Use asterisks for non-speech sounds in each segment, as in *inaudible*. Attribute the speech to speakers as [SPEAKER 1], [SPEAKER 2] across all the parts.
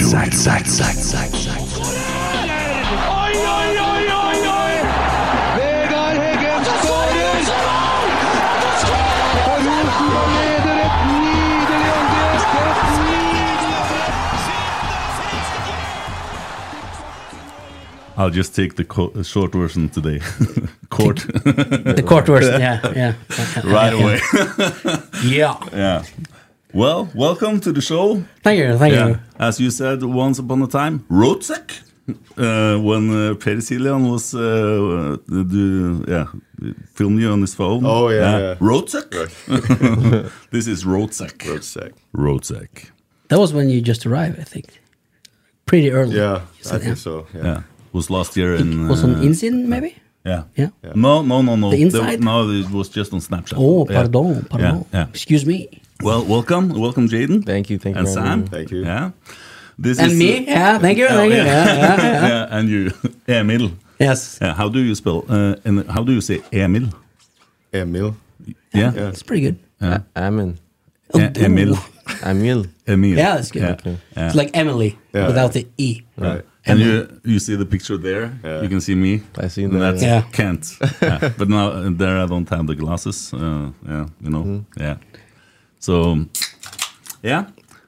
[SPEAKER 1] Zack, Zack, Zack, Zack, Zack.
[SPEAKER 2] Oi, oi, oi, oi, oi! Vegard Heggen skårer! Og Rosenborg leder et nydelig angrep! Et
[SPEAKER 3] I'll just take the co- short version today. *laughs* Court
[SPEAKER 4] The court version, yeah, yeah.
[SPEAKER 3] *laughs* right away.
[SPEAKER 4] Yeah.
[SPEAKER 3] yeah. Well, welcome to the show.
[SPEAKER 4] Thank you, thank you.
[SPEAKER 3] As you said once upon a time, Rotzek. Uh, when uh, Peter Cillian was uh, uh, do, yeah, filming you on his phone.
[SPEAKER 5] Oh, yeah, yeah.
[SPEAKER 3] Rotzek. *laughs* this is Rotzek.
[SPEAKER 5] Rotzek.
[SPEAKER 3] Rotzek.
[SPEAKER 4] That was when you just arrived, I think. Pretty early.
[SPEAKER 5] Yeah, I
[SPEAKER 4] said, yeah.
[SPEAKER 5] think so. Yeah.
[SPEAKER 3] Yeah, was last year in.
[SPEAKER 4] was on
[SPEAKER 3] uh,
[SPEAKER 4] Insin, maybe?
[SPEAKER 3] Yeah.
[SPEAKER 4] Yeah.
[SPEAKER 3] No, no, no, no.
[SPEAKER 4] The
[SPEAKER 3] There-
[SPEAKER 4] inside?
[SPEAKER 3] no, it was just on Snapchat.
[SPEAKER 4] Oh,
[SPEAKER 3] Yeah.
[SPEAKER 4] pardon, pardon.
[SPEAKER 3] yeah.
[SPEAKER 4] Excuse me.
[SPEAKER 3] Well, welcome, welcome, Jaden.
[SPEAKER 6] Thank you, thank you
[SPEAKER 3] and
[SPEAKER 6] very
[SPEAKER 3] Sam.
[SPEAKER 6] much.
[SPEAKER 5] Thank you.
[SPEAKER 3] Yeah. This uh,
[SPEAKER 4] And me? Yeah, thank you, thank you. Yeah, yeah, yeah.
[SPEAKER 3] yeah, and you, *laughs* Emil.
[SPEAKER 4] Yes,
[SPEAKER 3] Yeah, how do you spell? Uh, and how do you say Emil?
[SPEAKER 5] Emil.
[SPEAKER 3] Yeah,
[SPEAKER 4] it's pretty good.
[SPEAKER 6] Amen.
[SPEAKER 3] E- Emil.
[SPEAKER 6] Emil.
[SPEAKER 3] Emil.
[SPEAKER 4] Yeah, that's good. It's like Emily
[SPEAKER 5] Yeah.
[SPEAKER 4] without the E.
[SPEAKER 5] Right.
[SPEAKER 3] And you, you see the picture there.
[SPEAKER 5] Yeah.
[SPEAKER 3] You can see me.
[SPEAKER 6] I see
[SPEAKER 3] And
[SPEAKER 6] that,
[SPEAKER 3] That's
[SPEAKER 4] yeah.
[SPEAKER 3] Kent.
[SPEAKER 6] *laughs*
[SPEAKER 3] Yeah. But now uh, there I don't have the glasses. Uh, yeah, you know.
[SPEAKER 6] Mm-hmm.
[SPEAKER 3] Yeah. So, yeah.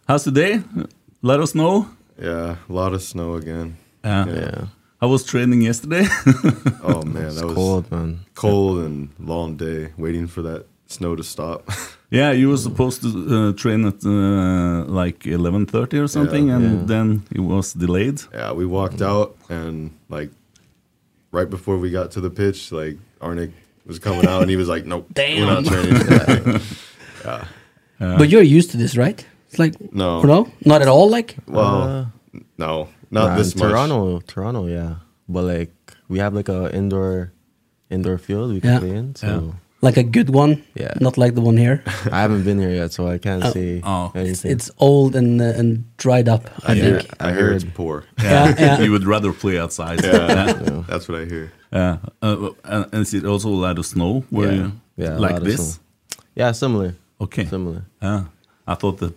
[SPEAKER 3] How's today? Let us know.
[SPEAKER 5] Yeah, a lot of snow again.
[SPEAKER 3] Yeah.
[SPEAKER 6] Yeah.
[SPEAKER 3] I was training yesterday. *laughs*
[SPEAKER 5] Oh man, that was cold.
[SPEAKER 6] Cold, man.
[SPEAKER 5] and long day waiting for that snow to stop. *laughs*
[SPEAKER 3] yeah, you were supposed to uh, train at uh, like 11:30 or something, and then it was delayed.
[SPEAKER 5] yeah, we walked
[SPEAKER 6] Mm.
[SPEAKER 5] out and like right before we got to the pitch, like Arnick was coming out and he was like, "Nope,
[SPEAKER 4] Damn.
[SPEAKER 5] we're not training." *laughs*
[SPEAKER 4] But you're used to this, right? It's like,
[SPEAKER 5] No.
[SPEAKER 4] no, not at all. Like,
[SPEAKER 5] well, no, not
[SPEAKER 6] Uh, Nah,
[SPEAKER 5] this
[SPEAKER 6] in
[SPEAKER 5] much.
[SPEAKER 6] Toronto, Toronto, yeah. But like we have like a indoor indoor field we can
[SPEAKER 4] Yeah.
[SPEAKER 6] play in. So
[SPEAKER 4] like a good one.
[SPEAKER 6] Yeah.
[SPEAKER 4] Not like the one here.
[SPEAKER 6] I haven't been here yet, so I can't
[SPEAKER 4] Oh.
[SPEAKER 6] say
[SPEAKER 3] Oh.
[SPEAKER 6] anything.
[SPEAKER 4] It's old and uh, and dried up. I
[SPEAKER 5] I hear,
[SPEAKER 4] think.
[SPEAKER 5] I hear it's
[SPEAKER 3] *laughs*
[SPEAKER 5] poor.
[SPEAKER 4] Yeah, yeah.
[SPEAKER 3] you would rather play outside.
[SPEAKER 5] That's what I hear.
[SPEAKER 3] Yeah. Uh, uh, and is it also a lot of snow? Where
[SPEAKER 6] Yeah.
[SPEAKER 3] you-
[SPEAKER 6] Yeah, a
[SPEAKER 3] like
[SPEAKER 6] lot of
[SPEAKER 3] this?
[SPEAKER 6] snow. yeah, similar.
[SPEAKER 3] Okay.
[SPEAKER 6] Similar.
[SPEAKER 3] Yeah. I thought that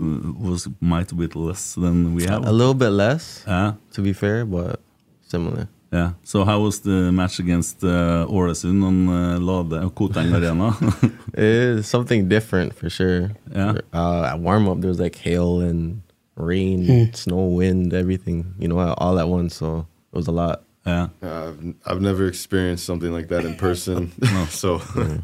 [SPEAKER 3] uh, was might a bit less than we have.
[SPEAKER 6] A little bit less,
[SPEAKER 3] Yeah.
[SPEAKER 6] to be fair, but similar.
[SPEAKER 3] Yeah. So how was the match against uh, Åresund on uh, Lade
[SPEAKER 6] *laughs*
[SPEAKER 3] Koteng Arena? *laughs*
[SPEAKER 6] It's something different for sure.
[SPEAKER 3] Yeah.
[SPEAKER 6] Uh, at warm up, there was like hail and rain, snow, wind, everything. You know, all at once. So it was a lot.
[SPEAKER 3] yeah.
[SPEAKER 5] Uh, I've, I've never experienced something like that in person, *laughs* so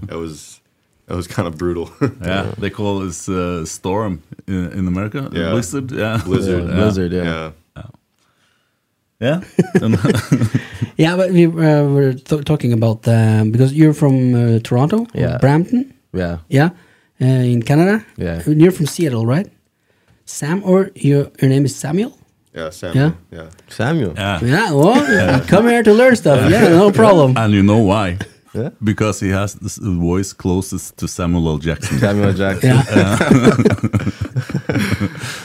[SPEAKER 5] that was that was kind of brutal.
[SPEAKER 3] Yeah. They call this uh, storm in, in America.
[SPEAKER 5] Yeah.
[SPEAKER 3] Blizzard.
[SPEAKER 6] *laughs*
[SPEAKER 3] Yeah.
[SPEAKER 5] Blizzard.
[SPEAKER 3] Yeah.
[SPEAKER 6] Blizzard, yeah.
[SPEAKER 5] yeah.
[SPEAKER 6] *laughs*
[SPEAKER 3] Yeah.
[SPEAKER 4] Yeah, but we uh, were t- talking about um, because you're from uh, Toronto, or
[SPEAKER 6] Yeah.
[SPEAKER 4] Brampton,
[SPEAKER 6] Yeah.
[SPEAKER 4] yeah, uh, in Canada.
[SPEAKER 6] Yeah.
[SPEAKER 4] And you're from Seattle, right? Sam, or your your name is Samuel?
[SPEAKER 5] Yeah, Sam.
[SPEAKER 4] Yeah?
[SPEAKER 5] Yeah. yeah.
[SPEAKER 6] Samuel.
[SPEAKER 3] yeah. *laughs*
[SPEAKER 4] Yeah, well, come here to learn stuff. Yeah, no
[SPEAKER 3] *laughs*
[SPEAKER 4] problem.
[SPEAKER 3] And you know why?
[SPEAKER 6] Yeah.
[SPEAKER 3] Because he has this uh, voice closest to Samuel L. Jackson.
[SPEAKER 6] Samuel L. Jackson. Yeah.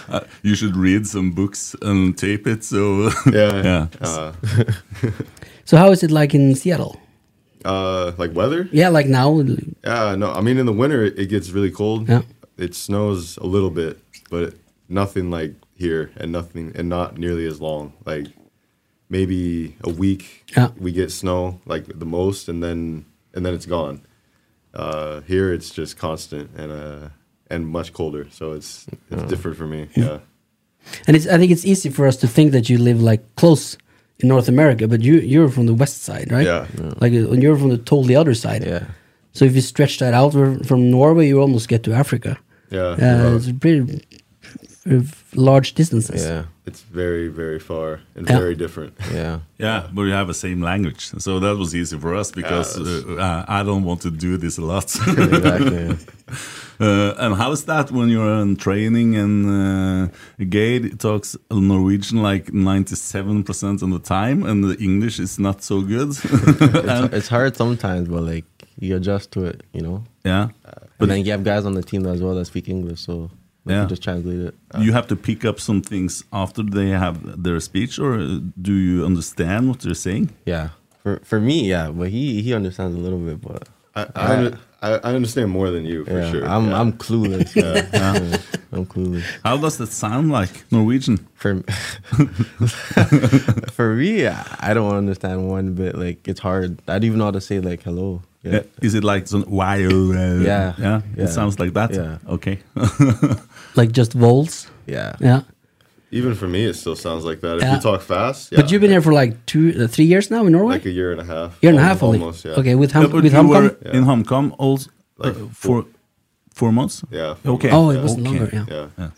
[SPEAKER 3] Uh, you should read some books and tape it. So *laughs*
[SPEAKER 5] Yeah.
[SPEAKER 3] yeah.
[SPEAKER 5] Uh,
[SPEAKER 4] So how is it like in Seattle?
[SPEAKER 5] uh, like weather?
[SPEAKER 4] Yeah, like now.
[SPEAKER 5] Yeah, no. I mean, in the winter it, it gets really cold.
[SPEAKER 4] Yeah.
[SPEAKER 5] It snows a little bit, but nothing like here, and nothing, and not nearly as long. Like maybe a week
[SPEAKER 4] Yeah.
[SPEAKER 5] we get snow, like the most, and then and then it's gone. Uh, here it's just constant and uh and much colder, so it's it's different for me. Yeah.
[SPEAKER 4] And it's, I think it's easy for us to think that you live like close in North America, but you you're from the west side, right?
[SPEAKER 5] Yeah.
[SPEAKER 4] Like uh, and you're from the totally other side.
[SPEAKER 6] Yeah.
[SPEAKER 4] So if you stretch that out we're- from Norway, you almost get to Africa.
[SPEAKER 5] Yeah.
[SPEAKER 4] Uh, it's pretty uh, large distances.
[SPEAKER 5] It's very very far and
[SPEAKER 4] Yeah.
[SPEAKER 5] very different.
[SPEAKER 6] Yeah.
[SPEAKER 3] Yeah, but we have the same language, so that was easy for us because uh, uh, I don't want to do this a lot.
[SPEAKER 6] Exactly. yeah.
[SPEAKER 3] uh, and how is that when you're in training and uh, Gade talks Norwegian like 97% of the time, and the English is not so good?
[SPEAKER 6] *laughs* It's, it's hard sometimes, but like you adjust to it, you know.
[SPEAKER 3] yeah,
[SPEAKER 6] But then you have guys on the team as well that speak English, so we
[SPEAKER 3] Yeah.
[SPEAKER 6] can just translate it.
[SPEAKER 3] you have to pick up some things after they have their speech, or do you understand what they're saying?
[SPEAKER 6] Yeah. For for me, yeah, but he he understands a little bit, but
[SPEAKER 5] I, I, under- I I understand more than you for
[SPEAKER 6] yeah,
[SPEAKER 5] sure.
[SPEAKER 6] I'm
[SPEAKER 5] yeah.
[SPEAKER 6] I'm clueless. Yeah. Yeah. I'm clueless.
[SPEAKER 3] How does that sound like Norwegian?
[SPEAKER 6] For *laughs* for me, I I don't understand one bit. Like it's hard. I don't even know how to say like hello.
[SPEAKER 3] Yeah. Is it like some why? Yeah,
[SPEAKER 6] Yeah,
[SPEAKER 3] yeah.
[SPEAKER 6] yeah.
[SPEAKER 3] It sounds like that.
[SPEAKER 6] Yeah.
[SPEAKER 3] Okay. *laughs*
[SPEAKER 4] Like just volts.
[SPEAKER 6] Yeah.
[SPEAKER 4] Yeah.
[SPEAKER 5] Even for me, it still sounds like that. If
[SPEAKER 4] Yeah.
[SPEAKER 5] you talk fast, yeah,
[SPEAKER 4] But you've been here for like two, uh, three years now in Norway.
[SPEAKER 5] like a year and a half.
[SPEAKER 4] year and a
[SPEAKER 5] al-
[SPEAKER 4] half only.
[SPEAKER 5] almost. Yeah.
[SPEAKER 4] Okay, with
[SPEAKER 3] Yeah,
[SPEAKER 4] hum,
[SPEAKER 3] but
[SPEAKER 4] with
[SPEAKER 3] you
[SPEAKER 4] Hamcom.
[SPEAKER 3] were in Hong Kong also uh,
[SPEAKER 5] Like
[SPEAKER 3] for four months.
[SPEAKER 5] Yeah, four
[SPEAKER 3] Okay.
[SPEAKER 4] Oh, it wasn't
[SPEAKER 3] Okay.
[SPEAKER 4] longer. Yeah.
[SPEAKER 5] yeah.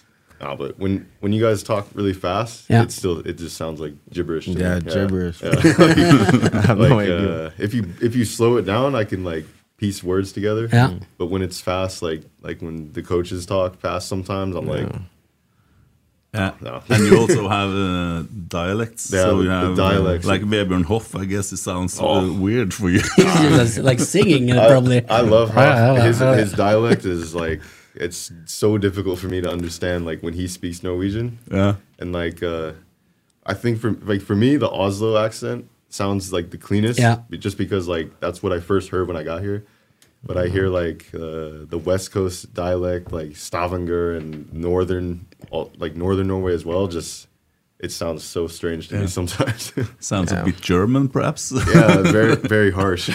[SPEAKER 5] No, but when when you guys talk really fast,
[SPEAKER 4] Yeah.
[SPEAKER 5] it still it just sounds like gibberish. To
[SPEAKER 6] Yeah,
[SPEAKER 5] me. *laughs*
[SPEAKER 6] gibberish.
[SPEAKER 5] I have
[SPEAKER 6] no
[SPEAKER 5] like,
[SPEAKER 6] idea.
[SPEAKER 5] Uh, if you if you slow it down, I can like piece words together.
[SPEAKER 4] Yeah.
[SPEAKER 5] But when it's fast, like like when the coaches talk fast, sometimes I'm like,
[SPEAKER 3] Yeah.
[SPEAKER 5] no.
[SPEAKER 3] and you also have uh, dialects.
[SPEAKER 5] Yeah,
[SPEAKER 3] so
[SPEAKER 5] the-
[SPEAKER 3] you
[SPEAKER 5] er the
[SPEAKER 3] have uh,
[SPEAKER 5] dialects.
[SPEAKER 3] like Webernhof. I guess it sounds uh,
[SPEAKER 5] Oh.
[SPEAKER 3] weird for you. *laughs*
[SPEAKER 4] That's *laughs* like singing uh,
[SPEAKER 5] *laughs* I,
[SPEAKER 4] probably.
[SPEAKER 5] I love
[SPEAKER 4] *laughs* Ah,
[SPEAKER 5] how
[SPEAKER 4] ah,
[SPEAKER 5] his,
[SPEAKER 4] ah.
[SPEAKER 5] his dialect is like it's so difficult for me to understand. Like when he speaks Norwegian,
[SPEAKER 3] yeah.
[SPEAKER 5] and like uh I think for like for me the Oslo accent sounds like the cleanest
[SPEAKER 4] Yeah.
[SPEAKER 5] be- just because like that's what I first heard when I got here but I hear like uh, the West Coast dialect like Stavanger and northern all, like northern Norway as well just it sounds so strange to me sometimes *laughs*
[SPEAKER 3] Sounds a bit German, perhaps.
[SPEAKER 5] yeah very very *laughs* harsh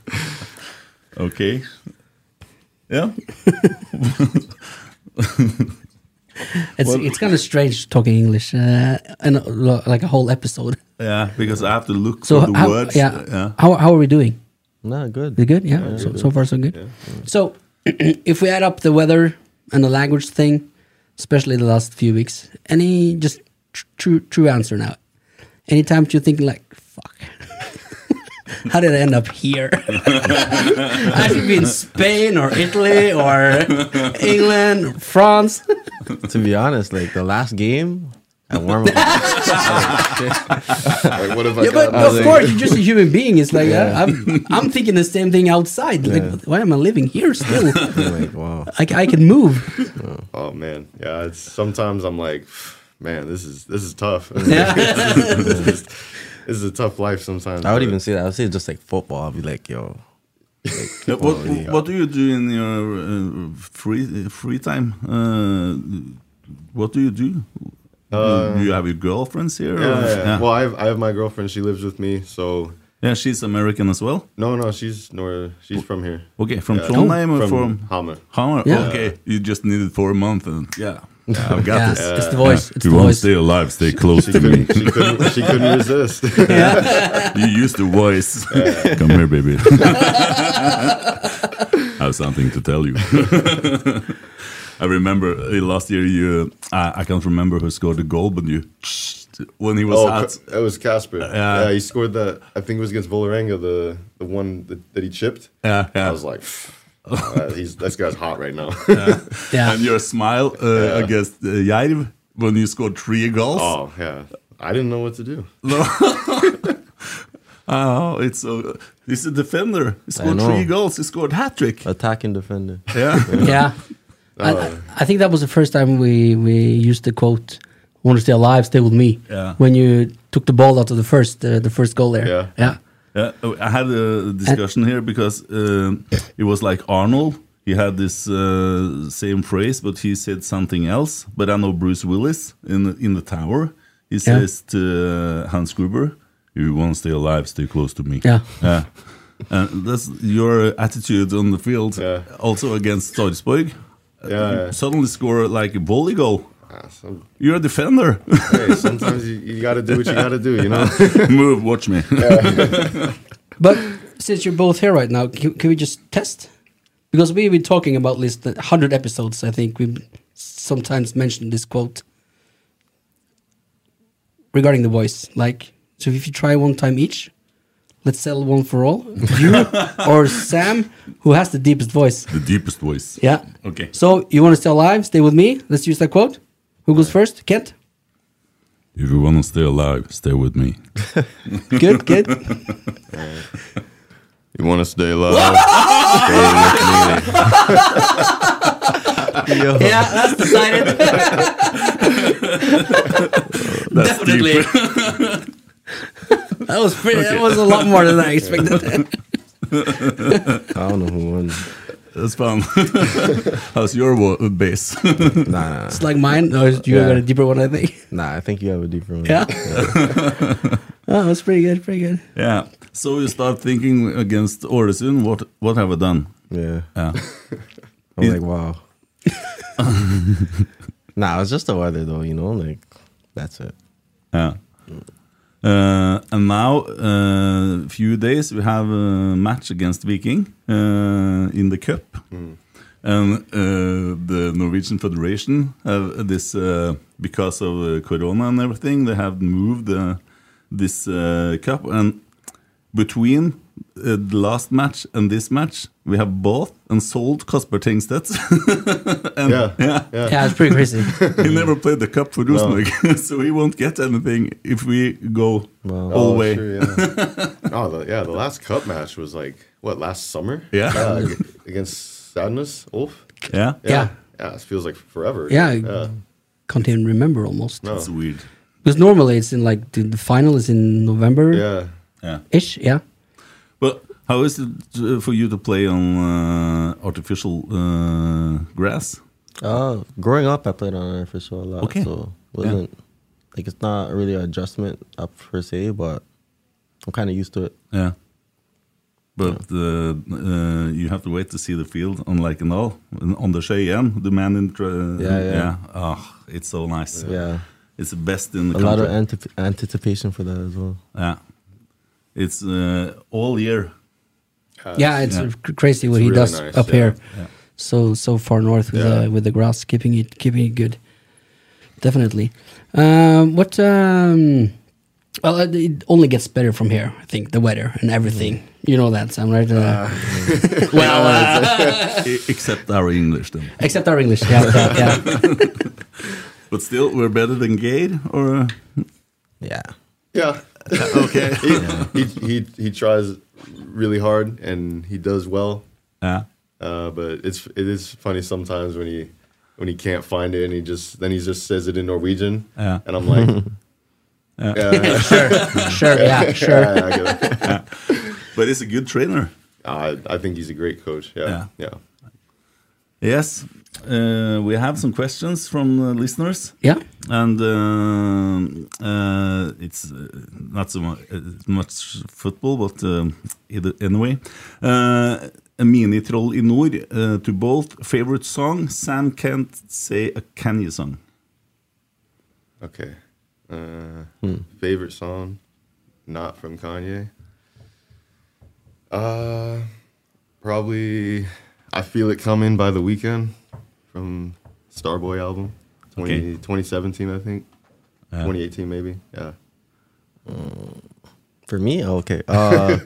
[SPEAKER 3] *laughs* okay. Yeah.
[SPEAKER 4] It's it's kind of strange talking English uh, and uh, lo- like a whole episode. *laughs*
[SPEAKER 3] Yeah. Because I have to look
[SPEAKER 4] So
[SPEAKER 3] for the
[SPEAKER 4] how,
[SPEAKER 3] words. uh,
[SPEAKER 4] yeah, how how are we doing?
[SPEAKER 6] No, good.
[SPEAKER 4] We good? Yeah, so, so far so good. So *clears throat* if we add up the weather and the language thing, especially the last few weeks, any just tr- true true answer now? Any times you think like fuck. *laughs* How did I end up here? *laughs* I should be in Spain or Italy
[SPEAKER 3] *laughs*
[SPEAKER 4] or England, or France.
[SPEAKER 6] to be honest, like the last game, I warm up.
[SPEAKER 5] *laughs* like uh, what if I
[SPEAKER 4] Yeah,
[SPEAKER 5] got
[SPEAKER 4] but of course, you're just a human being. It's like uh, I'm, I'm thinking the same thing outside. Like, why am I living here still?
[SPEAKER 6] I'm like, wow.
[SPEAKER 4] I, ca- I can move.
[SPEAKER 5] oh man yeah it's sometimes I'm like man this is this is tough *laughs*
[SPEAKER 4] Yeah.
[SPEAKER 5] this, is, this is a tough life sometimes
[SPEAKER 6] I would
[SPEAKER 5] but-
[SPEAKER 6] even say that. I would say just like football. I'd be like, yo,
[SPEAKER 3] Yeah, what What do you do in your uh, free free time? Uh, what do you do? do you have your girlfriends here? or-
[SPEAKER 5] Uh, Yeah, yeah, yeah. Well, I have, I have my girlfriend. She lives with me. So
[SPEAKER 3] Yeah, she's American as well.
[SPEAKER 5] no, no, she's nor she's from here.
[SPEAKER 3] Okay, from
[SPEAKER 5] Yeah.
[SPEAKER 3] Trondheim or
[SPEAKER 5] From
[SPEAKER 3] from
[SPEAKER 5] Hammer.
[SPEAKER 3] Hammer.
[SPEAKER 4] Yeah.
[SPEAKER 3] Okay, you just needed for a month, and yeah, I've got
[SPEAKER 4] Yeah,
[SPEAKER 3] this.
[SPEAKER 4] it's the voice. It's the voice.
[SPEAKER 3] alive, stay close
[SPEAKER 5] She *laughs* couldn't, she couldn't, she couldn't resist.
[SPEAKER 3] you use the voice. Come here, baby. I have something to tell you. *laughs* I remember uh, last year you. I, I can't remember who scored the goal, but you. *sniffs* When he was
[SPEAKER 5] *laughs* oh,
[SPEAKER 3] out,
[SPEAKER 5] Ca- it was Casper.
[SPEAKER 3] Yeah.
[SPEAKER 5] yeah. he scored that. I think it was against Volarenga, the the one that, that he chipped.
[SPEAKER 3] Yeah, yeah.
[SPEAKER 5] I was like, *laughs* uh, he's this guy's hot right now.
[SPEAKER 4] Yeah.
[SPEAKER 3] and your smile uh, against uh, Jair when you scored three goals.
[SPEAKER 5] oh yeah, I didn't know what to do.
[SPEAKER 3] Oh, it's uh, he's a defender. He scored
[SPEAKER 6] know.
[SPEAKER 3] three goals. He scored hat trick.
[SPEAKER 6] Attacking defender.
[SPEAKER 3] Yeah.
[SPEAKER 4] yeah. I, I- I think that was the first time we, we used the quote, "I want to stay alive, stay with me.
[SPEAKER 3] Yeah.
[SPEAKER 4] When you took the ball out of the first, uh, the first goal there.
[SPEAKER 3] Yeah.
[SPEAKER 4] Yeah.
[SPEAKER 3] Yeah, oh, I had a discussion here because um, it was like Arnold. He had this uh, same phrase, but he said something else. But I know Bruce Willis in the, in the tower. He
[SPEAKER 4] Yeah.
[SPEAKER 3] says to uh, Hans Gruber, "If you want to stay alive, stay close to me."
[SPEAKER 4] Yeah.
[SPEAKER 3] yeah. And that's your attitude on the field, also against Sarpsborg. Uh,
[SPEAKER 5] Yeah,
[SPEAKER 3] you
[SPEAKER 5] yeah.
[SPEAKER 3] Suddenly score like a volley goal. You're a defender.
[SPEAKER 5] Ah,
[SPEAKER 3] *laughs*
[SPEAKER 5] Hey, sometimes you, you got to do what you got to do, you know?
[SPEAKER 3] Move, watch me.
[SPEAKER 4] But since you're both here right now, can, can we just test? Because we've been talking about this the 100 episodes, I think. We've sometimes mentioned this quote regarding the voice. Like, so if you try one time each, let's sell one for all. You or Sam, who has the deepest voice.
[SPEAKER 3] *laughs* The deepest voice.
[SPEAKER 4] Yeah.
[SPEAKER 3] Okay.
[SPEAKER 4] So you want to stay alive? Stay with me. Let's use that quote. Who goes first? Kent.
[SPEAKER 3] If you want to stay alive, stay with me.
[SPEAKER 4] Good. Good.
[SPEAKER 5] *laughs* You want to stay *laughs* alive? stay with me.
[SPEAKER 6] Yo.
[SPEAKER 4] Yeah, that's decided.
[SPEAKER 3] That's
[SPEAKER 4] Definitely. *laughs* that was pretty. That was a lot more than I expected.
[SPEAKER 6] I don't know who won.
[SPEAKER 3] That's fun. *laughs* How's your wo- base? *laughs*
[SPEAKER 6] Nah, nah.
[SPEAKER 4] it's like mine. No, you
[SPEAKER 6] Yeah.
[SPEAKER 4] got a deeper one, I think. *laughs*
[SPEAKER 6] Nah, I think you have a deeper one.
[SPEAKER 4] Yeah. oh, that's pretty good. Pretty good.
[SPEAKER 3] yeah. So you start thinking against Oresund. What what have I done?
[SPEAKER 6] Yeah.
[SPEAKER 3] Yeah.
[SPEAKER 6] I'm
[SPEAKER 3] Is-
[SPEAKER 6] like, wow. nah, it's just the weather though, you know, like that's it.
[SPEAKER 3] Yeah. Uh, and now, uh, few days, we have a match against Viking uh, in the cup, and uh, the Norwegian Federation have this uh, because of uh, Corona and everything. They have moved uh, this uh, cup, and between uh, the last match and this match, we have bought and sold Kasper Tengstedt. *laughs* and,
[SPEAKER 5] Yeah. Yeah.
[SPEAKER 4] Yeah, it's pretty crazy.
[SPEAKER 3] he never played the cup for Rosenborg, *laughs* so he won't get anything if we go
[SPEAKER 6] Wow.
[SPEAKER 3] all the
[SPEAKER 5] Oh,
[SPEAKER 3] way.
[SPEAKER 5] sure, yeah. *laughs* oh, the, yeah. The last cup match was like, what, last summer?
[SPEAKER 3] Yeah.
[SPEAKER 5] ag- against Sadness, Ulf?
[SPEAKER 3] Yeah,
[SPEAKER 4] Yeah.
[SPEAKER 5] Yeah, it feels like forever.
[SPEAKER 4] Yeah. Can't even remember almost.
[SPEAKER 5] No.
[SPEAKER 3] that's weird.
[SPEAKER 4] Because normally it's in like the, the final is in November
[SPEAKER 5] Yeah.
[SPEAKER 3] Yeah,
[SPEAKER 4] ish. Yeah.
[SPEAKER 3] but how is it uh, for you to play on uh, artificial uh, grass?
[SPEAKER 6] Uh growing up I played on artificial a lot.
[SPEAKER 3] Okay.
[SPEAKER 6] So wasn't like it's not really an adjustment up per se, but I'm kinda used to it.
[SPEAKER 3] Yeah, but uh, uh, you have to wait to see the field, unlike in all on the Cheyenne, the man in. Tra-
[SPEAKER 6] Yeah, yeah.
[SPEAKER 3] Oh, it's so nice.
[SPEAKER 6] Yeah.
[SPEAKER 3] It's the best in the
[SPEAKER 6] A lot
[SPEAKER 3] country.
[SPEAKER 6] of antip anticipation for that as well.
[SPEAKER 3] yeah, it's uh, all year.
[SPEAKER 4] yeah, it's
[SPEAKER 3] Yeah.
[SPEAKER 4] cr- crazy what
[SPEAKER 5] It's
[SPEAKER 4] he
[SPEAKER 5] really
[SPEAKER 4] does
[SPEAKER 5] nice,
[SPEAKER 4] up
[SPEAKER 5] yeah.
[SPEAKER 4] here. So so far north with
[SPEAKER 5] Yeah.
[SPEAKER 4] uh, with the grass, keeping it keeping it good. Definitely. Um, what? Um, well, it, it only gets better from here. I think the weather and everything.
[SPEAKER 5] Mm.
[SPEAKER 4] You know that, Sam, right? Uh,
[SPEAKER 5] Ah.
[SPEAKER 4] well, uh,
[SPEAKER 3] E- Except our English, then.
[SPEAKER 4] except our English. Yeah, yeah,
[SPEAKER 5] *laughs*
[SPEAKER 4] yeah.
[SPEAKER 3] But still, we're better than Gade, or uh,
[SPEAKER 6] Yeah.
[SPEAKER 5] Yeah. *laughs* okay. he, he, he he tries really hard and he does well,
[SPEAKER 3] yeah,
[SPEAKER 5] uh, but it's it is funny sometimes when he when he can't find it and he just then he just says it in Norwegian
[SPEAKER 3] Yeah.
[SPEAKER 5] and I'm like, yeah, yeah,
[SPEAKER 4] sure, yeah, sure.
[SPEAKER 5] yeah, I, get it. *laughs*
[SPEAKER 3] but he's a good trainer.
[SPEAKER 5] Uh, I think he's a great coach. Yeah, yeah.
[SPEAKER 3] Yes, uh, we have some questions from uh, listeners,
[SPEAKER 4] Yeah,
[SPEAKER 3] and um uh, it's uh, not so much, uh, much football, but um, either, anyway. Uh, a mini troll in Nord uh, to both favorite song. Sam can't say a Kanye song.
[SPEAKER 5] Okay. Uh,
[SPEAKER 4] Hmm.
[SPEAKER 5] Favorite song, not from Kanye. Uh, probably "I Feel It Coming" by The Weeknd from Starboy album, 20,
[SPEAKER 3] Okay.
[SPEAKER 5] 2017, I think,
[SPEAKER 4] Uh-huh.
[SPEAKER 5] 2018 maybe. Yeah.
[SPEAKER 6] For me, okay.
[SPEAKER 7] *laughs*
[SPEAKER 6] Uh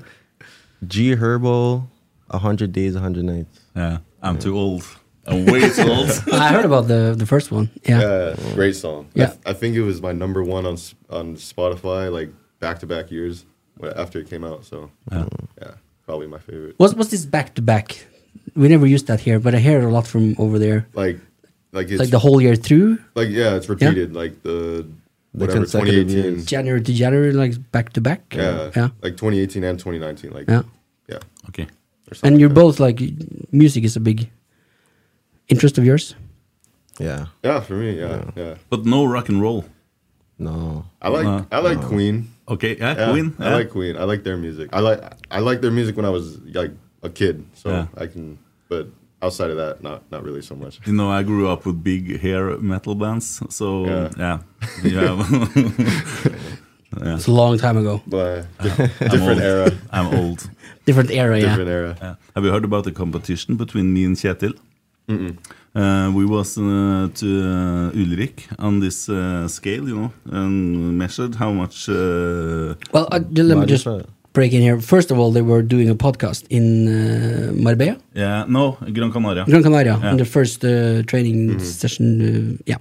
[SPEAKER 6] G Herbo, hundred days, hundred nights.
[SPEAKER 3] Yeah, I'm too old. I'm way too old.
[SPEAKER 4] I heard about the the first one. Yeah,
[SPEAKER 5] Yeah, Uh, great song. I,
[SPEAKER 4] Yeah.
[SPEAKER 5] I think it was my number one on S- on Spotify like back to back years. wh- after it came out. So
[SPEAKER 4] Uh-huh.
[SPEAKER 3] Yeah.
[SPEAKER 5] yeah, probably my favorite.
[SPEAKER 4] What's what's this back to back? We never used that here, but I hear it a lot from over there.
[SPEAKER 5] like like it's
[SPEAKER 4] Like the whole year through,
[SPEAKER 5] like yeah it's repeated like the whatever
[SPEAKER 6] consecutive
[SPEAKER 5] 2018
[SPEAKER 4] January to January, like back to back.
[SPEAKER 5] yeah,
[SPEAKER 4] yeah.
[SPEAKER 5] like 2018 and 2019 like
[SPEAKER 4] Yeah.
[SPEAKER 5] yeah
[SPEAKER 3] okay
[SPEAKER 4] And you're both like music is a big interest of yours.
[SPEAKER 6] Yeah.
[SPEAKER 5] yeah for me yeah yeah
[SPEAKER 3] But no rock and roll.
[SPEAKER 6] No.
[SPEAKER 5] I like
[SPEAKER 3] Uh,
[SPEAKER 5] I like
[SPEAKER 3] uh,
[SPEAKER 5] Queen
[SPEAKER 3] Okay, yeah,
[SPEAKER 5] Yeah,
[SPEAKER 3] Queen.
[SPEAKER 5] I
[SPEAKER 3] yeah.
[SPEAKER 5] like Queen I like their music I like I like their music when I was like a kid so
[SPEAKER 3] Yeah.
[SPEAKER 5] I can but outside of that not not really so
[SPEAKER 3] *laughs*
[SPEAKER 5] much
[SPEAKER 3] You know, I grew up with big hair metal bands, so
[SPEAKER 5] Yeah. *laughs*
[SPEAKER 3] yeah, yeah. *laughs* Yeah.
[SPEAKER 4] It's a long time ago,
[SPEAKER 5] but
[SPEAKER 3] *laughs* I'm
[SPEAKER 5] different
[SPEAKER 3] old.
[SPEAKER 5] era
[SPEAKER 3] I'm old.
[SPEAKER 4] different era. Yeah.
[SPEAKER 5] different era
[SPEAKER 3] Yeah. Have you heard about the competition between me and Kjetil? Uh, we was uh, to uh, Ulrik on this uh, scale, you know, and measured how much. Uh,
[SPEAKER 4] Well, uh, j- let me
[SPEAKER 6] Why
[SPEAKER 4] just
[SPEAKER 6] different?
[SPEAKER 4] break in here. First of all, they were doing a podcast in uh, Marbella,
[SPEAKER 3] yeah, no, Gran Canaria.
[SPEAKER 4] Gran Canaria,
[SPEAKER 3] Yeah. Mm-hmm.
[SPEAKER 4] in the first uh, training session. Uh, yeah,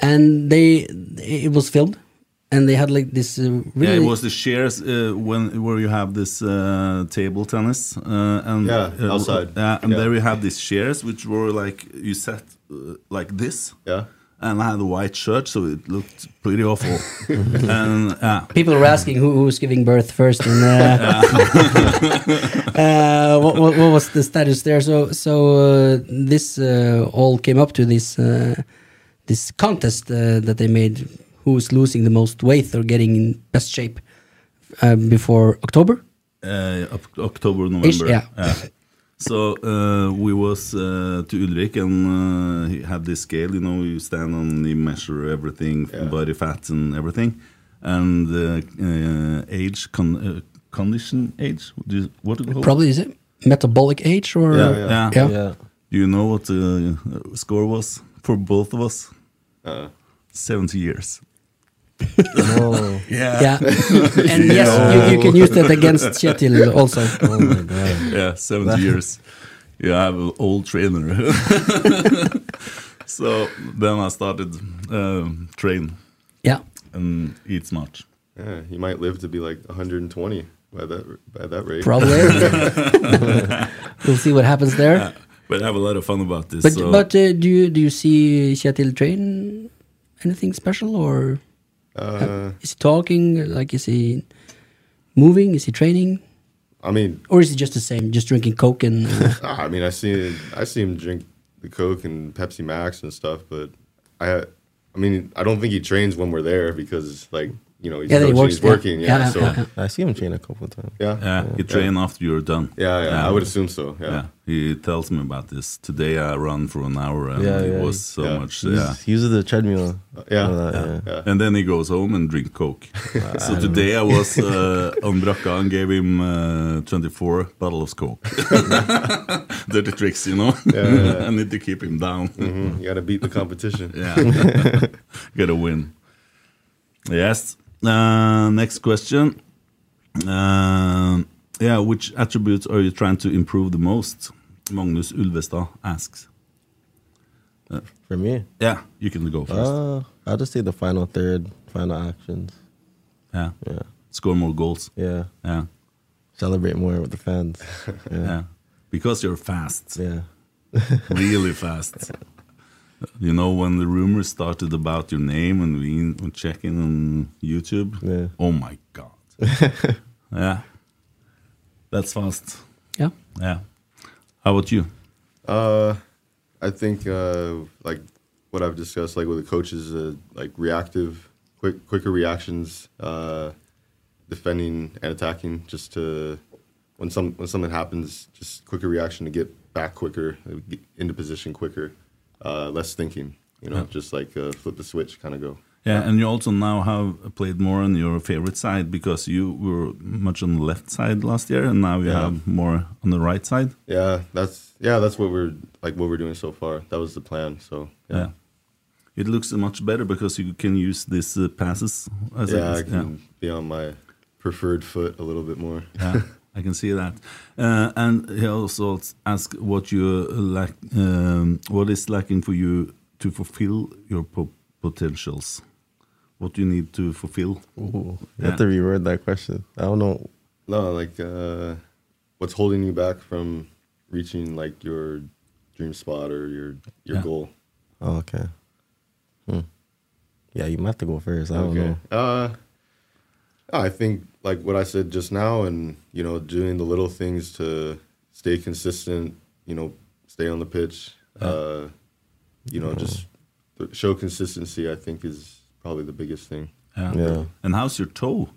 [SPEAKER 4] and they it was filmed, and they had like this uh, really.
[SPEAKER 3] Yeah, it was the shares uh, when where you have this uh, table tennis uh, and
[SPEAKER 5] Yeah,
[SPEAKER 3] uh,
[SPEAKER 5] outside.
[SPEAKER 3] Yeah, and
[SPEAKER 5] Yeah.
[SPEAKER 3] there we had these shares which were like you sat uh, like this.
[SPEAKER 5] yeah
[SPEAKER 3] And I had a white shirt, so it looked pretty awful. *laughs* and yeah,
[SPEAKER 4] People were asking who, who was giving birth first, and uh, *laughs* uh, what, what, what was the status there? So, so uh, this uh, all came up to this uh, this contest uh, that they made: who was losing the most weight or getting in best shape uh, before October?
[SPEAKER 3] uh, Oc- October, November.
[SPEAKER 4] yeah.
[SPEAKER 3] *laughs* So uh, we was uh, to Ulrik, and uh, he had this scale. You know, you stand on, you measure everything,
[SPEAKER 5] Yeah.
[SPEAKER 3] body fat and everything, and uh, uh, age, con- uh, condition, age. Do you, what do you call it?
[SPEAKER 4] Probably is it metabolic age or
[SPEAKER 5] Yeah,
[SPEAKER 3] Yeah.
[SPEAKER 4] Yeah.
[SPEAKER 6] Yeah.
[SPEAKER 3] Do you know what the uh, score was for both of us?
[SPEAKER 5] uh,
[SPEAKER 3] Seventy years.
[SPEAKER 6] No.
[SPEAKER 3] *laughs* Yeah.
[SPEAKER 6] *laughs*
[SPEAKER 4] Yeah. and yes, you, you can use that against Chetil also.
[SPEAKER 6] Oh my god.
[SPEAKER 3] Yeah, 70 years. Yeah, I'm an old
[SPEAKER 5] *laughs*
[SPEAKER 3] trainer. so then I started um, train
[SPEAKER 4] Yeah.
[SPEAKER 3] and eat smart.
[SPEAKER 5] yeah you might live to be like 120 by that by that rate
[SPEAKER 4] Probably. we'll see what happens there.
[SPEAKER 3] But I have a lot of fun about this.
[SPEAKER 4] But
[SPEAKER 3] so
[SPEAKER 4] but uh, do you do you see Seattle train anything special or
[SPEAKER 5] uh,
[SPEAKER 4] is he talking like is he moving is he training
[SPEAKER 5] I mean
[SPEAKER 4] or is he just the same just drinking coke and uh,
[SPEAKER 5] Ah, I mean, I see, I see him drink the Coke and Pepsi Max and stuff, but I, I mean, I don't think he trains when we're there because, like, you know, he's,
[SPEAKER 4] Yeah, he
[SPEAKER 5] coaching,
[SPEAKER 4] works,
[SPEAKER 5] he's
[SPEAKER 4] yeah.
[SPEAKER 5] working, yeah.
[SPEAKER 4] Yeah,
[SPEAKER 5] so,
[SPEAKER 4] yeah,
[SPEAKER 5] yeah,
[SPEAKER 4] yeah.
[SPEAKER 6] I see him train a couple times.
[SPEAKER 5] yeah, yeah,
[SPEAKER 3] yeah, you train after you're done.
[SPEAKER 5] yeah, I would assume so. Yeah,
[SPEAKER 3] Yeah, he tells me about this. Today I ran for an hour and
[SPEAKER 6] Yeah,
[SPEAKER 3] it
[SPEAKER 6] yeah,
[SPEAKER 3] was so
[SPEAKER 5] yeah. Uh,
[SPEAKER 3] much.
[SPEAKER 6] He uses-
[SPEAKER 3] Yeah.
[SPEAKER 6] He uses the treadmill.
[SPEAKER 5] yeah,
[SPEAKER 6] and all that, yeah.
[SPEAKER 5] yeah.
[SPEAKER 3] *laughs* And then he goes home and drink coke. so today I was uh, on Bracca and gave him uh, 24 bottles of coke. *laughs* Dirty tricks, you know. *laughs* I need to keep him down.
[SPEAKER 5] Mhm, You got to beat the competition.
[SPEAKER 3] *laughs* Yeah, *laughs* gotta win. Yes. Uh, next question. Um yeah, which attributes are you trying to improve the most? Magnus Ulvestad asks.
[SPEAKER 6] *laughs* For me,
[SPEAKER 3] Yeah, you can go first.
[SPEAKER 5] Ah,
[SPEAKER 6] uh, I'll just say the final third, final actions.
[SPEAKER 3] yeah,
[SPEAKER 6] Yeah.
[SPEAKER 3] score more goals.
[SPEAKER 6] Yeah.
[SPEAKER 3] Yeah,
[SPEAKER 6] Celebrate more with the
[SPEAKER 3] *laughs*
[SPEAKER 6] fans.
[SPEAKER 3] yeah, because you're fast.
[SPEAKER 6] Yeah.
[SPEAKER 3] *laughs* really fast. You know, when the rumors started about your name and we were checking on YouTube,
[SPEAKER 6] Yeah.
[SPEAKER 3] oh my God.
[SPEAKER 6] *laughs*
[SPEAKER 3] yeah. That's fast.
[SPEAKER 4] yeah
[SPEAKER 3] Yeah. How about you?
[SPEAKER 5] Uh, I think uh, like what I've discussed, like with the coaches, uh, like reactive, quick, quicker reactions, uh, defending and attacking, just to when some when something happens, just quicker reaction to get back quicker, uh, get into position quicker, uh, less thinking. You know, just like uh, flip the switch, kind of go.
[SPEAKER 3] Yeah, and you also now have played more on your favorite side because you were much on the left side last year, and now you
[SPEAKER 5] Yeah.
[SPEAKER 3] have more on the right side.
[SPEAKER 5] Yeah, that's yeah, that's what we're like what we're doing so far. That was the plan. So
[SPEAKER 3] Yeah. It looks much better because you can use these uh, passes. As
[SPEAKER 5] yeah, I
[SPEAKER 3] as-
[SPEAKER 5] can be on my preferred foot a little bit more. *laughs*
[SPEAKER 3] yeah, I can see that. Uh, and he also asked what you uh, lack, um, what is lacking for you to fulfill your po- potentials. what you need to fulfill.
[SPEAKER 6] Ooh, you have to reword that question. I don't know.
[SPEAKER 5] No, like uh, what's holding you back from reaching like your dream spot or your your
[SPEAKER 6] Yeah.
[SPEAKER 5] goal?
[SPEAKER 6] Oh, okay. Hmm. Yeah, you might have to go first. I don't know.
[SPEAKER 5] Uh, I think like what I said just now, and you know, doing the little things to stay consistent. You know, stay on the pitch. Uh, you know, just
[SPEAKER 6] Mm-hmm.
[SPEAKER 5] th- show consistency. I think is probably the biggest thing.
[SPEAKER 3] Yeah. And how's your toe?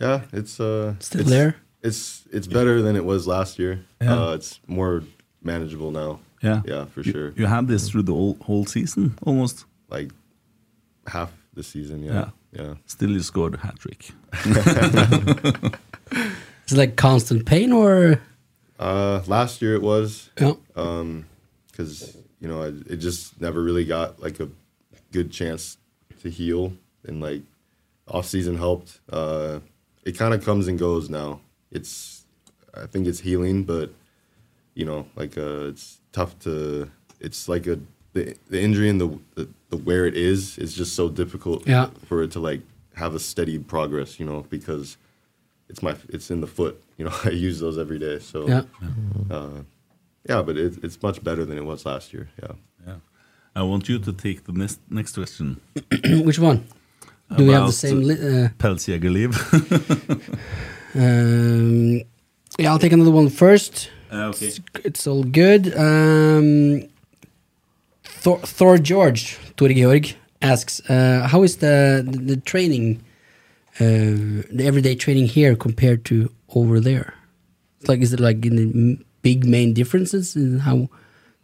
[SPEAKER 5] Yeah, it's uh,
[SPEAKER 4] Still
[SPEAKER 5] it's,
[SPEAKER 4] there?
[SPEAKER 5] It's it's better than it was last year.
[SPEAKER 3] Yeah.
[SPEAKER 5] Uh, it's more manageable now.
[SPEAKER 3] Yeah.
[SPEAKER 5] yeah, for
[SPEAKER 3] You-
[SPEAKER 5] sure.
[SPEAKER 3] You had this through the whole, whole season almost.
[SPEAKER 5] Like half the season. Yeah, yeah.
[SPEAKER 3] Still you scored a hat trick.
[SPEAKER 4] It's like constant pain or
[SPEAKER 5] Uh, last year it was.
[SPEAKER 4] Yeah.
[SPEAKER 5] Um, because you know, I, it just never really got like a good chance to heal, and like off season helped. Uh, it kind of comes and goes now. It's, I think it's healing, but you know, like uh, it's tough to. It's like a the, the injury and the, the the where it is is just so difficult
[SPEAKER 4] Yeah.
[SPEAKER 5] for it to like have a steady progress, you know, because it's my it's in the foot, you know. *laughs* I use those every day, so
[SPEAKER 4] Yeah.
[SPEAKER 5] uh, yeah, but it, it's much better than it was last year. Yeah,
[SPEAKER 3] Yeah. I want you to take the next next question.
[SPEAKER 4] *clears throat* which one? Do we
[SPEAKER 3] about,
[SPEAKER 4] have the same? Li- uh, *laughs*
[SPEAKER 3] Pelsjägerliv?
[SPEAKER 4] um, yeah, I'll take another one first.
[SPEAKER 3] Ah, okay.
[SPEAKER 4] It's, it's all good. Um, Thor, Thor George, Tor Georg, asks, uh, how is the the, the training, uh, the everyday training here compared to over there? It's like, is it like in the m- big main differences in how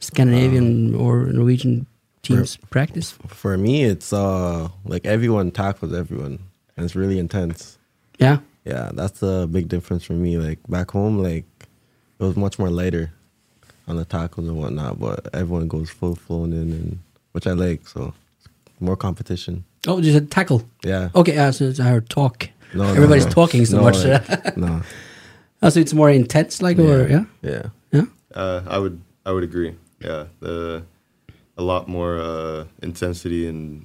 [SPEAKER 6] Uh,
[SPEAKER 4] Scandinavian or Norwegian teams practice?
[SPEAKER 6] For me, it's uh like everyone tackles everyone, and it's really intense.
[SPEAKER 4] Yeah.
[SPEAKER 6] Yeah, that's a big difference for me. Like back home, like it was much more lighter on the tackles and whatnot, but everyone goes full flown in, and which I like. So more competition. *laughs*
[SPEAKER 4] Oh, you said tackle.
[SPEAKER 6] Yeah.
[SPEAKER 4] Okay, uh, so it's I heard talk.
[SPEAKER 6] No, no,
[SPEAKER 4] Everybody's
[SPEAKER 6] no.
[SPEAKER 4] talking so
[SPEAKER 6] No,
[SPEAKER 4] much.
[SPEAKER 6] like, no.
[SPEAKER 4] *laughs* Oh, so it's more intense, like, or yeah,
[SPEAKER 6] Yeah.
[SPEAKER 4] yeah.
[SPEAKER 5] uh, I would I would agree. Yeah, the a lot more uh, intensity and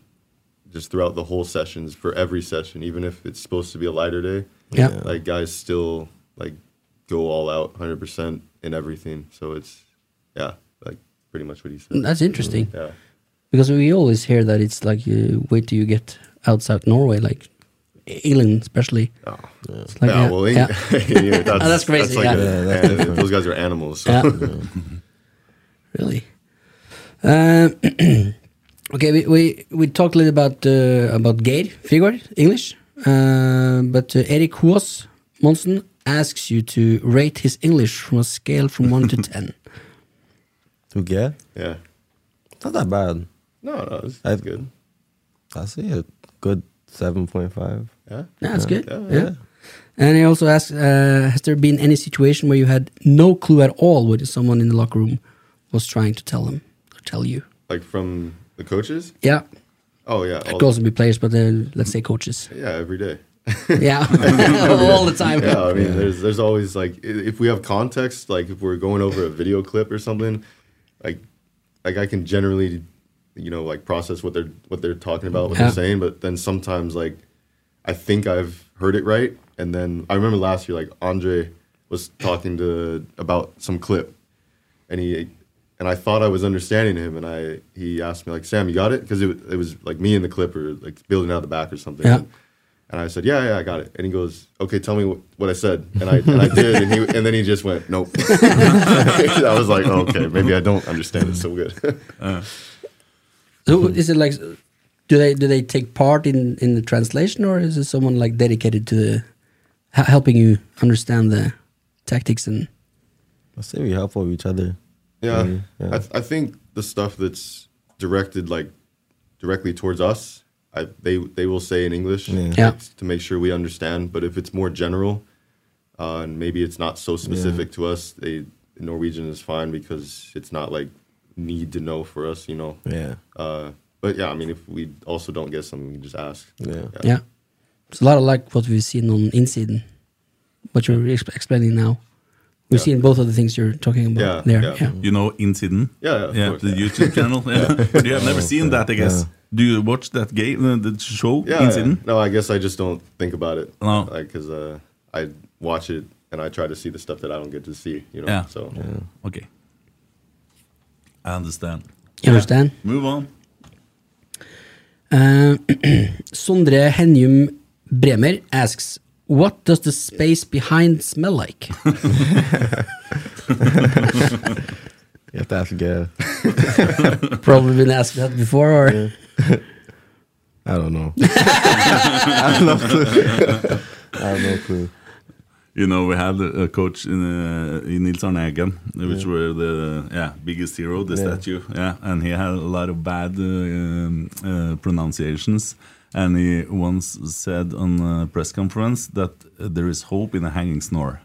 [SPEAKER 5] just throughout the whole sessions for every session, even if it's supposed to be a lighter day.
[SPEAKER 4] Yeah.
[SPEAKER 5] like guys still like go all out, hundred percent in everything. So it's yeah, like pretty much what he said.
[SPEAKER 4] That's interesting.
[SPEAKER 5] Yeah.
[SPEAKER 4] Because we always hear that it's like, uh, wait till you get outside Norway, like England, especially. Oh, it's like,
[SPEAKER 5] yeah,
[SPEAKER 4] yeah,
[SPEAKER 5] well, they-
[SPEAKER 4] yeah.
[SPEAKER 5] *laughs* yeah, that's,
[SPEAKER 4] *laughs* Oh, that's crazy.
[SPEAKER 5] like
[SPEAKER 4] yeah.
[SPEAKER 5] a-
[SPEAKER 6] that's
[SPEAKER 5] yeah, *laughs* those guys are animals. So. *laughs*
[SPEAKER 4] Yeah. really. Uh, *clears throat* okay, we, we we talked a little about uh, about Geir Figure English, uh, but uh, Eric Huos Monson asks you to rate his English from a scale from one to ten.
[SPEAKER 6] To get
[SPEAKER 5] yeah.
[SPEAKER 6] it's not that bad.
[SPEAKER 5] No, no, it's,
[SPEAKER 6] I-
[SPEAKER 5] it's good.
[SPEAKER 6] I see a good seven point five.
[SPEAKER 5] Yeah.
[SPEAKER 4] Yeah, that's good.
[SPEAKER 5] Uh, Yeah,
[SPEAKER 4] Yeah. And he also asks, uh, has there been any situation where you had no clue at all what someone in the locker room was trying to tell him or tell you?
[SPEAKER 5] Like from the coaches?
[SPEAKER 4] Yeah.
[SPEAKER 5] Oh yeah.
[SPEAKER 4] It
[SPEAKER 5] all-
[SPEAKER 4] could also be players, but uh, let's say
[SPEAKER 5] *laughs*
[SPEAKER 4] coaches.
[SPEAKER 5] yeah, every day.
[SPEAKER 4] Yeah.
[SPEAKER 5] *laughs*
[SPEAKER 4] *laughs* all the *laughs* time.
[SPEAKER 5] Yeah, I mean, there's there's always like i- if we have context, like if we're going over a video clip or something, like like I can generally, you know, like process what they're what they're talking about, what
[SPEAKER 4] Yeah.
[SPEAKER 5] they're saying, but then sometimes like I think I've heard it right, and then I remember last year like Andre was talking to about some clip, and he and I thought I was understanding him, and I he asked me like Sam, you got it? Because it, wa- it was like me and the clip or like building out the back or something.
[SPEAKER 4] Yeah.
[SPEAKER 5] And I said, "Yeah, yeah, I got it." And he goes, "Okay, tell me wh- what I said." And I and I did, and he and then he just went, "Nope." *laughs* I was like, "Okay, maybe I don't understand it so good." *laughs*
[SPEAKER 4] So is it like, do they do they take part in, in the translation or is it someone like dedicated to the, h- helping you understand the tactics and
[SPEAKER 6] I say we help out each other.
[SPEAKER 5] Yeah,
[SPEAKER 6] Mm, yeah.
[SPEAKER 5] I, th- I think the stuff that's directed like directly towards us, I, they they will say in English
[SPEAKER 4] Yeah.
[SPEAKER 5] to make sure we understand. But if it's more general, uh, and maybe it's not so specific to us, they Norwegian is fine because it's not like need to know for us, you know.
[SPEAKER 6] Yeah.
[SPEAKER 5] Uh, but yeah, I mean, if we also don't get something, we can just ask.
[SPEAKER 6] Yeah.
[SPEAKER 4] Yeah. It's a lot of like what we've seen on Insiden, what you're ex- explaining now. We've seen both of the things you're talking about
[SPEAKER 5] Yeah,
[SPEAKER 4] there.
[SPEAKER 3] Mm-hmm.
[SPEAKER 5] yeah.
[SPEAKER 4] Yeah.
[SPEAKER 3] you know, Incident?
[SPEAKER 5] Yeah, yeah, of course,
[SPEAKER 3] the
[SPEAKER 5] *laughs*
[SPEAKER 3] *laughs*
[SPEAKER 5] yeah.
[SPEAKER 3] YouTube channel. Yeah. But you have never seen that, I guess. Do you watch that game, uh, the show
[SPEAKER 5] Yeah.
[SPEAKER 3] incident?
[SPEAKER 5] No, I guess I just don't think about it.
[SPEAKER 3] No.
[SPEAKER 5] Because uh, I watch it and I try to see the stuff that I don't get to see. You know.
[SPEAKER 3] Yeah.
[SPEAKER 5] So.
[SPEAKER 3] Okay. I understand.
[SPEAKER 4] You understand?
[SPEAKER 3] Move on.
[SPEAKER 4] Uh, Sondre Henjum Bremer asks, "What does the space behind smell like?"
[SPEAKER 6] You have to ask Gav.
[SPEAKER 4] Probably been asked that before, or
[SPEAKER 6] I
[SPEAKER 3] *laughs*
[SPEAKER 6] don't know. I have no
[SPEAKER 5] *laughs*
[SPEAKER 6] clue. I have no clue.
[SPEAKER 3] You know, we had a a coach in, uh, in Nils Arne Eggen, which
[SPEAKER 6] Yeah.
[SPEAKER 3] were the yeah biggest hero, the
[SPEAKER 6] Yeah.
[SPEAKER 3] statue. Yeah, and he had a lot of bad uh, um, uh, pronunciations. And he once said on a press conference that uh, there is hope in a hanging snore.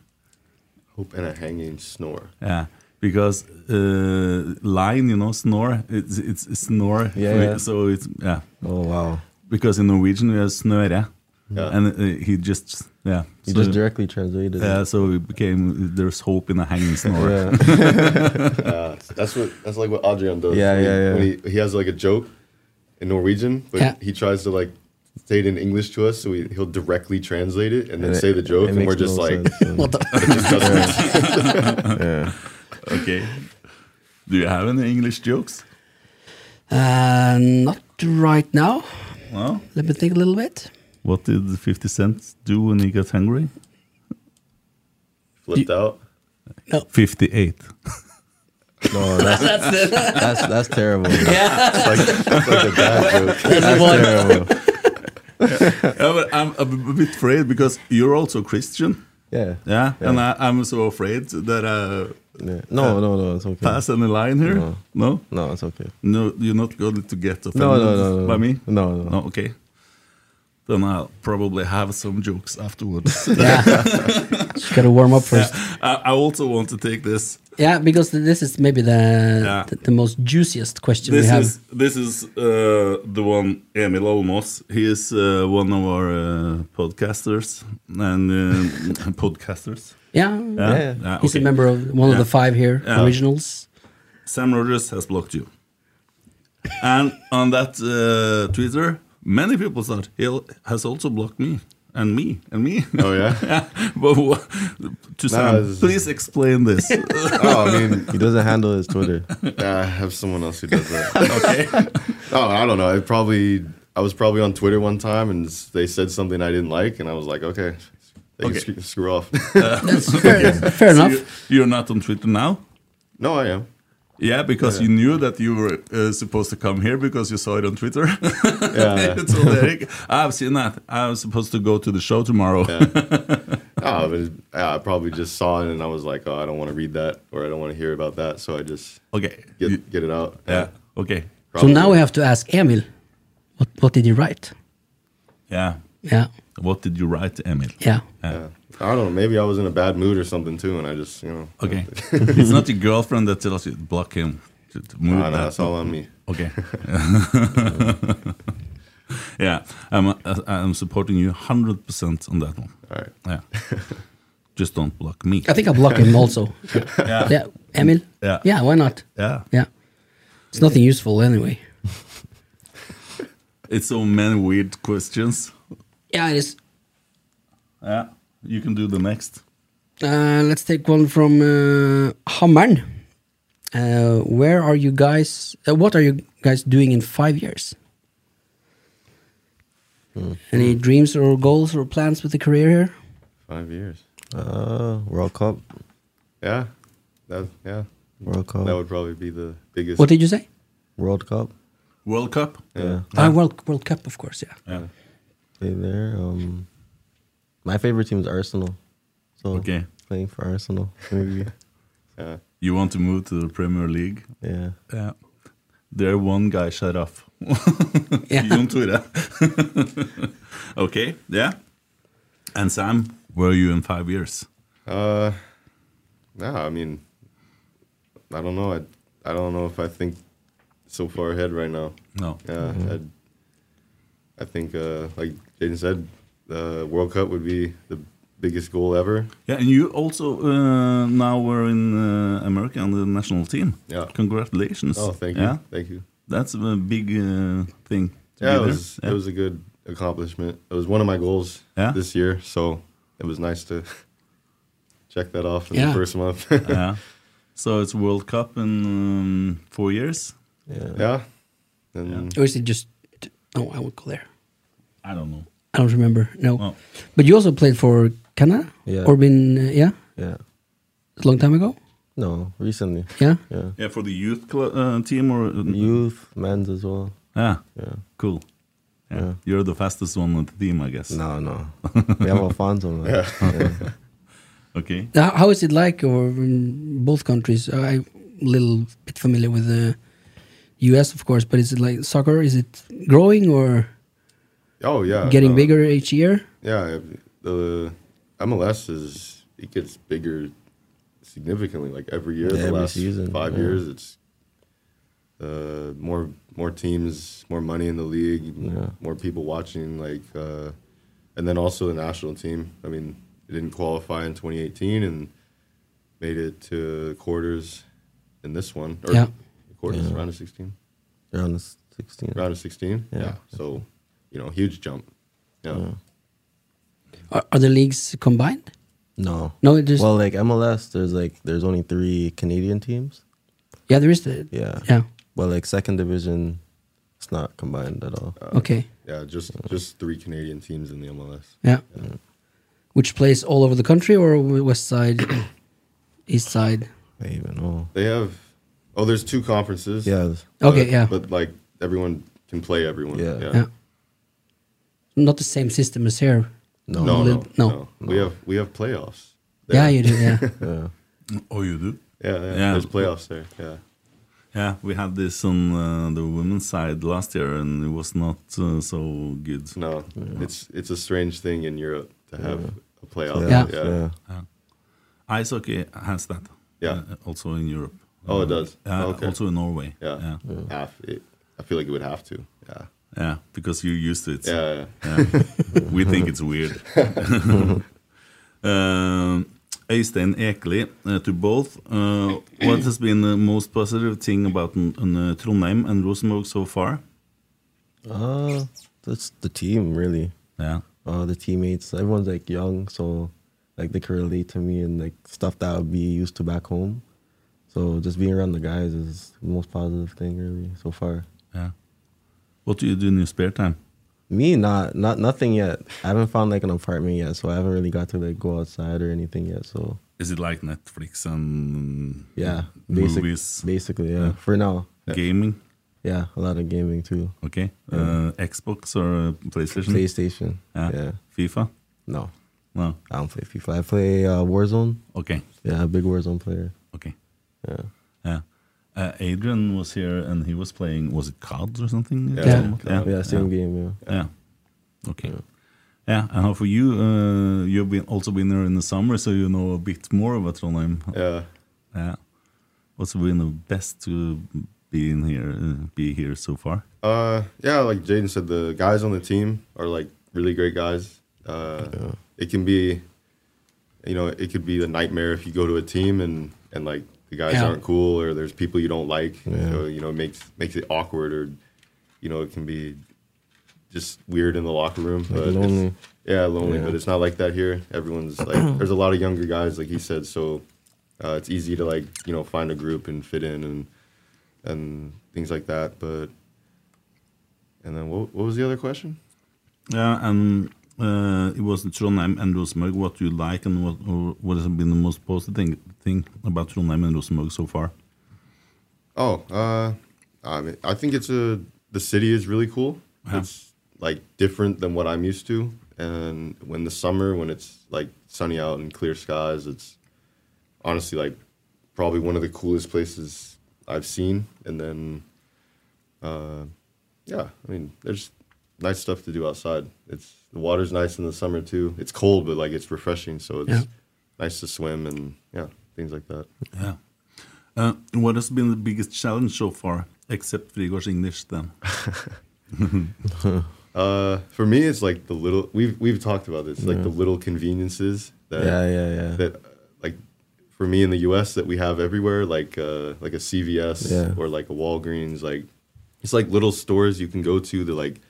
[SPEAKER 5] Hope and a hanging snore.
[SPEAKER 3] Yeah, because uh, line, you know, snore, it's it's snore.
[SPEAKER 6] Yeah, yeah.
[SPEAKER 3] So it's yeah.
[SPEAKER 6] Oh wow.
[SPEAKER 3] Because in Norwegian we have snøre,
[SPEAKER 6] Yeah.
[SPEAKER 3] and uh, he just yeah.
[SPEAKER 6] You
[SPEAKER 3] so-
[SPEAKER 6] just directly translated.
[SPEAKER 3] Yeah,
[SPEAKER 6] it.
[SPEAKER 3] so it became there's hope in a hanging snore.
[SPEAKER 5] *laughs* Yeah, Uh, that's what that's like what Adrian does.
[SPEAKER 6] Yeah,
[SPEAKER 5] When he-
[SPEAKER 6] yeah, yeah.
[SPEAKER 5] When he, he has like a joke in Norwegian, but
[SPEAKER 4] Yeah.
[SPEAKER 5] he tries to like say it in English to us, so we, he'll directly translate it and then
[SPEAKER 6] And it-
[SPEAKER 5] say the joke,
[SPEAKER 6] it
[SPEAKER 5] and we're
[SPEAKER 6] makes
[SPEAKER 5] just
[SPEAKER 6] no
[SPEAKER 5] like,
[SPEAKER 6] sense, and-
[SPEAKER 4] What the- *laughs*
[SPEAKER 5] it *laughs* just doesn't make sense.
[SPEAKER 6] *laughs* yeah.
[SPEAKER 3] Okay. Do you have any English jokes?
[SPEAKER 4] uh, not right now.
[SPEAKER 3] No.
[SPEAKER 4] Let me think a little bit.
[SPEAKER 3] What did 50 Cent do when he got hungry?
[SPEAKER 5] Flipped out.
[SPEAKER 4] *laughs*
[SPEAKER 3] 58.
[SPEAKER 6] No, that's
[SPEAKER 4] That's it.
[SPEAKER 6] that's that's terrible.
[SPEAKER 4] yeah.
[SPEAKER 5] It's like, it's like a bad *laughs* joke.
[SPEAKER 4] That's one.
[SPEAKER 6] terrible.
[SPEAKER 3] yeah, but I'm a b- bit afraid because you're also Christian.
[SPEAKER 6] Yeah.
[SPEAKER 3] Yeah. And I, I'm so afraid that I
[SPEAKER 6] yeah. No, no, no. It's okay.
[SPEAKER 3] pass any line here. No.
[SPEAKER 6] No.
[SPEAKER 3] No,
[SPEAKER 6] No, it's okay.
[SPEAKER 3] you're not going to get offended
[SPEAKER 6] No, no, no, no.
[SPEAKER 3] by me?
[SPEAKER 6] No, no.
[SPEAKER 3] No, okay. Then I'll probably have some jokes
[SPEAKER 6] *laughs*
[SPEAKER 3] afterwards.
[SPEAKER 4] Just gotta warm up first.
[SPEAKER 3] I, I also want to take this.
[SPEAKER 4] Yeah, because this is maybe the
[SPEAKER 3] Yeah.
[SPEAKER 4] the, the most juiciest question
[SPEAKER 3] this
[SPEAKER 4] we have.
[SPEAKER 3] is this is uh, the one Emil Olmos. He is uh, one of our uh, podcasters and uh, *laughs* podcasters.
[SPEAKER 4] yeah.
[SPEAKER 3] Yeah?
[SPEAKER 6] Yeah.
[SPEAKER 3] Yeah,
[SPEAKER 4] He's
[SPEAKER 3] okay.
[SPEAKER 4] a member of one of
[SPEAKER 3] Yeah.
[SPEAKER 4] the five here
[SPEAKER 3] Yeah. *laughs*
[SPEAKER 4] originals.
[SPEAKER 3] Sam Rogers has blocked you. And on that uh, Twitter, many people thought he al- has also blocked me and me and me. *laughs*
[SPEAKER 5] Oh yeah.
[SPEAKER 3] but wha- to Sam,
[SPEAKER 5] it's-
[SPEAKER 3] please explain
[SPEAKER 5] *laughs*
[SPEAKER 3] this. *laughs*
[SPEAKER 5] Oh, I mean,
[SPEAKER 6] He doesn't handle his Twitter.
[SPEAKER 5] *laughs* I have someone else who does that. okay. *laughs* Oh, I don't know. I probably I was probably on Twitter one time and s- they said something I didn't like, and I was like, okay, they
[SPEAKER 3] Okay.
[SPEAKER 5] can sc- screw off. *laughs*
[SPEAKER 4] That's fair, fair
[SPEAKER 3] So
[SPEAKER 4] enough.
[SPEAKER 3] you- you're not on Twitter now.
[SPEAKER 5] no, I am.
[SPEAKER 3] Yeah, because you knew that you were uh, supposed to come here because you saw it on Twitter. *laughs*
[SPEAKER 5] Yeah.
[SPEAKER 3] It's all Eric. I've seen that. I was supposed to go to the show tomorrow.
[SPEAKER 5] *laughs* Oh, but it- yeah, I probably just saw it and I was like, oh, I don't want to read that or I don't want to hear about that. So I just
[SPEAKER 3] *laughs* Okay. You-
[SPEAKER 5] get, get it out.
[SPEAKER 3] yeah. Okay.
[SPEAKER 4] So
[SPEAKER 5] probably.
[SPEAKER 4] now we have to ask Emil, what what did he write?
[SPEAKER 3] Yeah.
[SPEAKER 4] Yeah,
[SPEAKER 3] What did you write, Emil?
[SPEAKER 4] yeah.
[SPEAKER 5] Yeah. I don't know. Maybe I was in a bad mood or something too, and I just, you know.
[SPEAKER 3] Okay. *laughs* it's not your girlfriend that tells you to block him. To- to move
[SPEAKER 5] I don't know,
[SPEAKER 3] that.
[SPEAKER 5] that's all on me. *laughs*
[SPEAKER 3] Okay. yeah. I'm, uh, I'm supporting you 100% on that one.
[SPEAKER 5] All right.
[SPEAKER 3] Yeah.
[SPEAKER 5] *laughs*
[SPEAKER 3] Just don't block me.
[SPEAKER 4] I think I blocked him
[SPEAKER 3] *laughs*
[SPEAKER 4] also. yeah. Emil.
[SPEAKER 3] Yeah.
[SPEAKER 4] Yeah, why not?
[SPEAKER 3] Yeah.
[SPEAKER 4] Yeah, it's nothing useful anyway.
[SPEAKER 3] It's so many weird questions.
[SPEAKER 4] Yeah, it is.
[SPEAKER 3] Yeah. You can do the next.
[SPEAKER 4] Uh, let's take one from uh, Hammern. Uh, where are you guys? Uh, what are you guys doing in five years? Any dreams or goals or plans with the career here?
[SPEAKER 5] Five years.
[SPEAKER 6] Uh, World Cup.
[SPEAKER 5] Yeah. That, yeah.
[SPEAKER 6] World Cup.
[SPEAKER 5] That would probably be the biggest.
[SPEAKER 4] What did you say?
[SPEAKER 6] World Cup.
[SPEAKER 3] World Cup?
[SPEAKER 6] Yeah.
[SPEAKER 4] Ah, World World Cup, of course. Yeah.
[SPEAKER 3] Yeah.
[SPEAKER 6] Play there. Um, my favorite team is Arsenal. So
[SPEAKER 3] Okay.
[SPEAKER 6] playing for Arsenal.
[SPEAKER 5] *laughs*
[SPEAKER 6] Maybe.
[SPEAKER 5] yeah.
[SPEAKER 3] You want to move to the Premier League?
[SPEAKER 6] yeah.
[SPEAKER 3] Yeah. There one guy shut *laughs* off.
[SPEAKER 4] Yeah.
[SPEAKER 3] Jon Tore. *laughs* okay, yeah. And Sam, where are you in five years?
[SPEAKER 5] Uh, nah, I mean, I don't know. I, I don't know if I think so far ahead right now.
[SPEAKER 3] No.
[SPEAKER 5] Yeah,
[SPEAKER 6] Mm-hmm.
[SPEAKER 5] I'd, I think, uh, like Jaden said, the World Cup would be the biggest goal ever.
[SPEAKER 3] Yeah, and you also uh, now were in uh, America on the national team.
[SPEAKER 5] Yeah.
[SPEAKER 3] Congratulations.
[SPEAKER 5] Oh, thank you,
[SPEAKER 3] Yeah.
[SPEAKER 5] thank you.
[SPEAKER 3] that's a big uh, thing. to be
[SPEAKER 5] Yeah, it
[SPEAKER 3] there.
[SPEAKER 5] was,
[SPEAKER 3] Yeah.
[SPEAKER 5] it was a good accomplishment. It was one of my goals
[SPEAKER 3] Yeah.
[SPEAKER 5] this year, so it was nice to *laughs* check that off in the first
[SPEAKER 6] *laughs*
[SPEAKER 5] month.
[SPEAKER 3] *laughs* yeah. So it's World Cup in um, four years.
[SPEAKER 5] Yeah. Yeah. And
[SPEAKER 4] Or is it just? Oh, I won't go there.
[SPEAKER 3] I don't know.
[SPEAKER 4] I don't remember. No, but you also played for Canada.
[SPEAKER 6] Yeah.
[SPEAKER 4] Or been uh, yeah.
[SPEAKER 6] Yeah.
[SPEAKER 4] A long time ago.
[SPEAKER 6] No, recently.
[SPEAKER 3] Mm-hmm.
[SPEAKER 4] Yeah?
[SPEAKER 6] Yeah.
[SPEAKER 3] Yeah, for the youth cl- uh, team or
[SPEAKER 6] youth men's as well.
[SPEAKER 3] Yeah.
[SPEAKER 6] Yeah.
[SPEAKER 3] Ah, Cool. Yeah. You're the fastest one on the team, I guess.
[SPEAKER 6] No, no. We have Alfonso,
[SPEAKER 5] *laughs*
[SPEAKER 6] man. Yeah. Yeah.
[SPEAKER 3] okay.
[SPEAKER 4] Now, how is it like or in both countries? I'm a little bit familiar with the U.S. of course, but is it like soccer? Is it growing or
[SPEAKER 5] Oh yeah,
[SPEAKER 6] Uh,
[SPEAKER 4] getting
[SPEAKER 5] no.
[SPEAKER 4] bigger each year?
[SPEAKER 5] Yeah, the MLS is it gets bigger significantly, like every year.
[SPEAKER 6] Yeah,
[SPEAKER 5] the
[SPEAKER 6] every
[SPEAKER 5] last
[SPEAKER 6] season,
[SPEAKER 5] five
[SPEAKER 6] yeah.
[SPEAKER 5] years, it's uh, more more teams, more money in the league, more people watching. Like, uh, and then also the national team. I mean, it didn't qualify in 2018 and made it to quarters in this one or
[SPEAKER 4] Yeah.
[SPEAKER 5] quarters
[SPEAKER 6] Yeah.
[SPEAKER 5] round of 16
[SPEAKER 6] Around the 16.
[SPEAKER 5] round of 16 yeah.
[SPEAKER 6] Yeah.
[SPEAKER 5] so you know huge jump yeah.
[SPEAKER 4] Are, are the leagues combined?
[SPEAKER 6] No.
[SPEAKER 4] No, it just
[SPEAKER 6] Well, like MLS, there's like there's only three Canadian teams.
[SPEAKER 4] yeah. There is the
[SPEAKER 6] Yeah.
[SPEAKER 4] Yeah.
[SPEAKER 6] But like second division, it's not combined at all.
[SPEAKER 4] Uh, Okay.
[SPEAKER 5] Yeah, just just three Canadian teams in the MLS.
[SPEAKER 4] yeah. Which plays all over the country or west
[SPEAKER 6] *coughs*
[SPEAKER 4] side, east side?
[SPEAKER 6] I even know.
[SPEAKER 5] They have oh, there's two conferences.
[SPEAKER 6] Yeah.
[SPEAKER 4] Okay,
[SPEAKER 5] But-
[SPEAKER 4] yeah.
[SPEAKER 5] But like everyone can play everyone. Yeah.
[SPEAKER 4] Yeah. Not the same system as here.
[SPEAKER 5] No, no,
[SPEAKER 4] A
[SPEAKER 5] no,
[SPEAKER 4] little-
[SPEAKER 5] We have we have playoffs.
[SPEAKER 4] Yeah, you do.
[SPEAKER 6] *laughs*
[SPEAKER 4] Yeah.
[SPEAKER 3] Oh, you do?
[SPEAKER 5] Yeah, yeah, there's playoffs there. Yeah.
[SPEAKER 3] Yeah, we had this on uh, the women's side last year, and it was not uh, so good.
[SPEAKER 5] No, it's it's a strange thing in Europe to have a playoff.
[SPEAKER 6] Yeah.
[SPEAKER 5] Yeah.
[SPEAKER 6] Yeah.
[SPEAKER 3] Ice hockey has that.
[SPEAKER 5] Yeah.
[SPEAKER 3] uh, also in Europe.
[SPEAKER 5] Oh, it does.
[SPEAKER 3] Uh,
[SPEAKER 5] Okay.
[SPEAKER 3] Also in Norway.
[SPEAKER 5] Yeah.
[SPEAKER 3] Yeah.
[SPEAKER 5] Half, it, I feel like it would have to. Yeah.
[SPEAKER 3] Yeah, because you're used to it.
[SPEAKER 5] Yeah,
[SPEAKER 3] Yeah. we think it's weird. um, Øystein Ekeli, uh, to both, uh, what has been the most positive thing about n- n- uh, Trondheim and Rosenborg so far?
[SPEAKER 6] Uh, that's the team, really.
[SPEAKER 3] Yeah.
[SPEAKER 6] Uh, the teammates. Everyone's like young, so like they can relate to me and like stuff that I would be used to back home. So just being around the guys is the most positive thing, really, so far.
[SPEAKER 3] Yeah. What do you do in your spare time?
[SPEAKER 6] Me, not not nothing yet. I haven't found like an apartment yet, so I haven't really got to like go outside or anything yet. So
[SPEAKER 3] Is it like Netflix and
[SPEAKER 6] yeah, basic,
[SPEAKER 3] movies,
[SPEAKER 6] basically, yeah,
[SPEAKER 3] Yeah.
[SPEAKER 6] For now,
[SPEAKER 3] gaming?
[SPEAKER 6] yeah, a lot of gaming too.
[SPEAKER 3] Okay. Uh, Xbox or uh, PlayStation?
[SPEAKER 6] PlayStation,
[SPEAKER 3] Yeah.
[SPEAKER 6] yeah.
[SPEAKER 3] FIFA?
[SPEAKER 6] No,
[SPEAKER 3] No.
[SPEAKER 6] I don't play FIFA. I play uh, Warzone.
[SPEAKER 3] Okay.
[SPEAKER 6] Yeah, big Warzone player.
[SPEAKER 3] Okay.
[SPEAKER 6] Yeah.
[SPEAKER 3] Yeah. Uh, Adrian was here and he was playing, was it COD or something?
[SPEAKER 5] Yeah.
[SPEAKER 6] Yeah.
[SPEAKER 3] Yeah.
[SPEAKER 6] Yeah, same game. Yeah.
[SPEAKER 3] Yeah. Okay. Yeah. And how for you? Uh, you've been also been there in the summer, so you know a bit more about Trondheim.
[SPEAKER 5] Yeah.
[SPEAKER 3] Yeah. What's been the best to be in here, uh, be here so far?
[SPEAKER 5] Uh, yeah, like Jaden said, the guys on the team are like really great guys. Uh, It can be, you know, it could be a nightmare if you go to a team and and like the guys
[SPEAKER 4] Yeah.
[SPEAKER 5] aren't cool or there's people you don't like.
[SPEAKER 6] Yeah.
[SPEAKER 5] So you know, it makes makes it awkward or, you know, it can be just weird in the locker room.
[SPEAKER 6] Like
[SPEAKER 5] it's-
[SPEAKER 6] lonely.
[SPEAKER 5] yeah, lonely.
[SPEAKER 6] Yeah.
[SPEAKER 5] But it's not like that here. Everyone's
[SPEAKER 6] *clears throat*
[SPEAKER 5] like, there's a lot of younger guys, like he said. So uh, it's easy to like you know find a group and fit in and and things like that. But and then what, what was the other question?
[SPEAKER 3] Yeah, and uh, it was Trondheim and Rosenborg. What do you like, and what or what has been the most positive thing, thing about Trondheim and Rosenborg so far?
[SPEAKER 5] Oh, uh, I mean, I think it's a the city is really cool.
[SPEAKER 6] Uh-huh.
[SPEAKER 3] Yeah.
[SPEAKER 5] It's like different than what I'm used to. And when the summer, when it's like sunny out and clear skies, it's honestly like probably one of the coolest places I've seen. And then, uh, yeah, I mean, there's nice stuff to do outside. It's the water's nice in the summer too. It's cold, but like it's refreshing. So it's
[SPEAKER 4] Yeah.
[SPEAKER 5] nice to swim and yeah, things like that.
[SPEAKER 3] Yeah. Uh, what has been the biggest challenge so far, except Frigård's English? Then.
[SPEAKER 5] Uh, for me, it's like the little we've we've talked about this, like the little conveniences that
[SPEAKER 6] Yeah, yeah, yeah.
[SPEAKER 5] that uh, like for me in the U.S. that we have everywhere, like uh, like a CVS
[SPEAKER 6] Yeah.
[SPEAKER 5] or like a Walgreens, like it's like little stores you can go to that like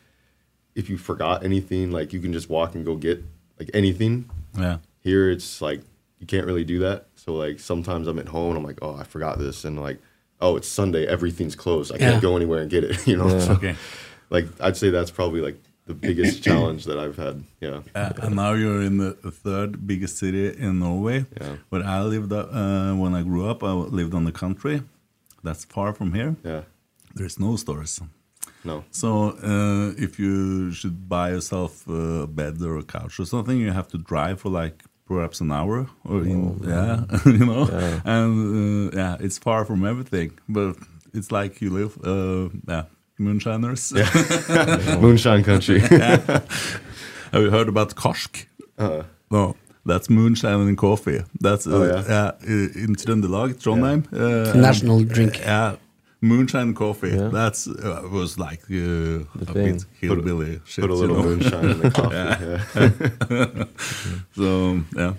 [SPEAKER 5] if you forgot anything, like you can just walk and go get like anything.
[SPEAKER 3] Yeah.
[SPEAKER 5] Here it's like you can't really do that. So like sometimes I'm at home and I'm like, oh, I forgot this, and like, oh, it's Sunday, everything's closed. I
[SPEAKER 3] Yeah.
[SPEAKER 5] can't go anywhere and get it. *laughs* You know.
[SPEAKER 3] Yeah.
[SPEAKER 5] So,
[SPEAKER 3] *laughs* Okay.
[SPEAKER 5] Like I'd say that's probably like the
[SPEAKER 3] *laughs*
[SPEAKER 5] biggest challenge that I've had. Yeah.
[SPEAKER 3] Uh, and now you're in the third biggest city in Norway. Where I lived uh, when I grew up, I lived on the country. That's far from here.
[SPEAKER 5] Yeah.
[SPEAKER 3] There's no stores.
[SPEAKER 5] No.
[SPEAKER 3] So uh, if you should buy yourself a bed or a couch or something, you have to drive for like perhaps an hour or in,
[SPEAKER 6] Oh,
[SPEAKER 3] yeah, *laughs*
[SPEAKER 6] man.
[SPEAKER 3] you know,
[SPEAKER 6] Yeah.
[SPEAKER 3] and uh, yeah, it's far from everything, but it's like you live, uh, yeah, moonshiners,
[SPEAKER 5] Yeah. *laughs* Moonshine
[SPEAKER 3] *laughs*
[SPEAKER 5] country.
[SPEAKER 3] yeah. *laughs* Have you heard about Korsk?
[SPEAKER 5] Uh-uh.
[SPEAKER 3] No, that's moonshine and coffee. That's uh,
[SPEAKER 5] Oh,
[SPEAKER 3] yeah.
[SPEAKER 5] yeah?
[SPEAKER 3] i- in Trøndelag, Trondheim.
[SPEAKER 4] a
[SPEAKER 3] Uh,
[SPEAKER 4] national drink.
[SPEAKER 3] Yeah. uh, Moonshine and coffee. That's uh, was like uh, a
[SPEAKER 5] thing.
[SPEAKER 3] bit hillbilly
[SPEAKER 5] Put a-
[SPEAKER 3] shit.
[SPEAKER 5] put a
[SPEAKER 3] you
[SPEAKER 5] little
[SPEAKER 3] know?
[SPEAKER 5] moonshine in the coffee, yeah.
[SPEAKER 3] so yeah,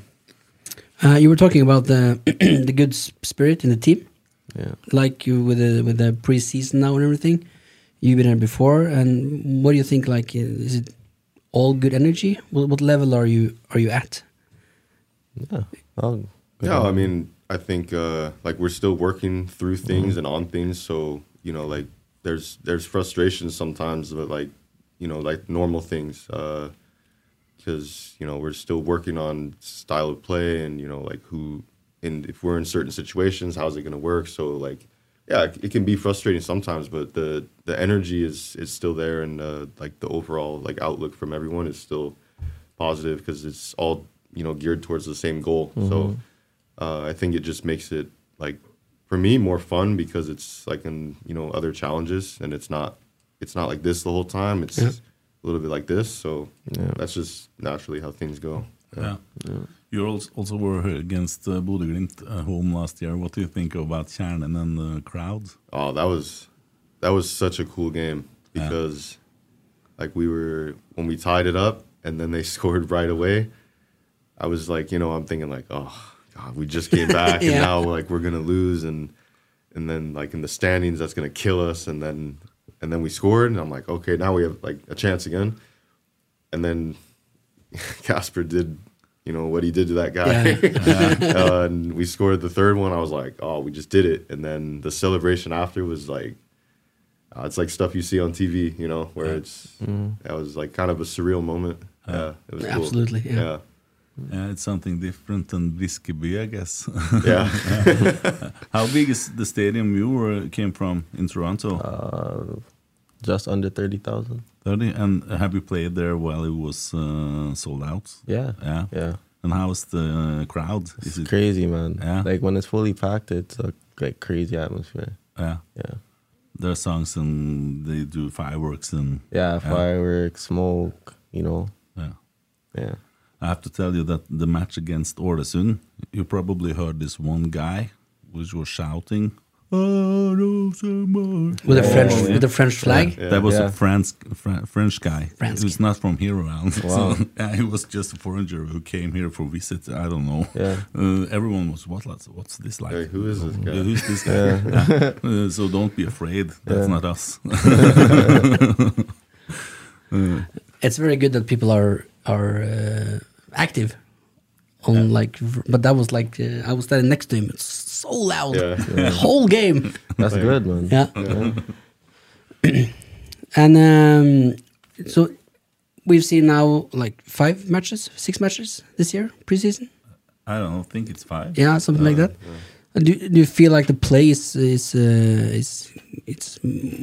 [SPEAKER 4] Uh, you were talking about the *clears throat* the good s- spirit in the team,
[SPEAKER 6] Yeah.
[SPEAKER 4] like you with the with the preseason now and everything. You've been there before, and what do you think? Like, uh, is it all good energy? What, what level are you are you at?
[SPEAKER 6] Yeah.
[SPEAKER 3] Oh,
[SPEAKER 6] I'll-
[SPEAKER 5] Yeah, I mean, I think uh, like we're still working through
[SPEAKER 3] Mm-hmm.
[SPEAKER 5] things and on things. So you know, like there's there's frustrations sometimes, but like you know, like normal things, because you know we're still working on style of play and you know like who and if we're in certain situations, how's it gonna work? So like, yeah, it, it can be frustrating sometimes, but the the energy is is still there, and uh, like the overall like outlook from everyone is still positive because it's all you know geared towards the same goal. So
[SPEAKER 6] Mhm.
[SPEAKER 5] uh, I think it just makes it like for me more fun because it's like in you know other challenges and it's not uh, it's not like this the whole time. It's
[SPEAKER 6] Yeah.
[SPEAKER 5] a little bit like this. So
[SPEAKER 6] Yeah.
[SPEAKER 5] that's just naturally how things go.
[SPEAKER 3] yeah. You also also were against uh, Bodø Glimt at home last year. What do you think about Kjernen and the crowd?
[SPEAKER 5] Oh, that was that was such a cool game because like we were when we tied it up and then they scored right away. I was like, you know, I'm thinking like, oh God, we just came
[SPEAKER 4] *laughs*
[SPEAKER 5] back
[SPEAKER 4] Yeah.
[SPEAKER 5] and now like we're gonna lose and and then like in the standings that's gonna kill us and then and then we scored and I'm like, okay, now we have like a chance again. And then *laughs* Casper did you know what he did to that guy.
[SPEAKER 6] Yeah. Yeah.
[SPEAKER 5] Uh, *laughs* and we scored the third one. I was like, oh, we just did it. And then the celebration after was like, uh, it's like stuff you see on TV, you know, where it's
[SPEAKER 6] Mhm.
[SPEAKER 5] that was like kind of a surreal moment. Yeah, it was
[SPEAKER 4] Mm-hmm.
[SPEAKER 5] cool.
[SPEAKER 4] Uh, Absolutely, yeah.
[SPEAKER 5] yeah.
[SPEAKER 3] Yeah, it's something different than Riskeby, I guess. *laughs*
[SPEAKER 5] Yeah.
[SPEAKER 3] How big is the stadium you were, came from in Toronto?
[SPEAKER 6] Uh, just under 30,000.
[SPEAKER 3] 30? And have you played there while it was uh, sold out?
[SPEAKER 6] Yeah.
[SPEAKER 3] Yeah.
[SPEAKER 6] Yeah.
[SPEAKER 3] And how's the uh, crowd? Is it
[SPEAKER 6] Crazy, man.
[SPEAKER 3] Yeah.
[SPEAKER 6] Like when it's fully packed, it's a like crazy atmosphere.
[SPEAKER 3] Yeah.
[SPEAKER 6] Yeah.
[SPEAKER 3] There are songs and they do fireworks and
[SPEAKER 6] Yeah,
[SPEAKER 5] *laughs*
[SPEAKER 6] fireworks, smoke, you know.
[SPEAKER 3] Yeah.
[SPEAKER 6] Yeah.
[SPEAKER 3] I have to tell you that the match against Oresund, you probably heard this one guy which was shouting. "Oh, no, someone."
[SPEAKER 4] With a French-
[SPEAKER 3] Oh, yeah.
[SPEAKER 4] with a French flag?
[SPEAKER 3] That was a
[SPEAKER 4] Yeah.
[SPEAKER 3] French Fr- French guy.
[SPEAKER 4] French
[SPEAKER 3] He was not from here around.
[SPEAKER 6] Wow.
[SPEAKER 3] *laughs* So, yeah, he was just a foreigner who came here for visit. I don't know.
[SPEAKER 6] Yeah.
[SPEAKER 3] Uh, everyone was what? What's this like?
[SPEAKER 5] Hey, who is this guy?
[SPEAKER 3] Yeah, Who's this guy?
[SPEAKER 6] Yeah.
[SPEAKER 3] *laughs* Yeah. Uh, so don't be afraid. That's
[SPEAKER 6] Yeah.
[SPEAKER 3] not us. *laughs*
[SPEAKER 4] It's very good that people are are uh, active on like. v- But that was like uh, I was standing next to him. It's so loud,
[SPEAKER 6] Yeah.
[SPEAKER 4] *laughs*
[SPEAKER 6] Yeah.
[SPEAKER 4] whole game.
[SPEAKER 6] That's good, man.
[SPEAKER 4] Yeah. *clears throat* And um, so we've seen now like five matches, six matches this year preseason.
[SPEAKER 3] I don't know. think it's five.
[SPEAKER 4] Yeah, something like
[SPEAKER 3] Uh,
[SPEAKER 4] that. Do, do you feel like the play is is, uh, is it's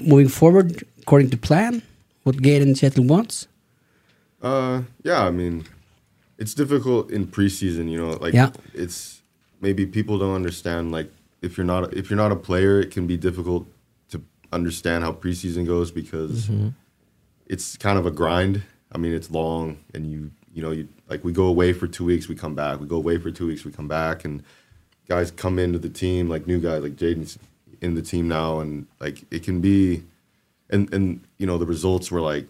[SPEAKER 4] moving forward according to plan? What Galen Seattle wants?
[SPEAKER 5] Uh, yeah, I mean, it's difficult in preseason. You know, like
[SPEAKER 4] Yeah.
[SPEAKER 5] it's maybe people don't understand. Like if you're not if you're not a player, it can be difficult to understand how preseason goes because
[SPEAKER 6] Mhm.
[SPEAKER 5] it's kind of a grind. I mean, it's long, and you you know you like we go away for two weeks, we come back. We go away for two weeks, we come back, and guys come into the team like new guys like Jaden's in the team now, and like it can be, and and you know the results were like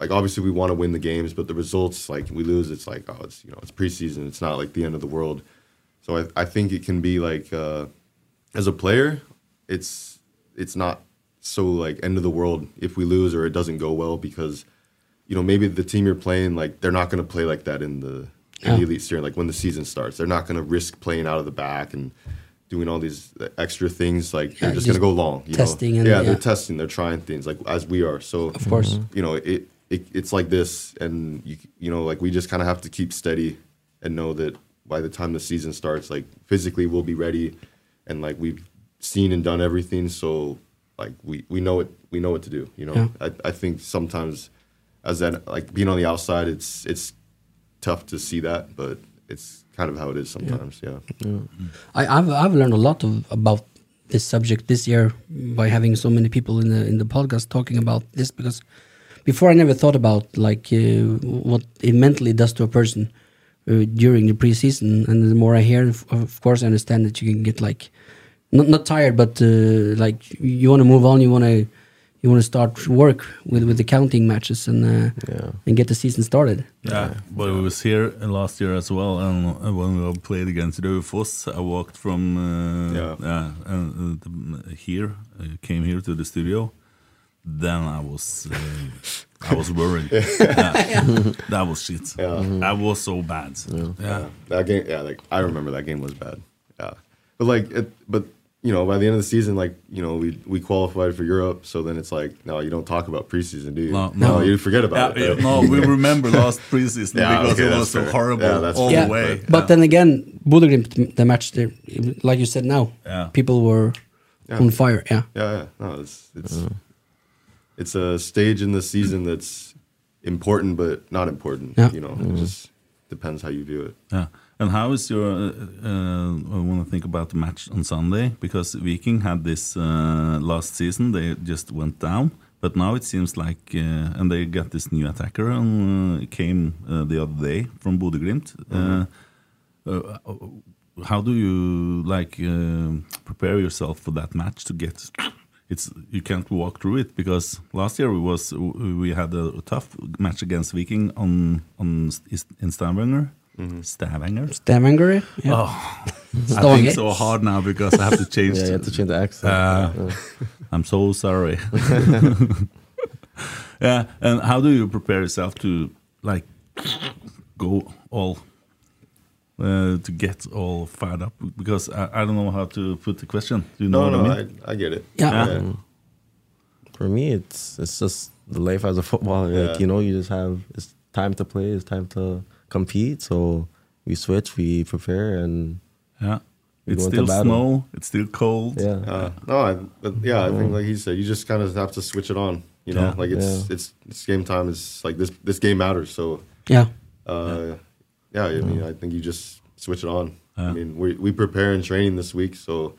[SPEAKER 5] like obviously we want to win the games, but the results like we lose, it's like oh it's you know it's preseason, it's not like the end of the world. So I I think it can be like uh, as a player, it's it's not so like end of the world if we lose or it doesn't go well because you know maybe the team you're playing like they're not going to play like that in the, in the
[SPEAKER 4] Yeah.
[SPEAKER 5] elite series like when the season starts they're not going to risk playing out of the back and doing all these extra things like they're
[SPEAKER 4] Yeah,
[SPEAKER 5] just,
[SPEAKER 4] just
[SPEAKER 5] going to go long you
[SPEAKER 4] testing
[SPEAKER 5] know?
[SPEAKER 4] and-
[SPEAKER 5] yeah, they're
[SPEAKER 4] yeah.
[SPEAKER 5] testing they're trying things like as we are so
[SPEAKER 4] Of course. Mhm.
[SPEAKER 5] you know it, it it's like this and you you know like we just kind of have to keep steady and know that by the time the season starts like physically we'll be ready and like we've seen and done everything so like we we know it we know what to do you know
[SPEAKER 4] Yeah.
[SPEAKER 5] I, I think sometimes as that like being on the outside it's it's tough to see that but it's kind of how it is sometimes yeah,
[SPEAKER 4] I, I've I've learned a lot of, about this subject this year by having so many people in the in the podcast talking about this because before I never thought about like uh, what it mentally does to a person uh, during the preseason, and the more I hear, of- of course, I understand that you can get like not not tired, but uh, like you want to move on, you want to you want to start work with with the counting matches and uh, and get the season started.
[SPEAKER 3] Yeah, but I was here last year as well, and uh, when we played against Raufoss, I walked from uh, yeah, and, uh, the- here, uh, came here to the studio. Then I was, uh, I was
[SPEAKER 5] *laughs*
[SPEAKER 3] worried. yeah. That was shit.
[SPEAKER 5] Yeah.
[SPEAKER 3] That was so bad. Yeah,
[SPEAKER 5] that game yeah like i remember that game was bad yeah but like it, but you know by the end of the season like you know we we qualified for europe so then it's like no you don't talk about preseason do you
[SPEAKER 3] No, no.
[SPEAKER 5] you forget about
[SPEAKER 3] Yeah,
[SPEAKER 5] it
[SPEAKER 3] yeah, no,
[SPEAKER 5] *laughs*
[SPEAKER 3] we remember last preseason because it
[SPEAKER 5] that's
[SPEAKER 3] was so
[SPEAKER 5] fair.
[SPEAKER 3] horrible
[SPEAKER 5] yeah, that's
[SPEAKER 3] all
[SPEAKER 5] fair.
[SPEAKER 3] the way.
[SPEAKER 4] But then again, Bodø the match, there, like you said now,
[SPEAKER 5] Yeah.
[SPEAKER 4] people were
[SPEAKER 5] Yeah.
[SPEAKER 4] on fire. Yeah.
[SPEAKER 5] Yeah, yeah. No, it's it's it's a stage in the season that's important but not important.
[SPEAKER 3] Yeah.
[SPEAKER 5] You know,
[SPEAKER 3] Mhm.
[SPEAKER 5] it just depends how you view it.
[SPEAKER 3] Yeah. And how is your? Uh, uh, I want to think about the match on Sunday because Viking had this uh, last season. They just went down, but now it seems like, uh, and they got this new attacker and uh, came uh, the other day from Bodø Glimt. Uh, uh, how do you like um prepare yourself for that match to get? It's you can't walk through it because last year we was we had a tough match against Viking on on in Stavanger. Stavanger.
[SPEAKER 4] Stavanger. Yeah.
[SPEAKER 3] Oh, I think so hard now because I have to change.
[SPEAKER 6] Yeah, you have to change the accent.
[SPEAKER 3] Uh,
[SPEAKER 6] Yeah.
[SPEAKER 3] I'm so
[SPEAKER 6] *laughs*
[SPEAKER 3] sorry. yeah, and how do you prepare yourself to like go all uh, to get all fired up? Because I, I don't know how to put the question. Do you know
[SPEAKER 5] no,
[SPEAKER 3] what
[SPEAKER 5] no,
[SPEAKER 3] I mean?
[SPEAKER 5] I, I get it.
[SPEAKER 6] Mm. For me, it's it's just the life as a footballer.
[SPEAKER 5] Yeah.
[SPEAKER 6] Like you know, you just have it's time to play, it's time to compete. So we switch, we prepare, and
[SPEAKER 3] yeah,
[SPEAKER 6] we
[SPEAKER 3] It's
[SPEAKER 6] go into
[SPEAKER 3] still
[SPEAKER 6] battle.
[SPEAKER 3] snow. It's still cold.
[SPEAKER 6] Yeah.
[SPEAKER 5] Uh, no, I, but yeah, I think like he said, you just kind of have to switch it on. You know,
[SPEAKER 3] Yeah.
[SPEAKER 5] like it's,
[SPEAKER 3] Yeah.
[SPEAKER 5] it's it's game time. It's like this this game matters. So
[SPEAKER 4] Yeah.
[SPEAKER 5] uh, yeah. I mean, I think you just switch it on. I
[SPEAKER 3] Yeah.
[SPEAKER 5] mean, we we prepare and training this week, so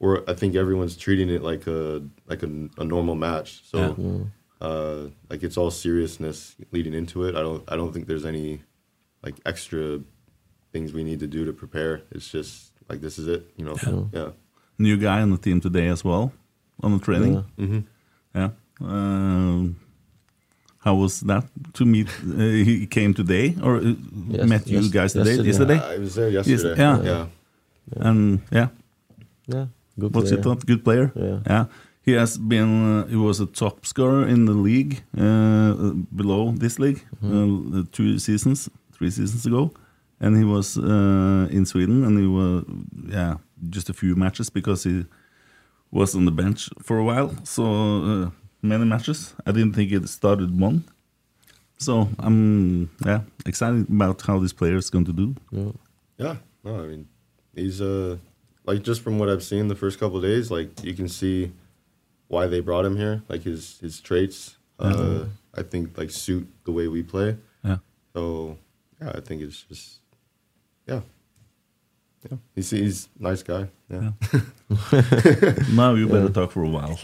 [SPEAKER 5] we're I think everyone's treating it like a like a, a normal match. So
[SPEAKER 3] Yeah. Yeah.
[SPEAKER 5] uh, like it's all seriousness leading into it. I don't I don't think there's any like extra things we need to do to prepare. It's just like this is it. You know, yeah.
[SPEAKER 3] New guy on the team today as well on the training.
[SPEAKER 5] Yeah. Mhm.
[SPEAKER 3] Yeah. Um, how was that to meet? Uh, he came today or uh,
[SPEAKER 5] Yes-
[SPEAKER 3] met you
[SPEAKER 5] yes-
[SPEAKER 3] guys today?
[SPEAKER 5] yesterday.
[SPEAKER 3] Yesterday?
[SPEAKER 5] I was there
[SPEAKER 3] Yes-
[SPEAKER 5] yesterday.
[SPEAKER 3] yeah.
[SPEAKER 5] Yeah.
[SPEAKER 3] And yeah.
[SPEAKER 6] Yeah, good
[SPEAKER 3] What's your
[SPEAKER 6] player.
[SPEAKER 3] thought? Good player.
[SPEAKER 6] Yeah.
[SPEAKER 3] He has been. Uh, he was a top scorer in the league uh, below this league
[SPEAKER 6] Mm-hmm.
[SPEAKER 3] uh, two seasons, three seasons ago, and he was uh, in Sweden and he was yeah just a few matches because he was on the bench for a while. So uh, many matches. I didn't think it started one. So I'm yeah excited about how this player is going to do.
[SPEAKER 6] Mm.
[SPEAKER 5] Yeah. No, I mean, he's uh like just from what I've seen the first couple of days, like you can see why they brought him here, like his his traits. Uh,
[SPEAKER 3] Yeah.
[SPEAKER 5] I think like suit the way we play.
[SPEAKER 3] Yeah.
[SPEAKER 5] So yeah, I think it's just yeah. Yeah. He's he's a nice guy. Yeah.
[SPEAKER 3] now you better talk for a while.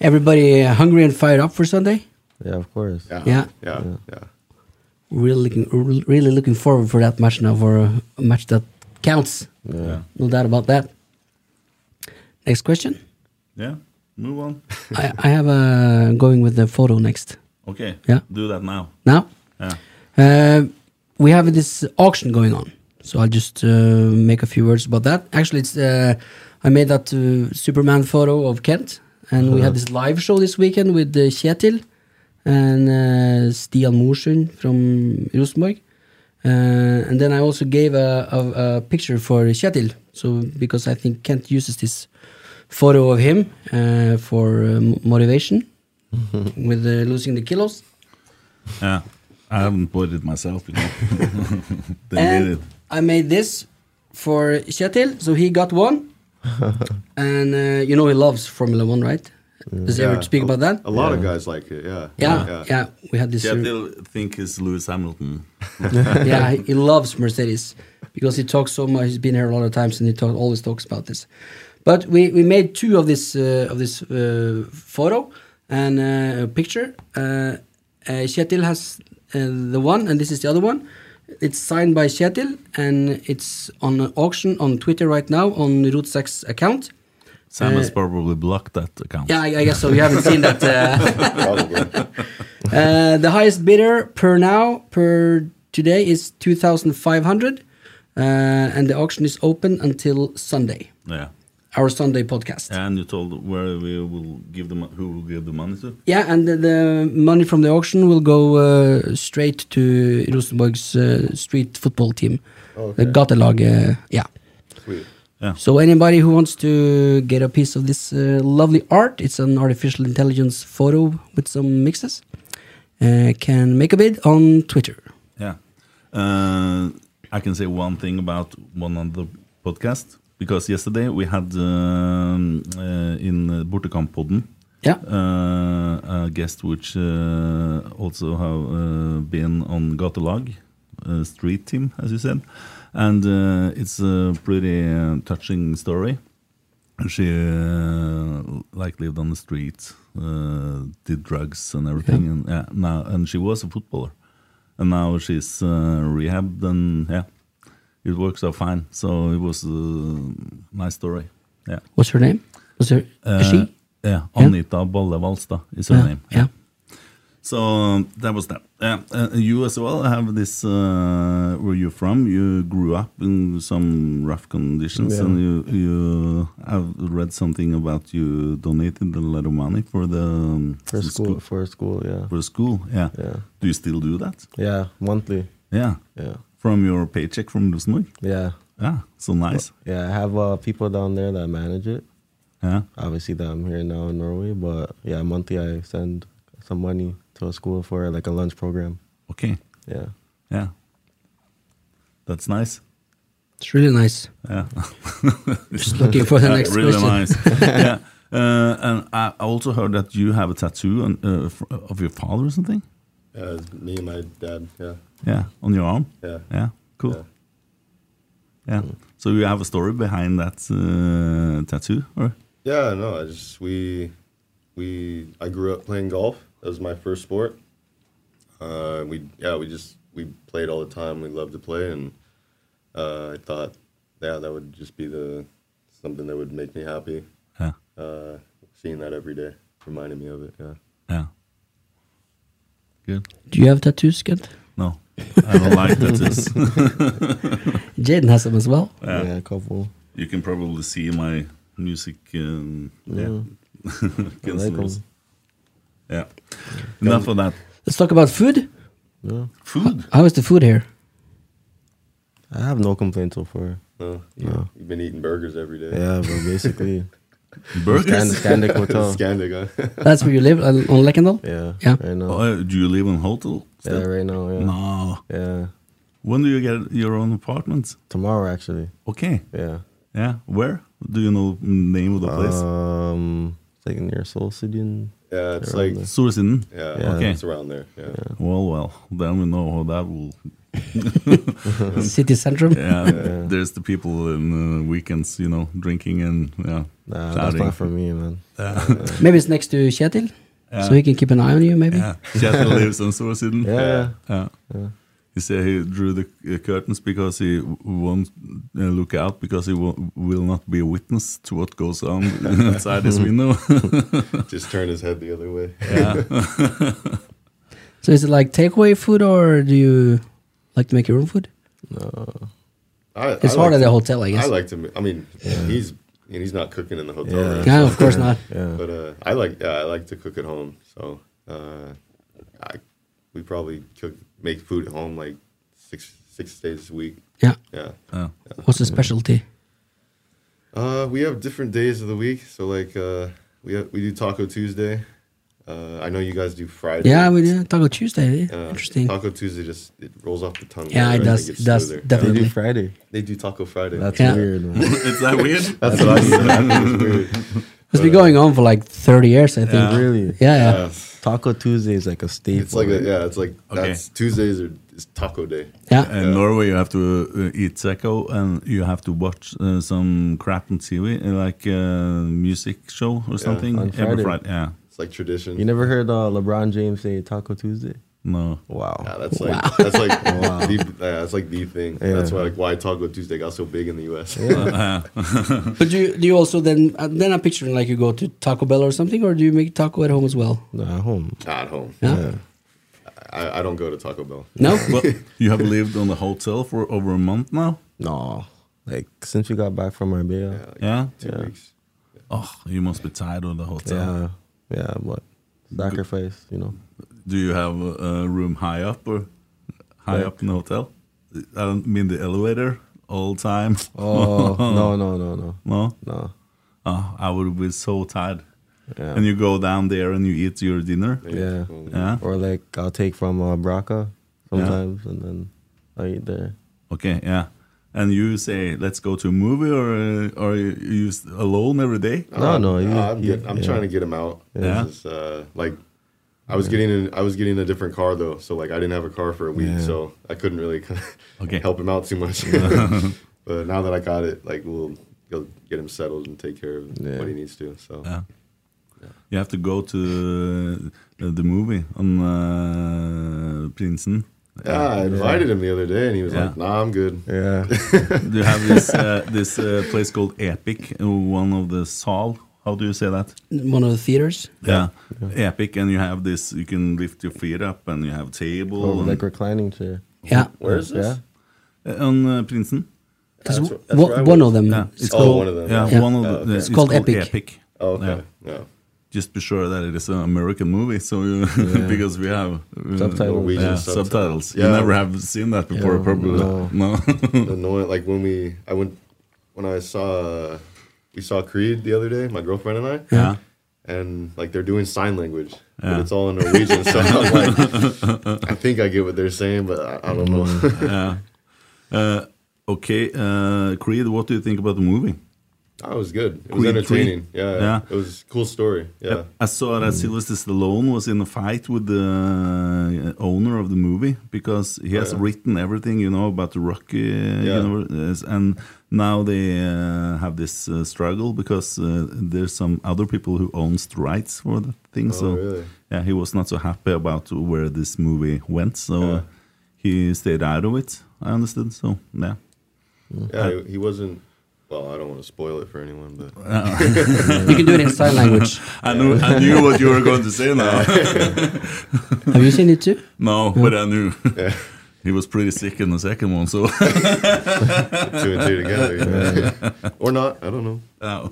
[SPEAKER 4] Everybody uh, hungry and fired up for Sunday.
[SPEAKER 6] yeah, of course.
[SPEAKER 5] Yeah.
[SPEAKER 4] Yeah.
[SPEAKER 5] Yeah. yeah.
[SPEAKER 4] Really looking, re- really looking forward for that match now. For a, a match that counts.
[SPEAKER 3] Yeah.
[SPEAKER 4] No doubt about that. Next question.
[SPEAKER 3] Yeah. Move on.
[SPEAKER 4] I, I have a going with the photo next.
[SPEAKER 3] Okay.
[SPEAKER 4] Yeah.
[SPEAKER 3] Do that now.
[SPEAKER 4] Now.
[SPEAKER 3] Yeah.
[SPEAKER 4] Uh, we have this auction going on, so I'll just uh, make a few words about that. Actually, it's uh, I made that uh, Superman photo of Kent And we have this live show this weekend with uh, Kjetil and uh, Stian Morsund from Rosenborg. Uh, and then I also gave a, a, a picture for Kjetil, so because I think Kent uses this photo of him uh, for uh, m- motivation with uh, losing the kilos.
[SPEAKER 3] Yeah. I haven't bought it myself. You know. *laughs* they
[SPEAKER 4] and
[SPEAKER 3] did it.
[SPEAKER 4] I made this for Kjetil, so he
[SPEAKER 3] *laughs*
[SPEAKER 4] got one. and uh, you know he loves Formula One, right? Does he ever speak about that?
[SPEAKER 5] A lot of guys like it. Yeah.
[SPEAKER 4] Yeah, yeah, we had this-
[SPEAKER 3] Kjetil think it's Lewis Hamilton.
[SPEAKER 4] *laughs* yeah, he, he loves Mercedes because he talks so much. He's been here a lot of times, and he talk, always talks about this. But we, we made two of this uh, of this uh, photo and uh, picture. Uh, uh, Kjetil has uh, the one, and this is the other one. It's signed by Kjetil, and it's on auction on Twitter right now on Rootsack's account.
[SPEAKER 3] Sam
[SPEAKER 4] Uh,
[SPEAKER 3] has probably blocked that account.
[SPEAKER 4] yeah, I, I guess so. You haven't seen that. *laughs*
[SPEAKER 5] *laughs*
[SPEAKER 4] Uh,
[SPEAKER 6] *laughs*
[SPEAKER 4] uh, the highest bidder per now, per today, is 2,500. Uh, and the auction is open until Sunday,
[SPEAKER 3] Yeah.
[SPEAKER 4] our Sunday podcast.
[SPEAKER 3] And you told where we will give the mo- who will give the money to.
[SPEAKER 4] Yeah, and the, the money from the auction will go uh, straight to Rosenborg's uh, street football team, the Gatelag. Uh, yeah.
[SPEAKER 5] Sweet.
[SPEAKER 4] So anybody who wants to get a piece of this uh, lovely art, it's an artificial intelligence photo with some mixes, uh, can make a bid on Twitter.
[SPEAKER 3] Yeah. Uh, I can say one thing about one of the podcast because yesterday we had um, uh, in uh, Bortekamp-podden
[SPEAKER 4] yeah.
[SPEAKER 3] uh, a guest which uh, also have uh, been on Gatelag, uh, street team, as you said. And uh, it's a pretty uh, touching story. She uh, like lived on the street, uh, did drugs and everything, and yeah, now and she was a footballer, and now she's uh, rehabbed and yeah, it works out fine. So it was a nice story. Yeah.
[SPEAKER 4] What's her name? Was her is
[SPEAKER 3] Uh,
[SPEAKER 4] she?
[SPEAKER 3] Yeah, Anita Bolle Valstad is her
[SPEAKER 4] Yeah,
[SPEAKER 3] name. Yeah. So um, that was that. Yeah, uh, you as well have this. Uh, where you're from? You grew up in some rough conditions,
[SPEAKER 6] Yeah.
[SPEAKER 3] and you you. I've read something about you donated a lot of money for the um,
[SPEAKER 6] For school, for school, yeah.
[SPEAKER 3] for school. Yeah. Do you still do that?
[SPEAKER 6] Yeah, monthly.
[SPEAKER 3] Yeah.
[SPEAKER 6] Yeah.
[SPEAKER 3] From your paycheck from Rosenborg.
[SPEAKER 6] Yeah.
[SPEAKER 3] Yeah. So nice.
[SPEAKER 6] Yeah, I have uh, people down there that manage it.
[SPEAKER 3] Yeah.
[SPEAKER 6] Obviously, that I'm here now in Norway, but yeah, monthly I send some money to a school for like a lunch program.
[SPEAKER 3] Okay.
[SPEAKER 6] Yeah.
[SPEAKER 3] Yeah. That's nice.
[SPEAKER 4] It's really nice.
[SPEAKER 3] Yeah.
[SPEAKER 4] Just looking for the
[SPEAKER 3] Yeah,
[SPEAKER 4] next
[SPEAKER 3] really
[SPEAKER 4] question.
[SPEAKER 3] nice.
[SPEAKER 4] *laughs*
[SPEAKER 3] yeah. Uh, and I I also heard that you have a tattoo on, uh, f- of your father or something.
[SPEAKER 5] Yeah, it's me and my dad. Yeah.
[SPEAKER 3] Yeah, on your arm.
[SPEAKER 5] Yeah.
[SPEAKER 3] Yeah. Cool. Yeah.
[SPEAKER 4] Mm.
[SPEAKER 3] So you have a story behind that uh, tattoo, or
[SPEAKER 5] Yeah, no, I just we we I grew up playing golf. That was my first sport. Uh, we yeah we just we played all the time. We loved to play, and uh, I thought yeah that would just be the something that would make me happy.
[SPEAKER 3] Yeah.
[SPEAKER 5] Uh, seeing that every day reminded me of it. Yeah.
[SPEAKER 4] Do you have tattoos, Kent?
[SPEAKER 3] No, I don't like tattoos. *laughs*
[SPEAKER 4] Jaden has them as well.
[SPEAKER 6] Yeah, a couple.
[SPEAKER 3] You can probably see my music. Um,
[SPEAKER 4] Mm.
[SPEAKER 3] yeah. *laughs* Against the
[SPEAKER 6] like 'em.
[SPEAKER 3] rules. Yeah. Enough of that.
[SPEAKER 4] Let's talk about food.
[SPEAKER 6] Yeah.
[SPEAKER 3] Food.
[SPEAKER 4] How is the food here?
[SPEAKER 6] I have no complaint so far.
[SPEAKER 5] No, you,
[SPEAKER 6] No.
[SPEAKER 5] you've been eating burgers every day.
[SPEAKER 6] Yeah, but basically.
[SPEAKER 3] Burgers?
[SPEAKER 6] Scandic Hotel.
[SPEAKER 5] Scandic, huh?
[SPEAKER 4] That's where you live on on Lekendal.
[SPEAKER 6] Yeah.
[SPEAKER 4] Yeah.
[SPEAKER 6] Right now.
[SPEAKER 3] *laughs* Oh, do you live in hotel?
[SPEAKER 6] Yeah,
[SPEAKER 3] still?
[SPEAKER 6] right now. Yeah.
[SPEAKER 3] No.
[SPEAKER 6] Yeah.
[SPEAKER 3] When do you get your own apartment?
[SPEAKER 6] Tomorrow, actually.
[SPEAKER 3] Okay.
[SPEAKER 6] *laughs*
[SPEAKER 5] *laughs*
[SPEAKER 6] Yeah.
[SPEAKER 3] Yeah. Where? Do you know name of the place?
[SPEAKER 6] Um, it's like near Seoul City. And
[SPEAKER 5] Yeah, it's
[SPEAKER 6] around
[SPEAKER 5] like
[SPEAKER 6] there.
[SPEAKER 3] Sursiden?
[SPEAKER 5] yeah,
[SPEAKER 6] Yeah.
[SPEAKER 3] Okay.
[SPEAKER 5] it's around there. Yeah.
[SPEAKER 3] Well, well, then we know how that will.
[SPEAKER 4] City Centrum.
[SPEAKER 3] Yeah, *laughs* there's the people in uh, weekends, you know, drinking and yeah.
[SPEAKER 6] Nah, that's
[SPEAKER 3] shouting.
[SPEAKER 6] not for me, man.
[SPEAKER 4] Maybe it's next to Kjetil,
[SPEAKER 3] Yeah.
[SPEAKER 4] so he can keep an eye on you. Maybe.
[SPEAKER 3] Yeah, *laughs* Kjetil lives on Sursiden.
[SPEAKER 6] Yeah.
[SPEAKER 3] Yeah. He said he drew the uh, curtains because he w- won't uh, look out because he w- will not be a witness to what goes on *laughs* outside his
[SPEAKER 6] *laughs*
[SPEAKER 3] window. *laughs*
[SPEAKER 5] Just turn his head the other way.
[SPEAKER 4] So is it like takeaway food, or do you like to make your own food?
[SPEAKER 5] I,
[SPEAKER 4] It's hard
[SPEAKER 5] *laughs* I like
[SPEAKER 4] at
[SPEAKER 5] to-
[SPEAKER 4] the hotel, I guess.
[SPEAKER 5] I like to. ma- I mean, he's and he's not cooking in the hotel.
[SPEAKER 6] Yeah.
[SPEAKER 5] room,
[SPEAKER 4] No, of course not.
[SPEAKER 6] Yeah.
[SPEAKER 5] But uh, I like yeah, I like to cook at home. So uh, I, we probably cook make food at home like six six days a week.
[SPEAKER 4] Yeah.
[SPEAKER 5] Yeah.
[SPEAKER 4] What's the specialty?
[SPEAKER 5] Uh, we have different days of the week. So like uh, we have, we do Taco Tuesday. Uh, I know you guys do Friday.
[SPEAKER 4] Yeah, we do Taco Tuesday. eh?
[SPEAKER 5] Uh,
[SPEAKER 4] Interesting.
[SPEAKER 5] Taco Tuesday just it rolls off the tongue.
[SPEAKER 4] Yeah, it
[SPEAKER 5] better and
[SPEAKER 4] does-
[SPEAKER 5] gets
[SPEAKER 4] it does,
[SPEAKER 5] smoother. Yeah.
[SPEAKER 4] definitely.
[SPEAKER 6] They do Friday.
[SPEAKER 5] They do Taco Friday.
[SPEAKER 6] That's
[SPEAKER 4] Yeah.
[SPEAKER 6] weird. Man.
[SPEAKER 3] Is that
[SPEAKER 6] *laughs*
[SPEAKER 3] weird?
[SPEAKER 5] That's what I said. I think it's weird.
[SPEAKER 4] It's been going on for like 30 years, I think.
[SPEAKER 3] Yeah.
[SPEAKER 6] Really?
[SPEAKER 4] Yeah, yeah.
[SPEAKER 6] Taco Tuesday is like a staple.
[SPEAKER 5] It's like a,
[SPEAKER 6] right?
[SPEAKER 5] yeah, it's like
[SPEAKER 3] Okay.
[SPEAKER 5] that's Tuesdays are is Taco Day.
[SPEAKER 4] Yeah.
[SPEAKER 3] In Norway, you have to uh, eat taco and you have to watch uh, some crap on TV, uh, like uh, music show or something.
[SPEAKER 6] On
[SPEAKER 3] Every
[SPEAKER 6] Friday.
[SPEAKER 3] Friday, yeah.
[SPEAKER 5] It's like tradition.
[SPEAKER 6] You never heard uh, LeBron James say Taco Tuesday? *laughs*
[SPEAKER 3] No,
[SPEAKER 6] Wow.
[SPEAKER 5] Yeah, that's like that's like
[SPEAKER 6] *laughs*
[SPEAKER 5] the, yeah, that's like the thing.
[SPEAKER 6] Yeah.
[SPEAKER 5] That's why like why Taco Tuesday got so big in the U.S. *laughs*
[SPEAKER 4] But do you, do you also then, uh, then I'm picturing like you go to Taco Bell or something, or do you make taco at home as well?
[SPEAKER 6] No, at home.
[SPEAKER 5] Not at home.
[SPEAKER 4] Yeah.
[SPEAKER 5] I, I don't go to Taco Bell.
[SPEAKER 4] No?
[SPEAKER 3] but you have lived on the hotel for over a month now.
[SPEAKER 6] No. Like since we got back from Marbella.
[SPEAKER 5] Like
[SPEAKER 3] Yeah.
[SPEAKER 5] two weeks.
[SPEAKER 3] Oh, you must be tired of the hotel.
[SPEAKER 6] Yeah. Yeah, but sacrifice,
[SPEAKER 4] *laughs*
[SPEAKER 6] you know.
[SPEAKER 3] Do you have a, a room high up or high
[SPEAKER 6] Like-
[SPEAKER 3] up in the hotel? I don't mean the elevator all time.
[SPEAKER 6] Oh no, no, no, no.
[SPEAKER 3] *laughs* no,
[SPEAKER 6] No.
[SPEAKER 3] oh, I would be so tired.
[SPEAKER 6] Yeah.
[SPEAKER 3] And you go down there and you eat your dinner.
[SPEAKER 6] yeah.
[SPEAKER 4] Ah,
[SPEAKER 3] Yeah.
[SPEAKER 6] Or like I'll take from uh, Braca sometimes and then I eat there.
[SPEAKER 3] Okay, yeah. And you say, let's go to a movie, or uh, are you you s- alone every day?
[SPEAKER 6] No, no, you-
[SPEAKER 5] Um, I'm,
[SPEAKER 6] you-
[SPEAKER 5] getting, I'm
[SPEAKER 6] yeah.
[SPEAKER 5] trying to get him out.
[SPEAKER 3] Yeah.
[SPEAKER 5] This is, uh, like, I was getting in, I was getting a different car though, so like I didn't have a car for a week,
[SPEAKER 6] Yeah.
[SPEAKER 5] so I couldn't really *laughs*
[SPEAKER 3] Okay.
[SPEAKER 5] help him out too much. *laughs* but now that I got it, like we'll go get him settled and take care of
[SPEAKER 6] Yeah.
[SPEAKER 5] what he needs to. So
[SPEAKER 3] Yeah. You have to go to uh, the movie on uh, Prinsen.
[SPEAKER 5] yeah, Ah, I invited him the other day, and he was
[SPEAKER 3] Yeah.
[SPEAKER 5] like, "Nah, I'm good."
[SPEAKER 6] *laughs* Yeah.
[SPEAKER 3] You have this uh, this uh, place called Epic, uh, one of the Sal. How do you say that?
[SPEAKER 4] One of the theaters?
[SPEAKER 3] Yeah. Epic, and you have this. You can lift your feet up, and you have table
[SPEAKER 6] Or
[SPEAKER 3] and-
[SPEAKER 6] like reclining chair.
[SPEAKER 4] Yeah.
[SPEAKER 5] Where is this?
[SPEAKER 6] Yeah.
[SPEAKER 3] uh, on uh, Prinsen.
[SPEAKER 4] Because
[SPEAKER 5] That's wh- that's where I
[SPEAKER 4] one
[SPEAKER 5] was.
[SPEAKER 4] of them.
[SPEAKER 3] Yeah,
[SPEAKER 4] is
[SPEAKER 5] Oh,
[SPEAKER 4] called-
[SPEAKER 5] one of them.
[SPEAKER 3] Yeah,
[SPEAKER 4] Mm. Yeah.
[SPEAKER 3] one of the.
[SPEAKER 5] okay.
[SPEAKER 3] uh,
[SPEAKER 4] It's called Epic.
[SPEAKER 5] Oh, okay.
[SPEAKER 3] Yeah.
[SPEAKER 5] Yeah.
[SPEAKER 3] just be sure that it is an American movie, so you, *laughs* because we have uh,
[SPEAKER 6] Subtitles.
[SPEAKER 5] Norwegian
[SPEAKER 3] yeah,
[SPEAKER 5] subtitles.
[SPEAKER 3] subtitles. You
[SPEAKER 5] Yeah.
[SPEAKER 3] never have seen that before,
[SPEAKER 6] Yeah,
[SPEAKER 3] probably. *laughs* No,
[SPEAKER 6] no.
[SPEAKER 5] the *laughs* annoying like when we I went when I saw we saw Creed the other day, my girlfriend and I.
[SPEAKER 3] Yeah.
[SPEAKER 5] And like they're doing sign language,
[SPEAKER 3] Yeah.
[SPEAKER 5] but it's all in Norwegian. so I'm like, *laughs* I think I get what they're saying, but I, I don't know. *laughs*
[SPEAKER 3] uh, *laughs* okay, uh, Creed. What do you think about the movie?
[SPEAKER 5] I was good. It was
[SPEAKER 3] Creed,
[SPEAKER 5] entertaining.
[SPEAKER 3] Creed.
[SPEAKER 5] Yeah,
[SPEAKER 3] Yeah.
[SPEAKER 5] It was a cool story. Yeah.
[SPEAKER 3] Uh, I saw that Sylvester Stallone was in a fight with the uh, owner of the movie because he has
[SPEAKER 5] yeah.
[SPEAKER 3] written everything you know about the Rocky uh,
[SPEAKER 5] Yeah.
[SPEAKER 3] universe, and now they uh, have this uh, struggle because uh, there's some other people who owns the rights for the thing. so
[SPEAKER 5] really?
[SPEAKER 3] yeah, he was not so happy about where this movie went, so uh, he stayed out of it. I understood. So yeah,
[SPEAKER 5] Yeah. he, he wasn't well, I don't want to spoil it for anyone, but
[SPEAKER 4] You can do it in
[SPEAKER 5] *laughs*
[SPEAKER 4] sign language.
[SPEAKER 3] I knew I knew what you were going to say now.
[SPEAKER 4] Have you seen it too?
[SPEAKER 3] *laughs* No, but I knew *laughs* he was pretty sick in the second one. So *laughs*
[SPEAKER 5] two and two together. you know? *laughs* or not. I don't know.
[SPEAKER 3] Oh,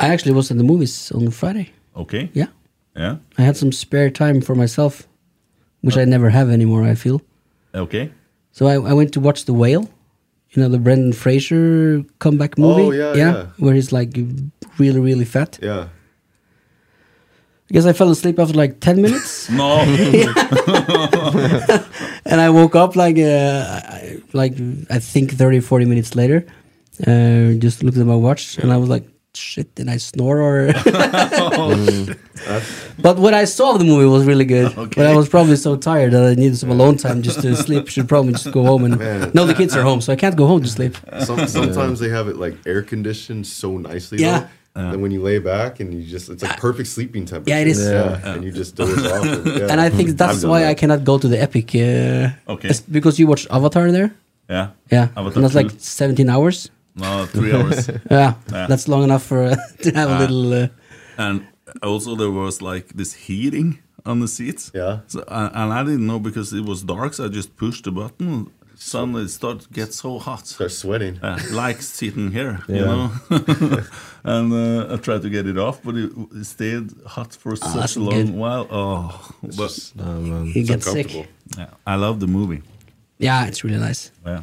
[SPEAKER 4] I actually was in the movies on Friday.
[SPEAKER 3] okay,
[SPEAKER 4] Yeah.
[SPEAKER 3] yeah,
[SPEAKER 4] I had some spare time for myself, which I never have anymore, I feel.
[SPEAKER 3] okay,
[SPEAKER 4] So I, I went to watch The Whale, you know, the Brendan Fraser comeback movie.
[SPEAKER 5] Oh, yeah, yeah.
[SPEAKER 4] Where he's like really, really fat.
[SPEAKER 5] Yeah.
[SPEAKER 4] I guess I fell asleep after like 10 minutes
[SPEAKER 3] *laughs* no,
[SPEAKER 4] *laughs* and I woke up like, uh, I- like I think 30, 40 minutes later. Uh, just looked at my watch and I was like, shit, did I snore
[SPEAKER 3] *laughs*
[SPEAKER 4] or. *laughs* but what I saw of the movie was really good. But I was probably so tired that I needed some alone time just to sleep. Should probably just go
[SPEAKER 5] *laughs*
[SPEAKER 4] home and. No, the kids are home, so I can't go home to sleep.
[SPEAKER 5] Some, sometimes they have it like air conditioned so nicely.
[SPEAKER 4] Yeah.
[SPEAKER 5] Though. then when you lay back and you just, it's like perfect sleeping temperature.
[SPEAKER 4] Yeah, it is.
[SPEAKER 5] Yeah. And you just doze off. And, yeah.
[SPEAKER 4] And I think
[SPEAKER 5] *laughs* I've
[SPEAKER 4] that's
[SPEAKER 5] done
[SPEAKER 4] why
[SPEAKER 5] that.
[SPEAKER 4] I cannot go to the Epic. Uh,
[SPEAKER 3] Okay.
[SPEAKER 4] it's because you watched Avatar there.
[SPEAKER 3] yeah,
[SPEAKER 4] Yeah.
[SPEAKER 3] Avatar
[SPEAKER 4] and that's like
[SPEAKER 3] two.
[SPEAKER 4] 17 hours.
[SPEAKER 3] no, three
[SPEAKER 4] *laughs*
[SPEAKER 3] hours,
[SPEAKER 4] Yeah. That's long enough for *laughs* uh, to have a little. Uh,
[SPEAKER 3] and also there was like this heating on the seats.
[SPEAKER 5] Yeah.
[SPEAKER 3] so, and and I didn't know because it was dark, so I just pushed the button. suddenly it starts to get so hot.
[SPEAKER 5] Start sweating.
[SPEAKER 3] Uh, like sitting here, you
[SPEAKER 5] Yeah.
[SPEAKER 3] know. *laughs* and uh, I tried to get it off, but it, it stayed hot for
[SPEAKER 4] Ah,
[SPEAKER 3] such
[SPEAKER 5] that's
[SPEAKER 3] a long
[SPEAKER 5] good.
[SPEAKER 3] while. Oh, but
[SPEAKER 5] um,
[SPEAKER 4] You get sick.
[SPEAKER 3] Yeah, I love the movie.
[SPEAKER 4] Yeah, it's really nice.
[SPEAKER 3] Yeah.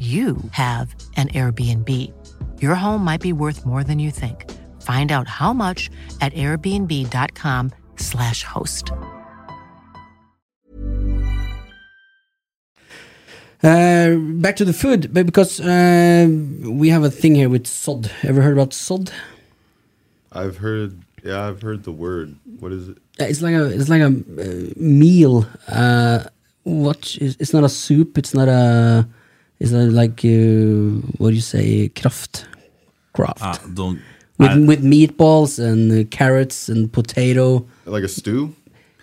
[SPEAKER 8] you have an Airbnb. Your home might be worth more than you think. Find out how much at airbnb.com/slash host.
[SPEAKER 4] Uh, back to the food, but because uh, we have a thing here with sod. Ever heard about sod?
[SPEAKER 5] I've heard. Yeah, I've heard the word. What is it?
[SPEAKER 4] Uh, It's like a it's like a uh, meal. Uh, what is it's not a soup. It's not a it's not like uh, what do you say kraft kraft
[SPEAKER 3] Ah, don't.
[SPEAKER 4] with
[SPEAKER 3] I-
[SPEAKER 4] with meatballs and uh, carrots and potato.
[SPEAKER 5] Like a stew.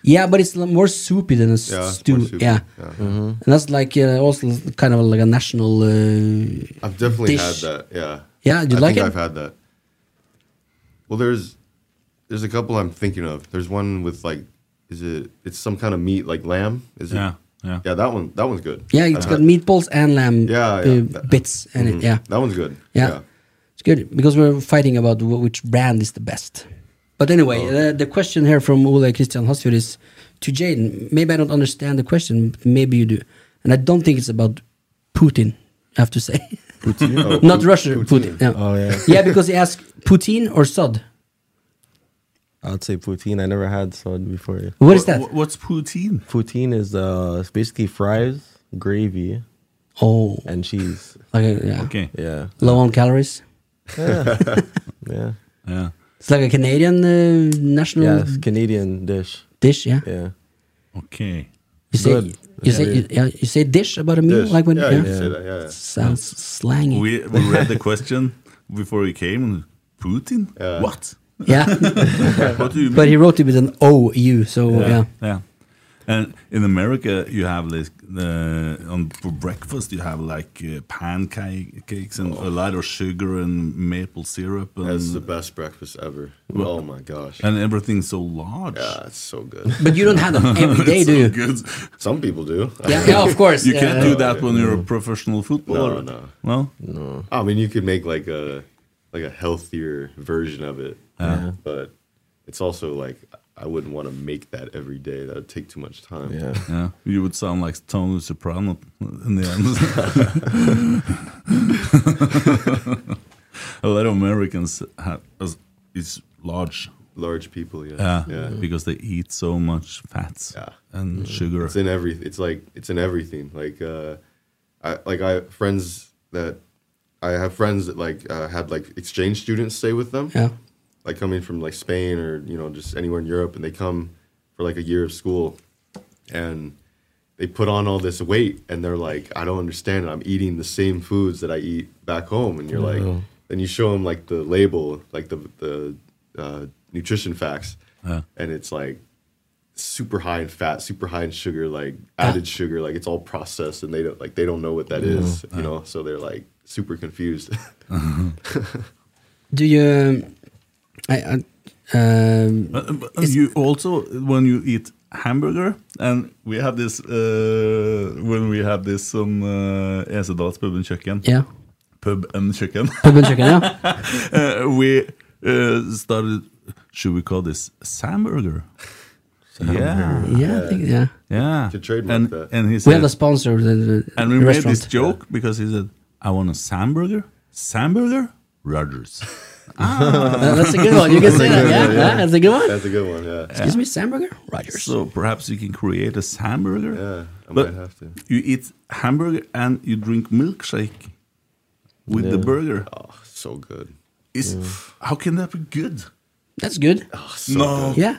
[SPEAKER 4] Yeah, but it's l- more soupy than a s-
[SPEAKER 5] Yeah, it's
[SPEAKER 4] stew.
[SPEAKER 5] more soupy,
[SPEAKER 4] Yeah,
[SPEAKER 5] yeah. Mhm.
[SPEAKER 4] and that's like uh, also kind of like a national. Uh,
[SPEAKER 5] I've definitely
[SPEAKER 4] dish.
[SPEAKER 5] had that. Yeah.
[SPEAKER 4] Yeah, you
[SPEAKER 5] I
[SPEAKER 4] like
[SPEAKER 5] think
[SPEAKER 4] it?
[SPEAKER 5] I've had that. Well, there's there's a couple I'm thinking of. There's one with like, is it? It's some kind of meat like lamb. Is it?
[SPEAKER 4] Yeah,
[SPEAKER 5] yeah. Yeah, that one. That one's good.
[SPEAKER 4] Yeah,
[SPEAKER 5] it's
[SPEAKER 4] it's got meatballs and lamb
[SPEAKER 5] Yeah,
[SPEAKER 4] uh,
[SPEAKER 5] yeah. That-
[SPEAKER 4] bits and
[SPEAKER 5] Mhm.
[SPEAKER 4] it. Yeah,
[SPEAKER 5] That one's good.
[SPEAKER 4] Yeah.
[SPEAKER 5] Yeah.
[SPEAKER 4] it's good because we're fighting about wh- which brand is the best. But anyway, the, the question here from Ole Christian Hosfjord is to Jaden. Maybe I don't understand the question, but maybe you do, and I don't think it's about Putin. I have to say, *laughs*
[SPEAKER 6] Poutine? Oh,
[SPEAKER 4] not
[SPEAKER 6] Pu-
[SPEAKER 4] Russia.
[SPEAKER 6] poutine.
[SPEAKER 4] Putin. Yeah.
[SPEAKER 6] Oh, yeah.
[SPEAKER 4] *laughs* yeah, because he asked Putin or Sod.
[SPEAKER 6] I'd say poutine. I never had sod before.
[SPEAKER 4] What is that? Wha-
[SPEAKER 3] what's poutine?
[SPEAKER 6] Poutine is uh, it's basically fries, gravy,
[SPEAKER 4] oh,
[SPEAKER 6] and cheese.
[SPEAKER 4] Like a, yeah.
[SPEAKER 3] Okay.
[SPEAKER 6] Yeah.
[SPEAKER 4] Low on calories.
[SPEAKER 6] Yeah. yeah.
[SPEAKER 3] Yeah.
[SPEAKER 4] It's like a Canadian uh, national
[SPEAKER 6] Yeah, it's Canadian dish.
[SPEAKER 4] dish. Yeah.
[SPEAKER 6] Yeah.
[SPEAKER 4] *laughs*
[SPEAKER 3] Okay.
[SPEAKER 4] You say
[SPEAKER 6] Good.
[SPEAKER 4] you
[SPEAKER 6] Yeah.
[SPEAKER 4] say you, yeah, you say dish about a meal
[SPEAKER 6] Dish.
[SPEAKER 4] like when
[SPEAKER 6] Yeah, you say that,
[SPEAKER 5] yeah, yeah.
[SPEAKER 4] sounds slangy.
[SPEAKER 3] We, we read the question before we came. and Putin?
[SPEAKER 5] *laughs*
[SPEAKER 3] What?
[SPEAKER 4] *laughs* yeah,
[SPEAKER 3] what do you mean?
[SPEAKER 4] but he wrote it with an O U. So yeah,
[SPEAKER 3] yeah. And in America, you have this uh, on for breakfast. You have like uh, pancakes and a lot of sugar and maple syrup. And,
[SPEAKER 5] That's the best breakfast ever.
[SPEAKER 3] Well,
[SPEAKER 5] oh my gosh.
[SPEAKER 3] And everything's so large.
[SPEAKER 5] Yeah, it's so good.
[SPEAKER 4] But you don't have
[SPEAKER 3] *laughs*
[SPEAKER 4] them every day,
[SPEAKER 3] It's
[SPEAKER 4] do you?
[SPEAKER 3] so good.
[SPEAKER 5] Some people do.
[SPEAKER 4] Yeah, yeah, of course,
[SPEAKER 3] You
[SPEAKER 4] yeah.
[SPEAKER 3] can't do that
[SPEAKER 5] Yeah.
[SPEAKER 3] when you're a professional
[SPEAKER 5] No,
[SPEAKER 3] footballer.
[SPEAKER 5] no,
[SPEAKER 3] No?
[SPEAKER 5] no. I mean, you could make like a like a healthier version of it,
[SPEAKER 3] Yeah.
[SPEAKER 5] but it's also like I wouldn't want to make that every day. That would take too much time.
[SPEAKER 3] Yeah, you would sound like Tony Soprano in the
[SPEAKER 5] *laughs*
[SPEAKER 3] end. a lot of Americans have is- is large,
[SPEAKER 5] large people. Yeah,
[SPEAKER 3] yeah,
[SPEAKER 5] Yeah. Mm.
[SPEAKER 3] because they eat so much fats and sugar.
[SPEAKER 5] It's in every. It's like it's in everything. Like, uh, I like I friends that I have friends that like uh, had like exchange students stay with them.
[SPEAKER 4] Yeah.
[SPEAKER 5] Like coming from like Spain or you know just anywhere in Europe, and they come for like a year of school, and they put on all this weight, and they're like, I don't understand. I'm eating the same foods that I eat back home, and you're
[SPEAKER 6] Yeah.
[SPEAKER 5] like, then you show them like the label, like the the uh, nutrition facts,
[SPEAKER 3] Yeah.
[SPEAKER 5] and it's like super high in fat, super high in sugar, like added sugar, like it's all processed, and they don't like they don't know what that is, you know. So they're like super
[SPEAKER 4] *laughs*
[SPEAKER 5] confused. *laughs*
[SPEAKER 4] Do you? Um, I, I, um,
[SPEAKER 3] Uh, you also when you eat hamburger, and we had this uh, when we had this on uh, Esedals pub and kjøkken.
[SPEAKER 4] Yeah.
[SPEAKER 3] Pub and kjøkken.
[SPEAKER 4] Pub
[SPEAKER 3] *laughs*
[SPEAKER 4] and kjøkken, yeah.
[SPEAKER 3] uh, we uh, started. Should we call this hamburger? Yeah.
[SPEAKER 4] Yeah, I think- yeah.
[SPEAKER 3] Yeah. To trademark and, that. And he said,
[SPEAKER 4] we have a sponsor. The, the,
[SPEAKER 3] and we
[SPEAKER 4] the
[SPEAKER 3] made
[SPEAKER 4] restaurant.
[SPEAKER 3] this joke because he said, I want a Samburger. Samburger? Rogers.
[SPEAKER 4] Uh, that's a good one. You can say that. Yeah, yeah, that's a good one.
[SPEAKER 5] That's a good one. Yeah.
[SPEAKER 4] Excuse me, Samburger? Rogers.
[SPEAKER 3] So perhaps you can create a hamburger. Yeah,
[SPEAKER 5] I
[SPEAKER 3] but
[SPEAKER 5] might have to.
[SPEAKER 3] You eat hamburger and you drink milkshake with the
[SPEAKER 5] Yeah.
[SPEAKER 3] burger.
[SPEAKER 5] Oh, so good.
[SPEAKER 3] Is how can that be good?
[SPEAKER 4] That's good.
[SPEAKER 5] Oh, so
[SPEAKER 3] no.
[SPEAKER 5] good. Yeah.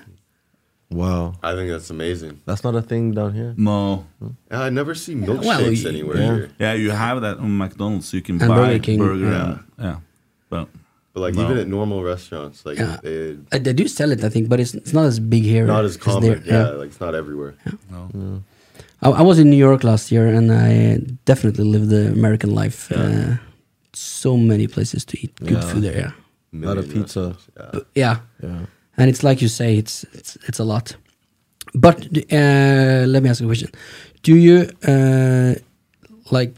[SPEAKER 6] Wow.
[SPEAKER 5] I think that's amazing.
[SPEAKER 6] That's not a thing down here.
[SPEAKER 3] No.
[SPEAKER 5] And I never see milkshakes
[SPEAKER 3] y-
[SPEAKER 5] anywhere
[SPEAKER 3] Yeah.
[SPEAKER 5] here.
[SPEAKER 3] Yeah, you have that on McDonald's. You can
[SPEAKER 5] And
[SPEAKER 3] buy
[SPEAKER 5] Burger King,
[SPEAKER 3] burger.
[SPEAKER 5] yeah.
[SPEAKER 3] And, yeah, but
[SPEAKER 5] But like
[SPEAKER 3] no.
[SPEAKER 5] even at normal restaurants, like
[SPEAKER 4] Yeah.
[SPEAKER 5] they,
[SPEAKER 4] Uh, they do sell it, I think, but it's, it's not as big here.
[SPEAKER 5] not as common.
[SPEAKER 4] there,
[SPEAKER 5] yeah, like it's not everywhere.
[SPEAKER 4] No. I, I was in New York last year, and I definitely lived the American life. Uh, so many places to eat good
[SPEAKER 6] Yeah.
[SPEAKER 4] food there. Yeah.
[SPEAKER 6] A lot of pizza.
[SPEAKER 4] But- yeah.
[SPEAKER 6] Yeah.
[SPEAKER 4] And it's like you say, it's it's, it's a lot. But uh, let me ask you a question: Do you uh, like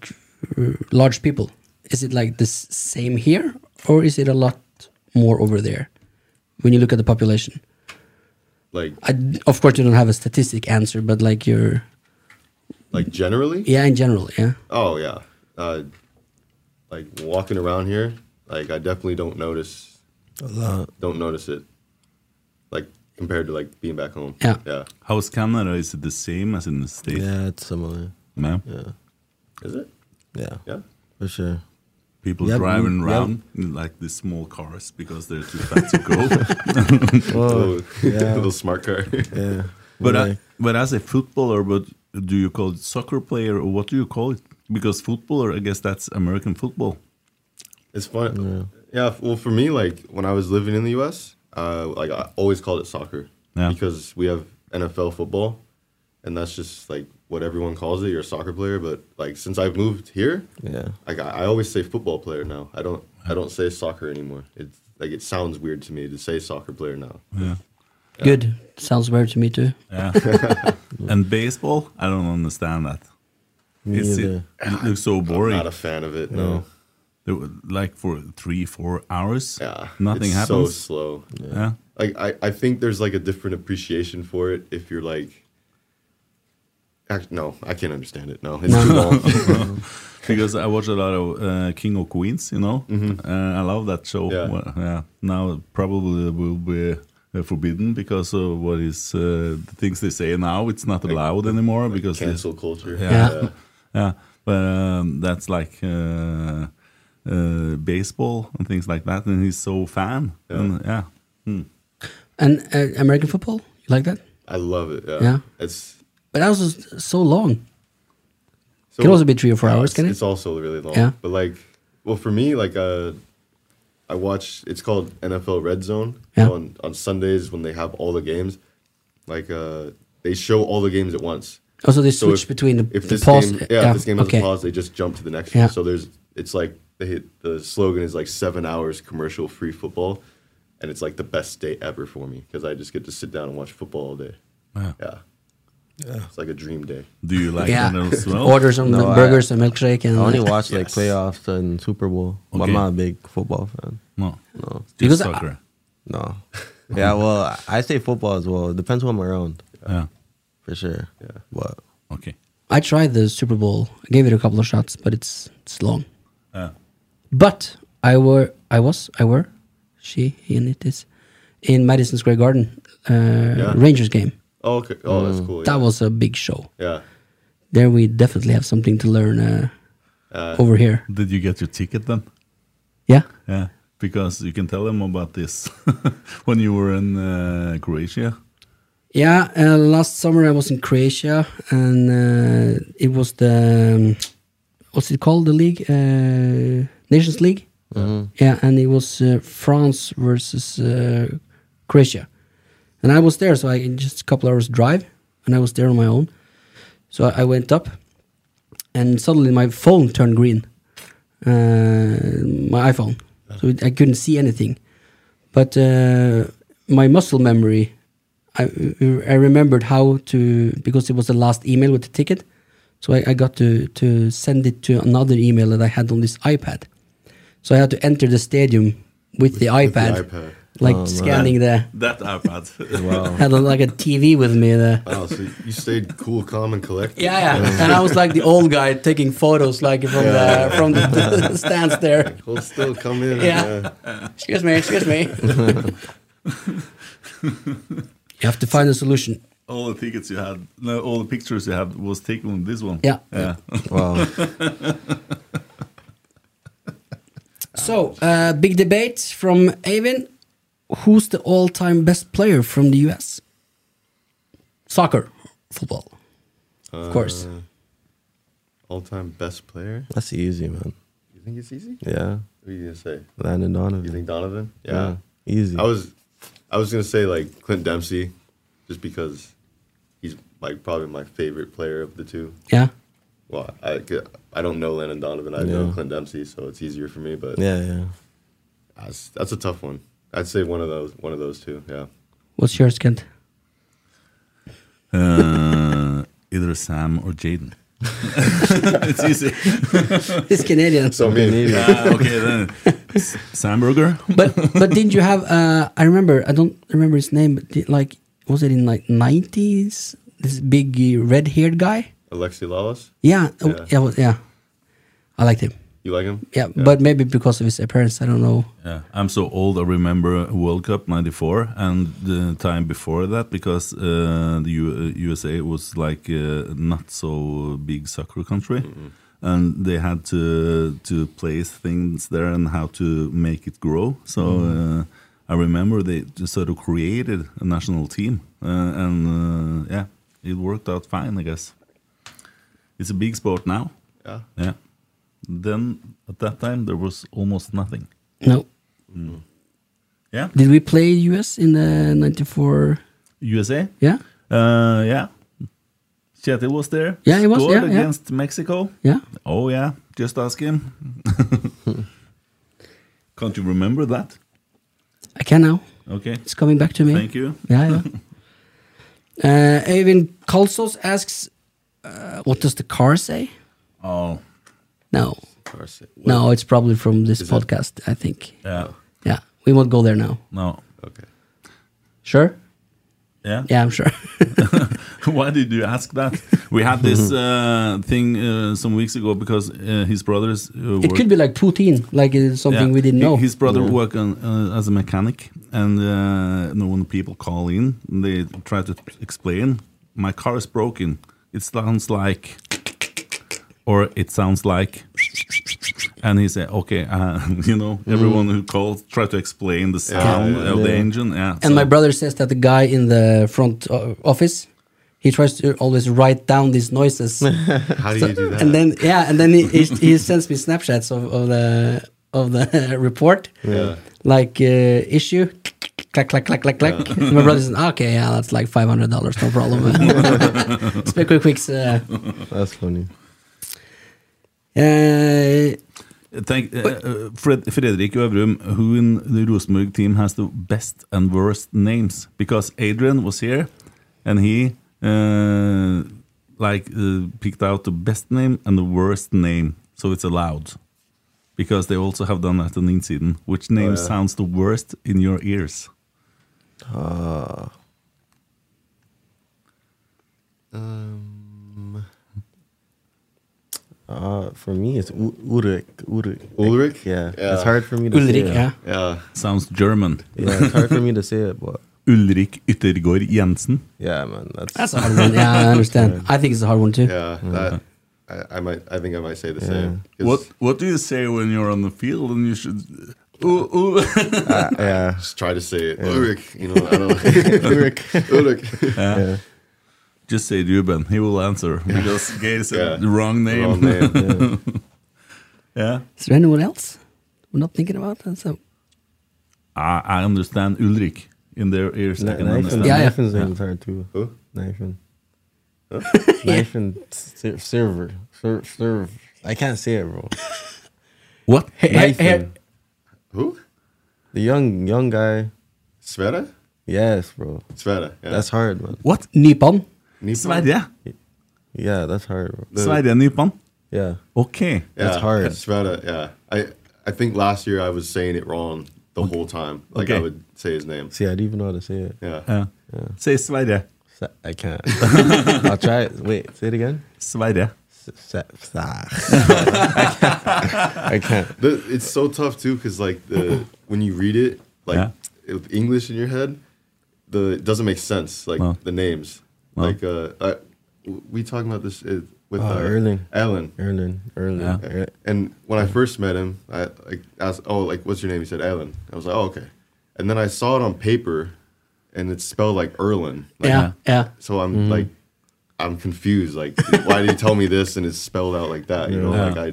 [SPEAKER 4] uh, large people? Is it like the s- same here, or is it a lot more over there? When you look at the population,
[SPEAKER 5] Like
[SPEAKER 4] I d of course you don't have a statistic answer, but like you're
[SPEAKER 5] like generally.
[SPEAKER 4] yeah in general, yeah.
[SPEAKER 5] Oh yeah, uh, like walking around here, like I definitely don't notice.
[SPEAKER 6] A lot.
[SPEAKER 5] Don't notice it, like compared to like being back home.
[SPEAKER 4] Yeah.
[SPEAKER 5] yeah.
[SPEAKER 3] How's Canada? Is it the same as in the States?
[SPEAKER 6] Yeah, it's similar.
[SPEAKER 3] No?
[SPEAKER 6] Yeah.
[SPEAKER 5] Is it?
[SPEAKER 6] Yeah.
[SPEAKER 5] Yeah.
[SPEAKER 6] For sure.
[SPEAKER 3] People
[SPEAKER 6] Yeah,
[SPEAKER 3] driving
[SPEAKER 6] yeah.
[SPEAKER 3] around in like these small cars because they're too fat to
[SPEAKER 6] *laughs*
[SPEAKER 3] go. *laughs*
[SPEAKER 6] Whoa, yeah.
[SPEAKER 5] Little *laughs* smart car. *laughs*
[SPEAKER 6] Yeah.
[SPEAKER 3] But
[SPEAKER 6] Like-
[SPEAKER 3] I, but as a footballer, but do you call it soccer player or what do you call it? Because footballer, I guess that's American football.
[SPEAKER 5] It's fun. Yeah. f- Well, for me, like when I was living in the U.S., uh, like I always called it soccer
[SPEAKER 3] Yeah.
[SPEAKER 5] because we have NFL football, and that's just like what everyone calls it. You're a soccer player, but like since I've moved here,
[SPEAKER 6] Yeah.
[SPEAKER 5] like I, I always say football player now. I don't. I don't say soccer anymore. It's like it sounds weird to me to say soccer player now.
[SPEAKER 3] Yeah.
[SPEAKER 4] Good sounds weird to me too.
[SPEAKER 3] Yeah. and baseball, I don't understand that.
[SPEAKER 6] Me
[SPEAKER 3] It's- it,
[SPEAKER 6] either.
[SPEAKER 3] it looks so boring.
[SPEAKER 5] Not a fan of it. No.
[SPEAKER 3] There were, like for three, four hours, yeah,
[SPEAKER 5] it's
[SPEAKER 3] nothing happens.
[SPEAKER 5] So slow.
[SPEAKER 3] Yeah.
[SPEAKER 5] Like I, I think there's like a different appreciation for it if you're like. Act, no, I can't understand it. No, it's
[SPEAKER 4] *laughs*
[SPEAKER 5] too long.
[SPEAKER 3] because I watch a lot of uh, King of Queens, you know.
[SPEAKER 5] Mhm.
[SPEAKER 3] Uh, I love that show.
[SPEAKER 5] Yeah.
[SPEAKER 3] Well, yeah. Now it probably will be uh, forbidden because of what is uh, the things they say now. It's not allowed anymore because they-
[SPEAKER 5] cancel culture.
[SPEAKER 3] Yeah.
[SPEAKER 5] Yeah.
[SPEAKER 3] Yeah. But um, that's like uh, uh, baseball and things like that. And he's so fan. Yeah. And, yeah. Hmm.
[SPEAKER 4] And uh, American football, you like that?
[SPEAKER 5] I love it. Yeah.
[SPEAKER 4] Yeah.
[SPEAKER 5] It's
[SPEAKER 4] But that was s- so long.
[SPEAKER 5] so,
[SPEAKER 4] can also be three or four hours,
[SPEAKER 5] it's,
[SPEAKER 4] can it?
[SPEAKER 5] It's also really long.
[SPEAKER 4] Yeah.
[SPEAKER 5] But like, well, for me, like, uh, I watch. It's called NFL Red Zone
[SPEAKER 4] Yeah.
[SPEAKER 5] on on Sundays when they have all the games. Like, uh, they show all the games at once.
[SPEAKER 4] Oh, so they
[SPEAKER 5] if-
[SPEAKER 4] switch between the-
[SPEAKER 5] if
[SPEAKER 4] the
[SPEAKER 5] this
[SPEAKER 4] pause-
[SPEAKER 5] Game, yeah,
[SPEAKER 4] yeah,
[SPEAKER 5] if this game has
[SPEAKER 4] okay.
[SPEAKER 5] a pause, they just jump to the next
[SPEAKER 4] Yeah.
[SPEAKER 5] one. So there's, it's like they hit, the slogan is like seven hours commercial free football, and it's like the best day ever for me because I just get to sit down and watch football all day.
[SPEAKER 3] Wow.
[SPEAKER 5] Yeah.
[SPEAKER 6] Yeah.
[SPEAKER 5] It's like a dream day.
[SPEAKER 3] Do you like
[SPEAKER 4] Yeah.
[SPEAKER 3] that
[SPEAKER 6] *laughs*
[SPEAKER 3] as
[SPEAKER 4] *laughs*
[SPEAKER 3] well?
[SPEAKER 4] Order some
[SPEAKER 6] No, I-
[SPEAKER 4] burgers and milkshake and
[SPEAKER 6] I only watch like
[SPEAKER 3] Yes.
[SPEAKER 6] playoffs and Super Bowl. But
[SPEAKER 3] Okay.
[SPEAKER 6] I'm not a big football fan.
[SPEAKER 3] No.
[SPEAKER 6] No.
[SPEAKER 3] Just Because I-
[SPEAKER 6] soccer.
[SPEAKER 3] soccer.
[SPEAKER 6] no. Yeah, well, I- I say football as well. It depends who I'm around.
[SPEAKER 3] Yeah.
[SPEAKER 6] For sure. Yeah. But
[SPEAKER 3] Okay.
[SPEAKER 4] *laughs* I tried the Super Bowl. I gave it a couple of shots, but it's it's long.
[SPEAKER 5] Ah.
[SPEAKER 3] Yeah.
[SPEAKER 4] But I were I was I were she he and it is in Madison Square Garden uh,
[SPEAKER 5] Yeah.
[SPEAKER 4] Rangers game.
[SPEAKER 5] Oh, okay. Oh, that's cool.
[SPEAKER 4] Mm. That
[SPEAKER 5] yeah.
[SPEAKER 4] was a big show.
[SPEAKER 5] Yeah.
[SPEAKER 4] There we definitely have something to learn uh,
[SPEAKER 5] Uh,
[SPEAKER 4] over here.
[SPEAKER 3] Did you get your ticket then?
[SPEAKER 4] Yeah.
[SPEAKER 3] Yeah. Because you can tell them about this *laughs* when you were in uh, Croatia.
[SPEAKER 4] Yeah, uh, last summer I was in Croatia, and uh, it was the um, what's it called? The league, uh, Nations League. Yeah, and it was uh, France versus uh, Croatia. And I was there, so I just a couple hours drive, and I was there on my own. So I, I went up, and suddenly my phone turned green, uh, my iPhone. So it, I couldn't see anything, but uh, my muscle memory, I, I remembered how to because it was the last email with the ticket, so I, I got to to send it to another email that I had on this iPad. So I had to enter the stadium with, the, iPad,
[SPEAKER 5] iPad.
[SPEAKER 4] like
[SPEAKER 5] Oh, man.
[SPEAKER 4] scanning the
[SPEAKER 3] That iPad.
[SPEAKER 4] had a, like a TV with me there.
[SPEAKER 5] Wow, so you stayed cool, calm, and collected.
[SPEAKER 4] Yeah, yeah. and I was like the old guy taking photos, like from the from the, the *laughs* stands there.
[SPEAKER 5] Hold still, come in.
[SPEAKER 4] *laughs* Yeah. Excuse me, excuse me. you have to find a solution.
[SPEAKER 3] *laughs* All the tickets you had, no, all the pictures you had was taken with this one.
[SPEAKER 4] Yeah.
[SPEAKER 3] Yeah.
[SPEAKER 6] Wow.
[SPEAKER 4] So, uh, big debate from Avin. Who's the all-time best player from the U.S.? Soccer, football. Of course.
[SPEAKER 5] All time best player?
[SPEAKER 6] That's easy, man.
[SPEAKER 5] You think it's easy?
[SPEAKER 6] Yeah.
[SPEAKER 5] What are you gonna say?
[SPEAKER 6] Landon Donovan.
[SPEAKER 5] You think Donovan?
[SPEAKER 6] Yeah, easy.
[SPEAKER 5] I was, I was gonna say like Clint Dempsey, just because he's like probably my favorite player of the two.
[SPEAKER 4] Yeah.
[SPEAKER 5] Well, I could- I don't know Landon Donovan. I know
[SPEAKER 6] Yeah.
[SPEAKER 5] Clint Dempsey, so it's easier for me. But
[SPEAKER 6] Yeah, yeah.
[SPEAKER 5] that's, that's a tough one. I'd say one of those, one of those two. Yeah.
[SPEAKER 4] What's yours, Kent?
[SPEAKER 3] Uh, either Sam or Jaden. *laughs* it's easy.
[SPEAKER 4] He's Canadian.
[SPEAKER 5] So me.
[SPEAKER 3] *laughs* Ah, okay then. S- Sam Burger.
[SPEAKER 4] but but didn't you have? Uh, I remember. I don't remember his name, but did, like, was it in like nineties? This big uh, red-haired guy.
[SPEAKER 5] Alexi Lalas.
[SPEAKER 4] Yeah, oh,
[SPEAKER 5] Yeah.
[SPEAKER 4] yeah, well, yeah. I liked him.
[SPEAKER 5] You like him?
[SPEAKER 4] Yeah, but maybe because of his appearance, I don't know.
[SPEAKER 3] Yeah, I'm so old. I remember World Cup '94 and the time before that because uh, the U- USA was like uh, not so big soccer country, and they had to to place things there and how to make it grow. So uh, I remember they just sort of created a national team, uh, and uh, yeah, it worked out fine. I guess it's a big sport now.
[SPEAKER 5] Yeah.
[SPEAKER 3] Yeah. Then at that time there was almost nothing.
[SPEAKER 4] No.
[SPEAKER 3] Yeah.
[SPEAKER 4] Did we play US in the '94?
[SPEAKER 3] USA.
[SPEAKER 4] Yeah.
[SPEAKER 3] Uh, yeah. Kjetil was there.
[SPEAKER 4] Yeah, he was,
[SPEAKER 3] Scored
[SPEAKER 4] yeah, yeah.
[SPEAKER 3] against Mexico.
[SPEAKER 4] Yeah.
[SPEAKER 3] Oh yeah. Just ask him. *laughs* Can't you remember that?
[SPEAKER 4] I can now.
[SPEAKER 3] Okay.
[SPEAKER 4] It's coming back to me.
[SPEAKER 3] Thank you.
[SPEAKER 4] Yeah, yeah. uh, Avin Kalsos asks, uh, "What does the car say?"
[SPEAKER 3] Oh.
[SPEAKER 4] No.
[SPEAKER 5] Car say-
[SPEAKER 4] No, it's probably from this podcast. I think.
[SPEAKER 3] Yeah.
[SPEAKER 4] Yeah, we won't go there now.
[SPEAKER 3] No.
[SPEAKER 5] Okay.
[SPEAKER 4] Sure.
[SPEAKER 3] Yeah.
[SPEAKER 4] Yeah, I'm sure.
[SPEAKER 3] *laughs* Why did you ask that? We had
[SPEAKER 4] *laughs*
[SPEAKER 3] this uh, thing uh, some weeks ago because uh, his brothers. Uh,
[SPEAKER 4] *laughs* it
[SPEAKER 3] work-
[SPEAKER 4] could be like poutine, like uh, something
[SPEAKER 3] Yeah.
[SPEAKER 4] we didn't
[SPEAKER 3] Hi-
[SPEAKER 4] know.
[SPEAKER 3] His brother worked on, uh, as a mechanic, and uh, you know, when people call in, they try to explain, "My car is broken. It sounds like," or "It sounds like," and he said, "Okay, *laughs* uh, you know, everyone who calls try to explain the sound
[SPEAKER 5] Mm. yeah,
[SPEAKER 3] of the
[SPEAKER 5] yeah.
[SPEAKER 3] engine." Yeah,
[SPEAKER 4] And my brother says that the guy in the front uh, office, he tries to always write down these noises.
[SPEAKER 5] *laughs* How do
[SPEAKER 4] So-
[SPEAKER 5] you do
[SPEAKER 4] *laughs*
[SPEAKER 5] that?
[SPEAKER 4] And then yeah, and then he, he, he sends me snapshots of, of the of the *laughs* report,
[SPEAKER 5] Yeah.
[SPEAKER 4] like uh, issue, clack clack clack clack clack. My brother says, "Okay, yeah, that's like five hundred dollars, no
[SPEAKER 5] *laughs*
[SPEAKER 4] problem." *laughs* Spec quick quicks. Uh,
[SPEAKER 6] That's funny.
[SPEAKER 4] uh,
[SPEAKER 3] Thank, uh, uh, Fred, Fredrik Øvrum, who in the Rosenborg team has the best and worst names? Because Adrian was here, and he uh, like uh, picked out the best name and the worst name, so it's allowed. Because they also have done that in Insiden. Which name
[SPEAKER 5] yeah.
[SPEAKER 3] sounds the worst in your ears?
[SPEAKER 6] Uh,
[SPEAKER 5] Um,
[SPEAKER 6] uh, for me, it's U- Ulrich. Ulrich.
[SPEAKER 5] Ulrich?
[SPEAKER 6] Yeah.
[SPEAKER 5] Yeah.
[SPEAKER 6] It's hard for me to say
[SPEAKER 4] Ulrich,
[SPEAKER 6] it.
[SPEAKER 4] yeah.
[SPEAKER 5] yeah.
[SPEAKER 3] Sounds German.
[SPEAKER 6] Yeah, it's hard for me to say it, but
[SPEAKER 3] Ulrik Yttergård Jensen.
[SPEAKER 6] yeah, man. That's,
[SPEAKER 4] That's a hard one. Yeah, I understand. I think it's a hard one too.
[SPEAKER 5] Yeah. That, I, I might. I think I might say the same. 'cause
[SPEAKER 3] What What do you say when you're on the field and you should? Ooh, ooh.
[SPEAKER 6] uh, yeah.
[SPEAKER 5] Just try to say it. Ulrich. You know. I don't.
[SPEAKER 6] *laughs* Ulrich.
[SPEAKER 5] Ulrich.
[SPEAKER 6] Yeah.
[SPEAKER 3] Just say Ruben. He will
[SPEAKER 5] *laughs*
[SPEAKER 3] answer because Gay said the wrong name.
[SPEAKER 5] Wrong name.
[SPEAKER 3] *laughs* yeah,
[SPEAKER 4] Is there anyone else we're not thinking about? So
[SPEAKER 3] I, I understand Ulrich. in their ears. I
[SPEAKER 6] Knife
[SPEAKER 3] can
[SPEAKER 6] and
[SPEAKER 3] understand.
[SPEAKER 6] knife and things hard too.
[SPEAKER 5] Who?
[SPEAKER 6] Knife and knife and ser- server serve serve. I can't say it, bro.
[SPEAKER 3] What?
[SPEAKER 6] Knife
[SPEAKER 5] hey,
[SPEAKER 6] and-
[SPEAKER 5] Who?
[SPEAKER 6] The young young guy.
[SPEAKER 5] Sveta?
[SPEAKER 6] Yes, bro.
[SPEAKER 5] Sveta. Yeah.
[SPEAKER 6] That's hard, man.
[SPEAKER 3] What?
[SPEAKER 4] Nippon.
[SPEAKER 3] *laughs* Sverige.
[SPEAKER 6] Yeah, that's hard, bro.
[SPEAKER 3] Sverige, Nippon.
[SPEAKER 6] Yeah.
[SPEAKER 3] Okay.
[SPEAKER 6] That's hard.
[SPEAKER 5] Sveta, yeah. I I think last year I was saying it wrong the whole time. Like I
[SPEAKER 3] Okay.
[SPEAKER 5] would say his name.
[SPEAKER 6] See, I didn't even know how to say it.
[SPEAKER 5] Yeah.
[SPEAKER 3] Yeah. Say Sverige.
[SPEAKER 6] Sa- I can't. *laughs* I'll try it. Wait, say it again.
[SPEAKER 3] Sverige.
[SPEAKER 6] S- sa- sa- I can't. I can't.
[SPEAKER 5] *laughs* The- it's so tough too, because like the when you read it, like with English in your head, the it doesn't make sense. Like
[SPEAKER 6] No.
[SPEAKER 5] the names,
[SPEAKER 6] No.
[SPEAKER 5] like uh, I, we talking about this uh, with
[SPEAKER 6] Oh,
[SPEAKER 5] uh,
[SPEAKER 6] Erling.
[SPEAKER 5] Alan,
[SPEAKER 6] Erling, Erling. Er-
[SPEAKER 5] And when I first met him, I like asked, "Oh, like what's your name?" He said Alan. I was like, "Oh, okay." And then I saw it on paper, and it's spelled like Erlin. Like,
[SPEAKER 4] Yeah, yeah.
[SPEAKER 5] So I'm
[SPEAKER 4] Mhm.
[SPEAKER 5] like, I'm confused. Like, why did you tell me this and it's spelled out like that? You know,
[SPEAKER 3] Yeah.
[SPEAKER 5] like I,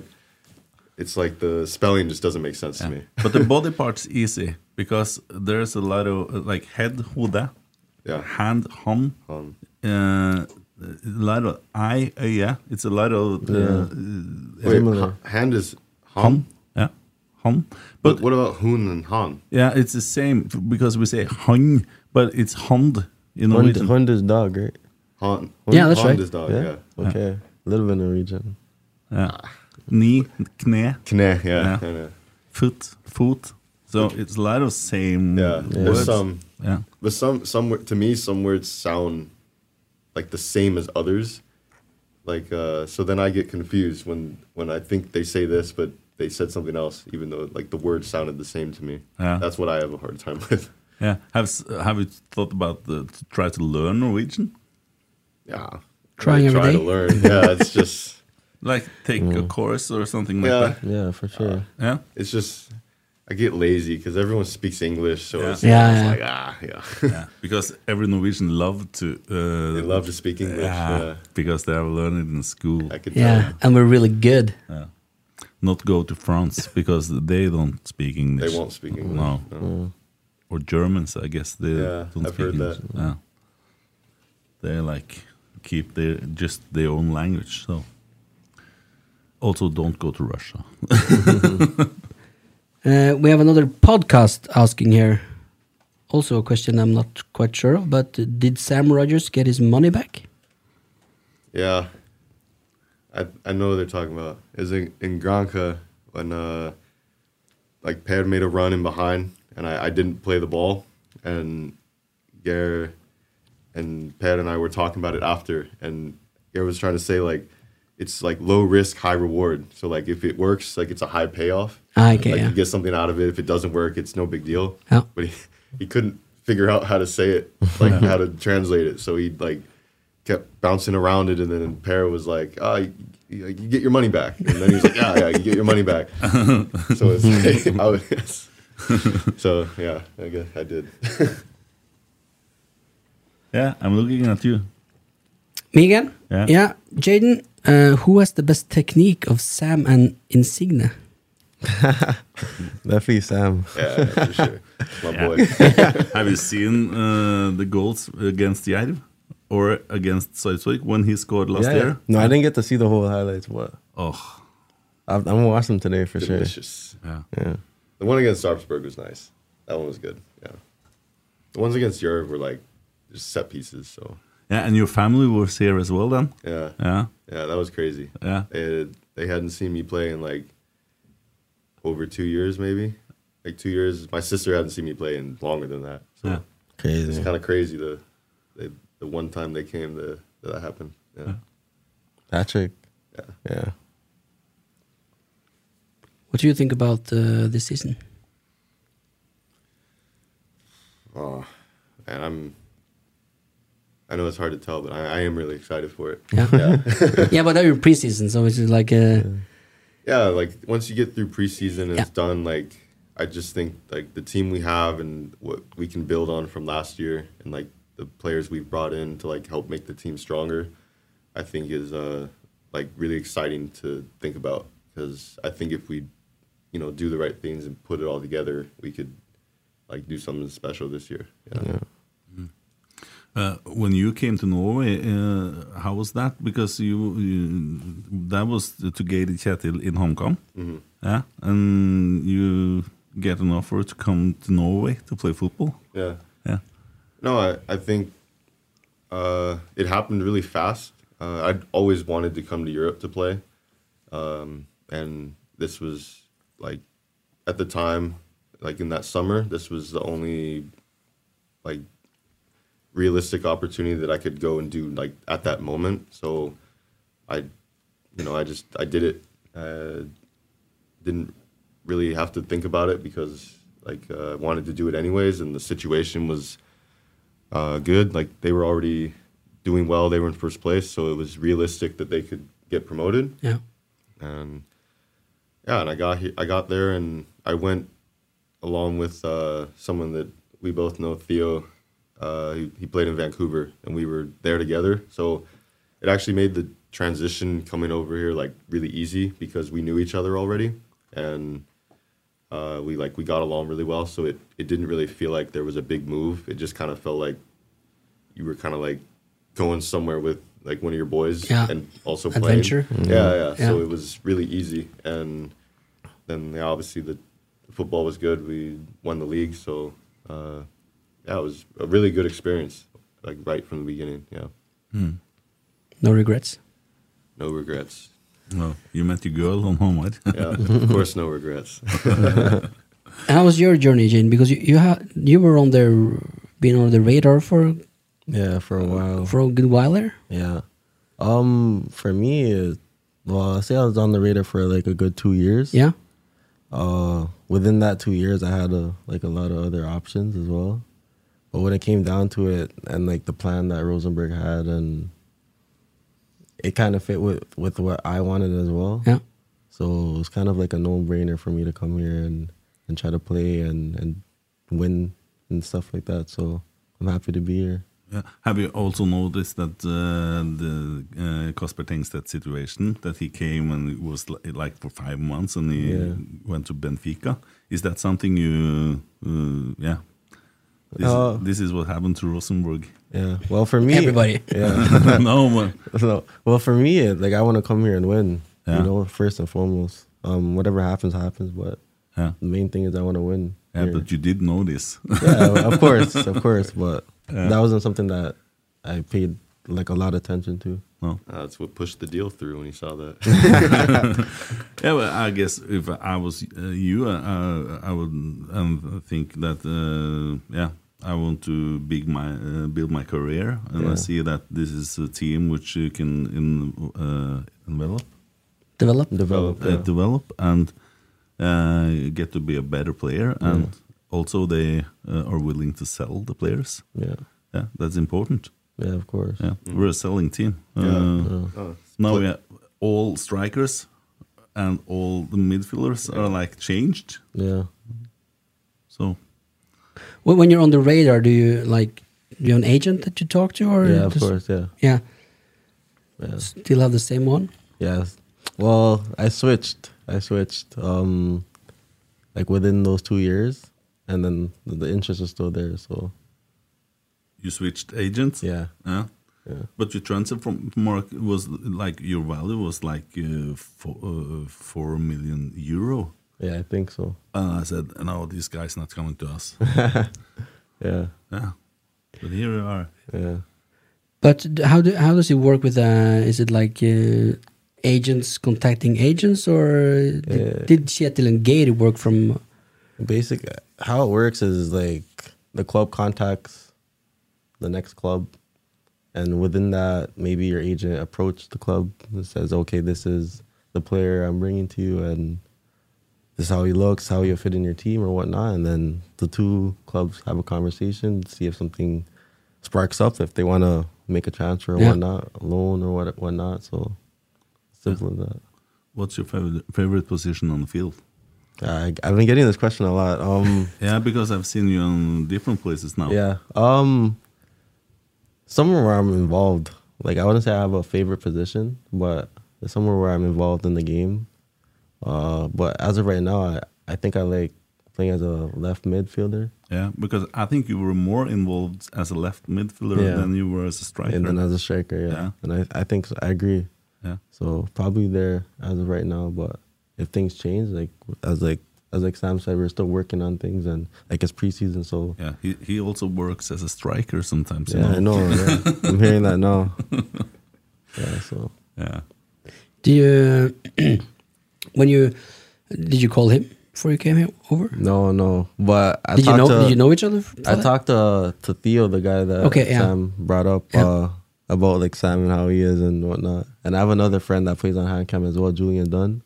[SPEAKER 5] it's like the spelling just doesn't make sense to me.
[SPEAKER 3] but the body part's easy because there's a lot of uh, like head, hode,
[SPEAKER 5] Yeah.
[SPEAKER 3] hand, hom, uh, a lot of eye, uh, yeah. It's a lot of uh, uh,
[SPEAKER 5] Wait, ha- hand is hum.
[SPEAKER 3] yeah, hom.
[SPEAKER 5] But what about hun and han?
[SPEAKER 3] Yeah, it's the same f- because we say hung, but it's hond in
[SPEAKER 6] Hund,
[SPEAKER 3] Norwegian.
[SPEAKER 6] Hund is dog, right?
[SPEAKER 5] Han.
[SPEAKER 4] Yeah, that's right.
[SPEAKER 5] is dog. Yeah.
[SPEAKER 6] Yeah? Okay. A little bit Norwegian.
[SPEAKER 3] Yeah. Knee, knee,
[SPEAKER 5] Knä, yeah, I know.
[SPEAKER 3] foot, foot. So it's a lot of same.
[SPEAKER 5] Yeah, there's
[SPEAKER 3] words.
[SPEAKER 5] some.
[SPEAKER 3] Yeah.
[SPEAKER 5] but some some wo- to me some words sound like the same as others. Like uh, so, then I get confused when when I think they say this, but they said something else, even though like the words sounded the same to me.
[SPEAKER 3] Yeah.
[SPEAKER 5] That's what I have a hard time *laughs* with.
[SPEAKER 3] Yeah. Have s- Have you thought about the, to try to learn Norwegian?
[SPEAKER 5] Yeah,
[SPEAKER 4] Trying
[SPEAKER 5] I
[SPEAKER 4] every
[SPEAKER 5] try
[SPEAKER 4] day?
[SPEAKER 5] to learn. Yeah,
[SPEAKER 4] *laughs*
[SPEAKER 5] it's just
[SPEAKER 3] Like take a course or something like
[SPEAKER 5] Mm. yeah,
[SPEAKER 3] that.
[SPEAKER 6] Yeah, for sure.
[SPEAKER 3] Yeah.
[SPEAKER 5] it's just I get lazy because everyone speaks English, so it's,
[SPEAKER 4] Yeah,
[SPEAKER 5] it's
[SPEAKER 4] yeah.
[SPEAKER 5] like ah, yeah. *laughs*
[SPEAKER 3] yeah, because every Norwegian love to uh,
[SPEAKER 5] They love to speak English.
[SPEAKER 3] yeah,
[SPEAKER 5] yeah.
[SPEAKER 3] because they have learned it in school.
[SPEAKER 5] I could
[SPEAKER 4] Yeah, and we're really good.
[SPEAKER 3] Not go to
[SPEAKER 5] *laughs*
[SPEAKER 3] France because they don't speak English.
[SPEAKER 5] won't speak English,
[SPEAKER 3] No.
[SPEAKER 5] no.
[SPEAKER 3] Or Germans, I guess they
[SPEAKER 5] Mm. Yeah,
[SPEAKER 3] don't
[SPEAKER 5] I've
[SPEAKER 3] speak
[SPEAKER 5] heard
[SPEAKER 3] English.
[SPEAKER 5] that.
[SPEAKER 3] Yeah. They like keep their just their own language. So also don't go to Russia. *laughs*
[SPEAKER 4] Uh, we have another podcast asking here. Also, a question I'm not quite sure of, but did Sam Rogers get his money back?
[SPEAKER 5] Yeah. I I know what they're talking about. Is in, in Granca when uh like Pad made a run in behind and I, I didn't play the ball and Gare and Pad and I were talking about it after and Gare was trying to say like it's like low risk, high reward. So like if it works, like it's a high payoff.
[SPEAKER 4] Ah, okay,
[SPEAKER 5] like
[SPEAKER 4] yeah.
[SPEAKER 5] you get something out of it. If it doesn't work, it's no big deal.
[SPEAKER 4] Yeah.
[SPEAKER 5] But he, he couldn't figure out how to say it, like how to translate it. So he like kept bouncing around it, and then Pear was like, "Ah, you, you you get your money back." And then he was like, "Yeah, yeah, you get your money back." So it's like, *laughs* I was, so yeah, I guess I did.
[SPEAKER 3] yeah, I'm looking at you.
[SPEAKER 4] Me again?
[SPEAKER 3] Yeah.
[SPEAKER 4] Yeah. Jaden, uh, who has the best technique of Sam and Insigne?
[SPEAKER 6] Definitely Sam.
[SPEAKER 5] yeah, *laughs* for sure, my boy.
[SPEAKER 3] Have you seen uh, the goals against Jerv or against Sarpsborg when he scored last
[SPEAKER 6] Yeah, yeah.
[SPEAKER 3] year?
[SPEAKER 6] No, I didn't get to see the whole highlights, but
[SPEAKER 3] Oh,
[SPEAKER 6] I've, I'm going to watch them today for sure.
[SPEAKER 5] *laughs* Delicious.
[SPEAKER 3] yeah.
[SPEAKER 6] Yeah.
[SPEAKER 5] The one against Sarpsborg was nice. That one was good. Yeah, the ones against Europe were like just set pieces. So
[SPEAKER 3] Yeah, and your family was here as well then?
[SPEAKER 5] yeah,
[SPEAKER 3] Yeah.
[SPEAKER 5] Yeah, that was crazy.
[SPEAKER 3] Yeah.
[SPEAKER 5] They, they hadn't seen me play in like over two years, maybe. Like two years. My sister hadn't seen me play in longer than that. So
[SPEAKER 3] Yeah.
[SPEAKER 5] it's
[SPEAKER 6] Crazy.
[SPEAKER 5] kind of crazy the, they, the one time they came the, that that happened. Yeah.
[SPEAKER 6] Patrick.
[SPEAKER 5] Yeah.
[SPEAKER 6] Yeah.
[SPEAKER 4] What do you think about uh, this season?
[SPEAKER 5] Oh, and I'm. I know it's hard to tell, but I, I am really excited for it.
[SPEAKER 4] Yeah. *laughs* yeah, but they're in preseason, so it's like, uh,
[SPEAKER 5] yeah, like once you get through preseason and
[SPEAKER 4] Yeah.
[SPEAKER 5] it's done, like I just think like the team we have and what we can build on from last year and like the players we've brought in to like help make the team stronger, I think is uh like really exciting to think about because I think if we, you know, do the right things and put it all together, we could like do something special this year.
[SPEAKER 3] Uh, when you came to Norway, uh, how was that? Because you, you that was to Gated Kjetil in Hong Kong,
[SPEAKER 5] Mhm.
[SPEAKER 3] yeah, and you get an offer to come to Norway to play football.
[SPEAKER 5] Yeah.
[SPEAKER 3] Yeah.
[SPEAKER 5] No, I, I think uh, it happened really fast. Uh, I'd always wanted to come to Europe to play. Um, and this was like at the time, like in that summer, this was the only like realistic opportunity that I could go and do like at that moment. So I, you know, I just, I did it. Uh, didn't really have to think about it because like uh, I wanted to do it anyways, and the situation was uh, good. Like they were already doing well; they were in first place, so it was realistic that they could get promoted.
[SPEAKER 4] Yeah.
[SPEAKER 5] and yeah, and I got here, I got there, and I went along with uh, someone that we both know, Theo. Uh, he, he played in Vancouver, and we were there together, so it actually made the transition coming over here like really easy because we knew each other already and uh, we like we got along really well so it, it didn't really feel like there was a big move it just kind of felt like you were kind of like going somewhere with like one of your boys
[SPEAKER 4] Yeah.
[SPEAKER 5] and also
[SPEAKER 4] Adventure.
[SPEAKER 5] playing yeah, yeah so
[SPEAKER 4] Yeah.
[SPEAKER 5] it was really easy and then yeah, obviously the football was good we won the league so uh, yeah it was a really good experience like right from the beginning yeah
[SPEAKER 4] No regrets.
[SPEAKER 5] no regrets
[SPEAKER 3] No, you met your girl on home, *laughs* right?
[SPEAKER 5] yeah of course no regrets
[SPEAKER 4] How was your journey, Jane? Because you you, ha- you were on the been on the radar for
[SPEAKER 6] Yeah, for a while.
[SPEAKER 4] for a good while there.
[SPEAKER 6] Yeah. Um, for me, it, well, I say I was on the radar for like a good two years.
[SPEAKER 4] Yeah.
[SPEAKER 6] Uh, within that two years, I had a, like a lot of other options as well. But when it came down to it, and like the plan that Rosenberg had, and it kind of fit with with what I wanted as well.
[SPEAKER 4] Yeah.
[SPEAKER 6] So it was kind of like a no brainer for me to come here and and try to play and and win and stuff like that. So I'm happy to be here.
[SPEAKER 3] Yeah. Uh, Have you also noticed that uh, the uh, Kasper Tengstedt situation that he came and it was li- like for five months and he
[SPEAKER 6] Yeah.
[SPEAKER 3] went to Benfica? Is that something you? Uh, yeah. This,
[SPEAKER 6] Uh,
[SPEAKER 3] this is what happened to Rosenborg.
[SPEAKER 6] Yeah. Well, for me, *laughs*
[SPEAKER 4] Everybody.
[SPEAKER 6] Yeah.
[SPEAKER 3] *laughs*
[SPEAKER 6] *laughs*
[SPEAKER 3] no man.
[SPEAKER 6] So, well, for me, it- like I want to come here and win.
[SPEAKER 3] Yeah.
[SPEAKER 6] You know, first and foremost. Um, whatever happens, happens. But
[SPEAKER 3] Yeah.
[SPEAKER 6] the main thing is I want to win.
[SPEAKER 3] Yeah,
[SPEAKER 6] here.
[SPEAKER 3] but you did notice. *laughs*
[SPEAKER 6] yeah, of course, of course. But
[SPEAKER 3] Yeah.
[SPEAKER 6] that wasn't something that I paid like a lot of attention to.
[SPEAKER 3] No.
[SPEAKER 5] that's what pushed the deal through when he saw that
[SPEAKER 3] yeah, well, I guess if I was uh, you, uh, uh, I would um, think that uh, yeah, I want to big my uh, build my career, and I
[SPEAKER 6] Yeah.
[SPEAKER 3] see that this is a team which you can in, uh, envelop,
[SPEAKER 4] Develop.
[SPEAKER 6] Develop.
[SPEAKER 3] uh, develop, and uh, get to be a better player, and also they uh, are willing to sell the players.
[SPEAKER 6] yeah.
[SPEAKER 3] Yeah, that's important.
[SPEAKER 6] Yeah, of course.
[SPEAKER 3] Yeah, we're a selling team.
[SPEAKER 5] Yeah.
[SPEAKER 3] Uh,
[SPEAKER 5] Oh.
[SPEAKER 3] Now we have all strikers and all the midfielders are like changed.
[SPEAKER 6] Yeah.
[SPEAKER 3] So
[SPEAKER 4] When when you're on the radar, do you like you have an agent that you talk to, or
[SPEAKER 6] Yeah, of
[SPEAKER 4] just-
[SPEAKER 6] course. Yeah.
[SPEAKER 4] yeah,
[SPEAKER 6] Yeah.
[SPEAKER 4] still have the same one?
[SPEAKER 6] Yes. Well, I switched. I switched. Um, like within those two years, and then the, the interest is still there. So
[SPEAKER 3] you switched agents.
[SPEAKER 6] yeah,
[SPEAKER 3] Yeah.
[SPEAKER 6] Yeah.
[SPEAKER 3] But your transfer from Mark was like your value was like uh, four, uh, four million euro.
[SPEAKER 6] yeah, I think so.
[SPEAKER 3] And I said, no, this guy's not coming to
[SPEAKER 6] *laughs*
[SPEAKER 3] us.
[SPEAKER 6] Yeah,
[SPEAKER 3] yeah. But here we are.
[SPEAKER 6] yeah.
[SPEAKER 4] But d- how do how does it work with? Uh, is it like uh, agents contacting agents, or did,
[SPEAKER 6] Yeah.
[SPEAKER 4] did Kjetil and Gate work from?
[SPEAKER 6] Uh, Basic. uh, How it works is like the club contacts the next club, and within that, maybe your agent approached the club and says, "Okay, this is the player I'm bringing to you, and this is how he looks, how he'll fit in your team, or whatnot." And then the two clubs have a conversation, see if something sparks up, if they want to make a transfer or
[SPEAKER 4] Yeah.
[SPEAKER 6] whatnot, a loan or what whatnot. So simple as that.
[SPEAKER 3] What's your favorite, favorite position on the field?
[SPEAKER 6] I, I've been getting this question a lot. Um,
[SPEAKER 3] *laughs* Yeah, because I've seen you on different places now.
[SPEAKER 6] Yeah. Um somewhere where I'm involved. Like I wouldn't say I have a favorite position, but it's somewhere where I'm involved in the game. Uh but as of right now I, I think I like playing as a left midfielder.
[SPEAKER 3] Yeah, because I think you were more involved as a left midfielder
[SPEAKER 6] Yeah.
[SPEAKER 3] than you were as a striker.
[SPEAKER 6] And then as a striker, yeah.
[SPEAKER 3] Yeah.
[SPEAKER 6] And I, I think so, I agree.
[SPEAKER 3] Yeah.
[SPEAKER 6] So probably there as of right now, but if things change, like as like as like Sam said, we're still working on things and like it's preseason, so
[SPEAKER 3] yeah, he, he also works as a striker sometimes. you
[SPEAKER 6] yeah, I know. yeah. I'm hearing that now. Yeah, so
[SPEAKER 3] yeah.
[SPEAKER 4] Do you *clears throat* when you did you call him before you came here over?
[SPEAKER 6] No, no. But I
[SPEAKER 4] Did you
[SPEAKER 6] talked
[SPEAKER 4] know-
[SPEAKER 6] To,
[SPEAKER 4] did you know each other f-
[SPEAKER 6] I
[SPEAKER 4] for that?
[SPEAKER 6] talked to to Theo, the guy that
[SPEAKER 4] Okay, yeah.
[SPEAKER 6] Sam brought up uh, about like Sam and how he is and whatnot. And I have another friend that plays on hand cam as well, Julian Dunn.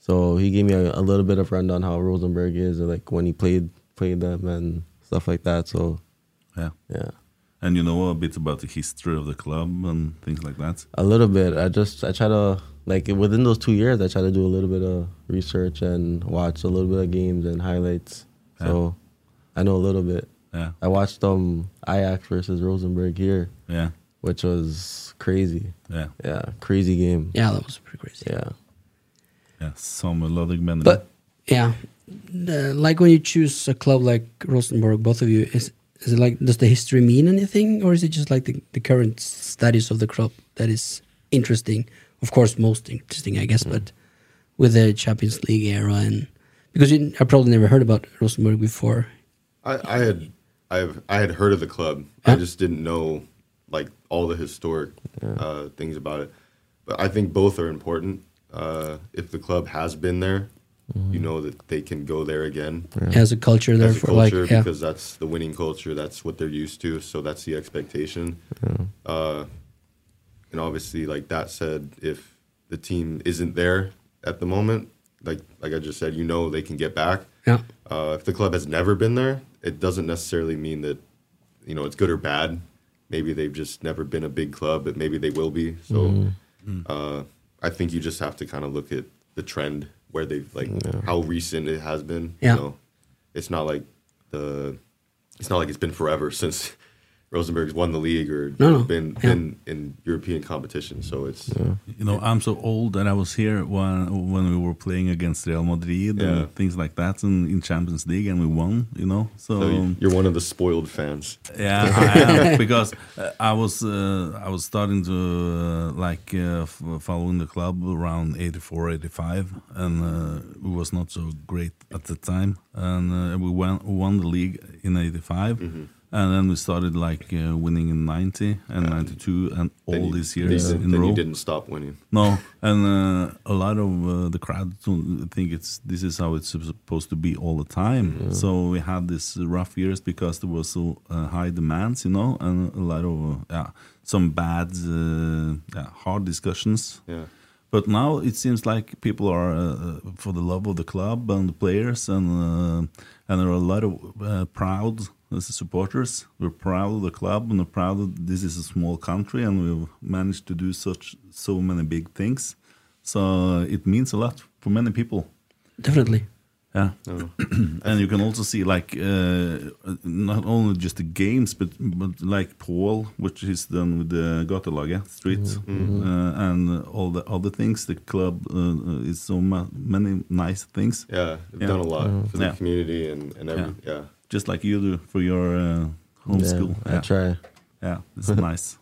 [SPEAKER 6] So he gave me a, a little bit of rundown how Rosenberg is, and, like when he played played them and stuff like that. So
[SPEAKER 3] Yeah.
[SPEAKER 6] yeah.
[SPEAKER 3] And you know a bit about the history of the club and things like that.
[SPEAKER 6] A little bit. I just I try to like within those two years, I try to do a little bit of research and watch a little bit of games and highlights. So I know a little bit.
[SPEAKER 3] Yeah.
[SPEAKER 6] I watched um Ajax versus Rosenberg here.
[SPEAKER 3] Yeah.
[SPEAKER 6] Which was crazy.
[SPEAKER 3] Yeah.
[SPEAKER 6] Yeah. Crazy game.
[SPEAKER 4] Yeah, that was pretty crazy.
[SPEAKER 6] Yeah.
[SPEAKER 3] Yeah, some melodic melody.
[SPEAKER 4] But yeah, Uh, like when you choose a club like Rosenborg, both of you is is it like does the history mean anything, or is it just like the, the current status of the club that is interesting? Of course, most interesting, I
[SPEAKER 5] Mm.
[SPEAKER 4] guess, but with the Champions League era and because you, I probably never heard about Rosenborg before.
[SPEAKER 5] I, I had I have I had heard of the club. I just didn't know like all the historic uh, things about it. But I think both are important. Uh, if the club has been there, you know that they can go there again.
[SPEAKER 4] Yeah. Has a culture there
[SPEAKER 5] Has a
[SPEAKER 4] for, like,
[SPEAKER 5] culture,
[SPEAKER 4] yeah.
[SPEAKER 5] because that's the winning culture. That's what they're used to. So that's the expectation. Uh, and obviously, like that said, if the team isn't there at the moment, like like I just said, you know they can get back.
[SPEAKER 4] Yeah.
[SPEAKER 5] Uh, if the club has never been there, it doesn't necessarily mean that you know it's good or bad. Maybe they've just never been a big club, but maybe they will be. So
[SPEAKER 4] Mm-hmm.
[SPEAKER 6] Mhm.
[SPEAKER 5] uh, I think you just have to kind of look at the trend where they've like how recent it has been.
[SPEAKER 4] Yeah.
[SPEAKER 5] You know, it's not like the it's not like it's been forever since *laughs* Rosenberg's won the league or
[SPEAKER 3] No, no.
[SPEAKER 5] been
[SPEAKER 3] Yeah.
[SPEAKER 5] been in European competition. So it's
[SPEAKER 3] You know, I'm so old that I was here when when we were playing against Real Madrid
[SPEAKER 5] Yeah.
[SPEAKER 3] and things like that, and in Champions League, and we won. You know, so,
[SPEAKER 5] so you- you're one of the spoiled fans.
[SPEAKER 3] yeah,
[SPEAKER 5] *laughs*
[SPEAKER 3] I am because uh, I was uh, I was starting to uh, like uh, f- following the club around 84, 85, and uh, it was not so great at the time, and uh, we won won the league in 85.
[SPEAKER 5] Mm-hmm.
[SPEAKER 3] And then we started like uh, winning in 90 and 92 and all
[SPEAKER 5] Then you-
[SPEAKER 3] these
[SPEAKER 5] then
[SPEAKER 3] years
[SPEAKER 5] you-
[SPEAKER 3] in
[SPEAKER 5] then
[SPEAKER 3] row.
[SPEAKER 5] you didn't stop winning.
[SPEAKER 3] No, and uh, a lot of uh, the crowd don't think it's this is how it's supposed to be all the time. So we had this rough years because there was so uh, high demands, you know, and a lot of uh, yeah, some bad, uh, yeah, hard discussions.
[SPEAKER 5] Yeah.
[SPEAKER 3] But now it seems like people are uh, for the love of the club and the players, and uh, and there are a lot of uh, proud uh, supporters. We're proud of the club, and we're proud that this is a small country, and we've managed to do such so many big things. So uh, it means a lot for many people.
[SPEAKER 4] Definitely.
[SPEAKER 3] Yeah, Oh. *clears throat* and you can also see like uh, not only just the games, but but like Paul, which is done with the Gatelaget Street,
[SPEAKER 5] Mhm.
[SPEAKER 3] uh, and all the other things. The club uh, is so ma- many nice things.
[SPEAKER 5] Yeah, they've done a lot for the
[SPEAKER 3] Yeah.
[SPEAKER 5] community and and every, yeah.
[SPEAKER 3] just like you do for your uh, homeschool.
[SPEAKER 6] I try.
[SPEAKER 3] Yeah, it's *laughs* nice.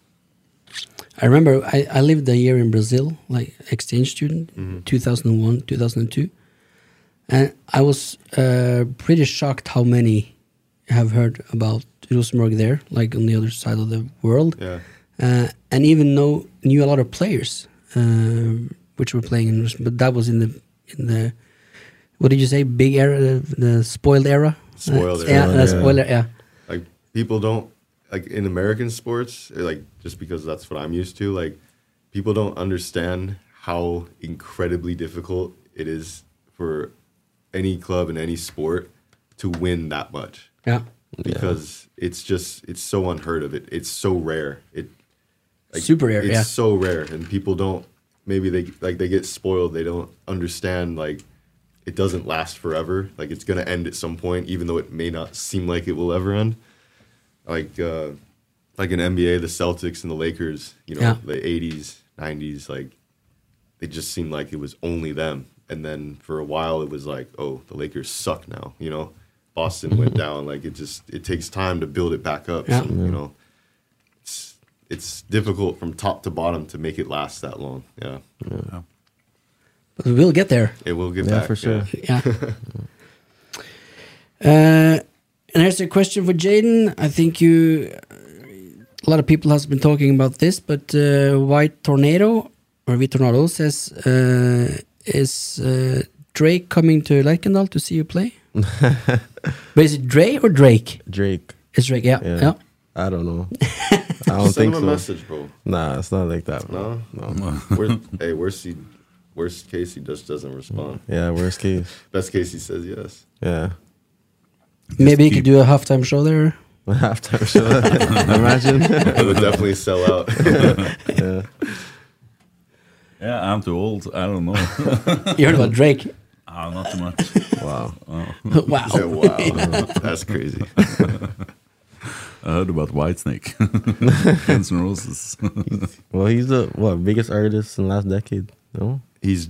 [SPEAKER 4] I remember I, I lived a year in Brazil, like exchange student, 2001, 2002. And I was uh, pretty shocked how many have heard about Rosenborg there, like on the other side of the world.
[SPEAKER 5] Yeah.
[SPEAKER 4] Uh, and even know knew a lot of players um which were playing in Rosenborg. But that was in the in the what did you say? Big era, the spoiled era.
[SPEAKER 5] spoiler.
[SPEAKER 4] Uh, yeah, the spoiler. Yeah,
[SPEAKER 5] Like people don't like in American sports, like just because that's what I'm used to, like people don't understand how incredibly difficult it is for any club in any sport to win that much.
[SPEAKER 4] Yeah.
[SPEAKER 5] Because it's just it's so unheard of. It it's so rare. It
[SPEAKER 4] Super rare,
[SPEAKER 5] It's
[SPEAKER 4] yeah.
[SPEAKER 5] so rare, and people don't. Maybe they like they get spoiled. They don't understand like it doesn't last forever. Like it's gonna end at some point, even though it may not seem like it will ever end. Like uh, like in NBA, the Celtics and the Lakers. You know,
[SPEAKER 4] Yeah.
[SPEAKER 5] the '80s, '90s. Like it just seemed like it was only them And then for a while, it was like, oh, the Lakers suck now. You know, Boston went
[SPEAKER 6] Mm-hmm.
[SPEAKER 5] down. Like it just it takes time to build it back up.
[SPEAKER 4] Yeah.
[SPEAKER 5] So, you know, it's it's difficult from top to bottom to make it last that long. Yeah,
[SPEAKER 3] yeah.
[SPEAKER 4] But we'll get there.
[SPEAKER 5] it will get
[SPEAKER 6] Yeah,
[SPEAKER 5] back
[SPEAKER 6] for sure.
[SPEAKER 4] *laughs* Yeah. Uh, and here's a question for Jaden. I think you, a lot of people has been talking about this, but uh, White Tornado or V Tornado says, uh, is uh, Drake coming to Leikendal to see you play? but is it Dre or Drake?
[SPEAKER 6] Drake.
[SPEAKER 4] It's Drake. Yeah. Yeah.
[SPEAKER 6] I don't know. I don't
[SPEAKER 5] Send
[SPEAKER 6] think
[SPEAKER 5] him
[SPEAKER 6] so.
[SPEAKER 5] a message, bro.
[SPEAKER 6] Nah, it's not like that. Bro.
[SPEAKER 5] No,
[SPEAKER 6] No.
[SPEAKER 5] Worst, hey, worst he, worst case he just doesn't respond.
[SPEAKER 6] Yeah, worst case.
[SPEAKER 5] *laughs* Best case he says
[SPEAKER 6] *laughs*
[SPEAKER 5] yes.
[SPEAKER 6] Yeah.
[SPEAKER 4] Maybe you could do a halftime show *laughs* there.
[SPEAKER 6] Halftime show. Imagine.
[SPEAKER 5] it would definitely sell out. *laughs*
[SPEAKER 6] yeah.
[SPEAKER 3] Yeah, I'm too old. I don't know.
[SPEAKER 4] You heard about Drake?
[SPEAKER 3] *laughs* Ah, not too much.
[SPEAKER 6] Wow.
[SPEAKER 4] Wow.
[SPEAKER 6] *laughs*
[SPEAKER 4] Yeah, *laughs* wow.
[SPEAKER 5] That's crazy.
[SPEAKER 3] I heard about *laughs* Whitesnake, Guns N' Roses.
[SPEAKER 6] Well, he's the what biggest artist in the last decade. No.
[SPEAKER 5] He's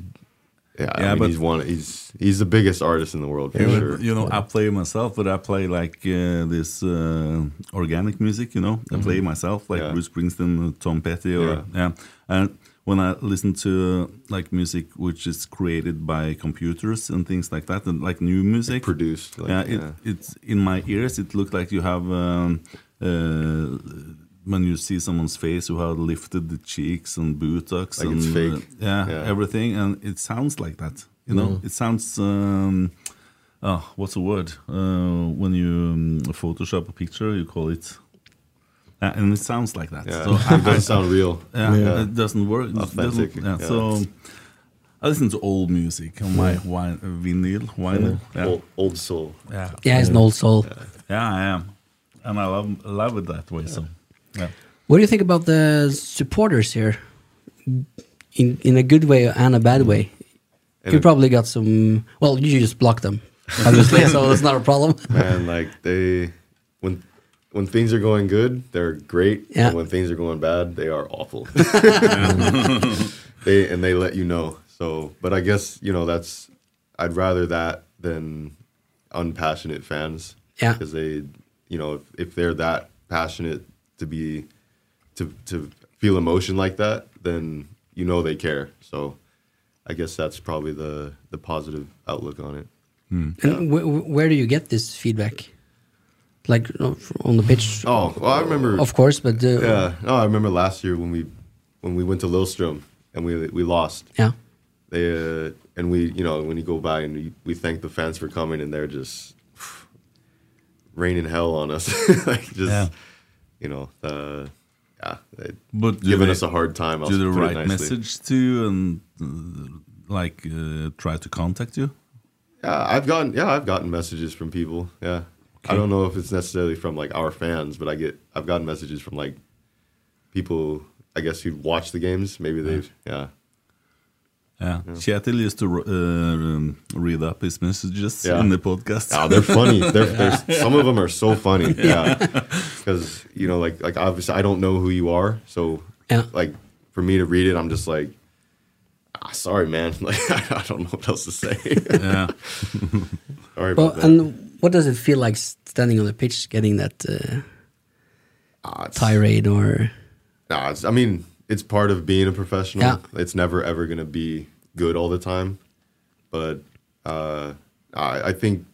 [SPEAKER 5] yeah, I
[SPEAKER 3] Yeah,
[SPEAKER 5] mean,
[SPEAKER 3] but-
[SPEAKER 5] he's one. He's he's the biggest artist in the world for
[SPEAKER 3] You know,
[SPEAKER 5] sure.
[SPEAKER 3] you know, I play myself, but I play like uh, this uh, organic music. You know, I play myself like Bruce Springsteen, uh, Tom Petty, or
[SPEAKER 5] Mm-hmm. Yeah.
[SPEAKER 3] yeah. And when I listen to uh, like music which is created by computers and things like that, and like new music
[SPEAKER 5] produced, like,
[SPEAKER 3] yeah, it,
[SPEAKER 5] yeah.
[SPEAKER 3] it's in my ears. It looked like you have. Um, uh, when you see someone's face who have lifted the cheeks and buttocks
[SPEAKER 5] Like
[SPEAKER 3] and
[SPEAKER 5] it's fake.
[SPEAKER 3] uh, yeah,
[SPEAKER 5] Yeah.
[SPEAKER 3] everything and it sounds like that you know
[SPEAKER 5] Mm.
[SPEAKER 3] it sounds um, Oh, what's the word? Uh, when you um, Photoshop a picture, you call it. Uh, and it sounds like that.
[SPEAKER 5] Yeah, it *laughs* doesn't sound real.
[SPEAKER 3] Yeah,
[SPEAKER 5] Yeah.
[SPEAKER 3] it doesn't work. It
[SPEAKER 5] Authentic,
[SPEAKER 3] doesn't- yeah,
[SPEAKER 5] yeah.
[SPEAKER 3] So I listen to old music on my
[SPEAKER 5] Yeah.
[SPEAKER 3] wi- vinyl. vinyl yeah.
[SPEAKER 5] Old, old soul.
[SPEAKER 3] Yeah.
[SPEAKER 4] Yeah, he's an old soul.
[SPEAKER 3] Yeah, I am. And I love, love it that way. So, yeah.
[SPEAKER 4] What do you think about the supporters here? In in a good way and a bad way.
[SPEAKER 5] In
[SPEAKER 4] you
[SPEAKER 5] a-
[SPEAKER 4] probably got some. Well, you just blocked
[SPEAKER 5] *laughs*
[SPEAKER 4] them, obviously, so it's not a problem.
[SPEAKER 5] Man, like they when when things are going good, they're great.
[SPEAKER 4] Yeah.
[SPEAKER 5] And when things are going bad, they are
[SPEAKER 4] *laughs*
[SPEAKER 5] awful. they and they let you know. So, but I guess you know that's I'd rather that than unpassionate fans.
[SPEAKER 4] Yeah.
[SPEAKER 5] Because they, you know, if, if they're that passionate to be to to feel emotion like that, then you know they care. So, I guess that's probably the the positive outlook on it.
[SPEAKER 4] And wh- wh- where do you get this feedback? Like uh, f- on the pitch?
[SPEAKER 5] Oh, well, I remember.
[SPEAKER 4] Of course, but uh,
[SPEAKER 5] yeah, no, I remember last year when we when we went to Lillstrom and we we lost.
[SPEAKER 4] Yeah.
[SPEAKER 5] They uh, and we, you know, when you go by and we, we thank the fans for coming and they're just *sighs* raining hell on us, *laughs* like just
[SPEAKER 3] Yeah.
[SPEAKER 5] you know, uh, yeah, they-
[SPEAKER 3] But do
[SPEAKER 5] giving
[SPEAKER 3] they-
[SPEAKER 5] us a hard time. I'll
[SPEAKER 3] Do they
[SPEAKER 5] put it
[SPEAKER 3] write
[SPEAKER 5] nicely.
[SPEAKER 3] message to you and uh, like uh, try to contact you?
[SPEAKER 5] Yeah, I've gotten yeah, I've gotten messages from people. Yeah. I don't know if it's necessarily from like our fans, but I get I've gotten messages from like people I guess who watch the games. Maybe they've yeah.
[SPEAKER 3] Yeah. Kjetil used to uh, um, read up his messages
[SPEAKER 5] Yeah.
[SPEAKER 3] in the podcast.
[SPEAKER 5] Oh, they're funny. *laughs* They're, they're, some of them are so funny.
[SPEAKER 3] Yeah.
[SPEAKER 5] Yeah, because you know, like like obviously, I don't know who you are, so
[SPEAKER 4] Yeah.
[SPEAKER 5] like for me to read it, I'm just like, ah, sorry, man. *laughs* Like I don't know what else to say.
[SPEAKER 3] Yeah.
[SPEAKER 5] *laughs* sorry
[SPEAKER 4] well,
[SPEAKER 5] about that.
[SPEAKER 4] and what does it feel like standing on the pitch, getting that uh,
[SPEAKER 5] Ah,
[SPEAKER 4] tirade or?
[SPEAKER 5] Nah, it's, I mean, it's part of being a professional.
[SPEAKER 4] Yeah.
[SPEAKER 5] It's never ever going to be good all the time, but uh, I, I think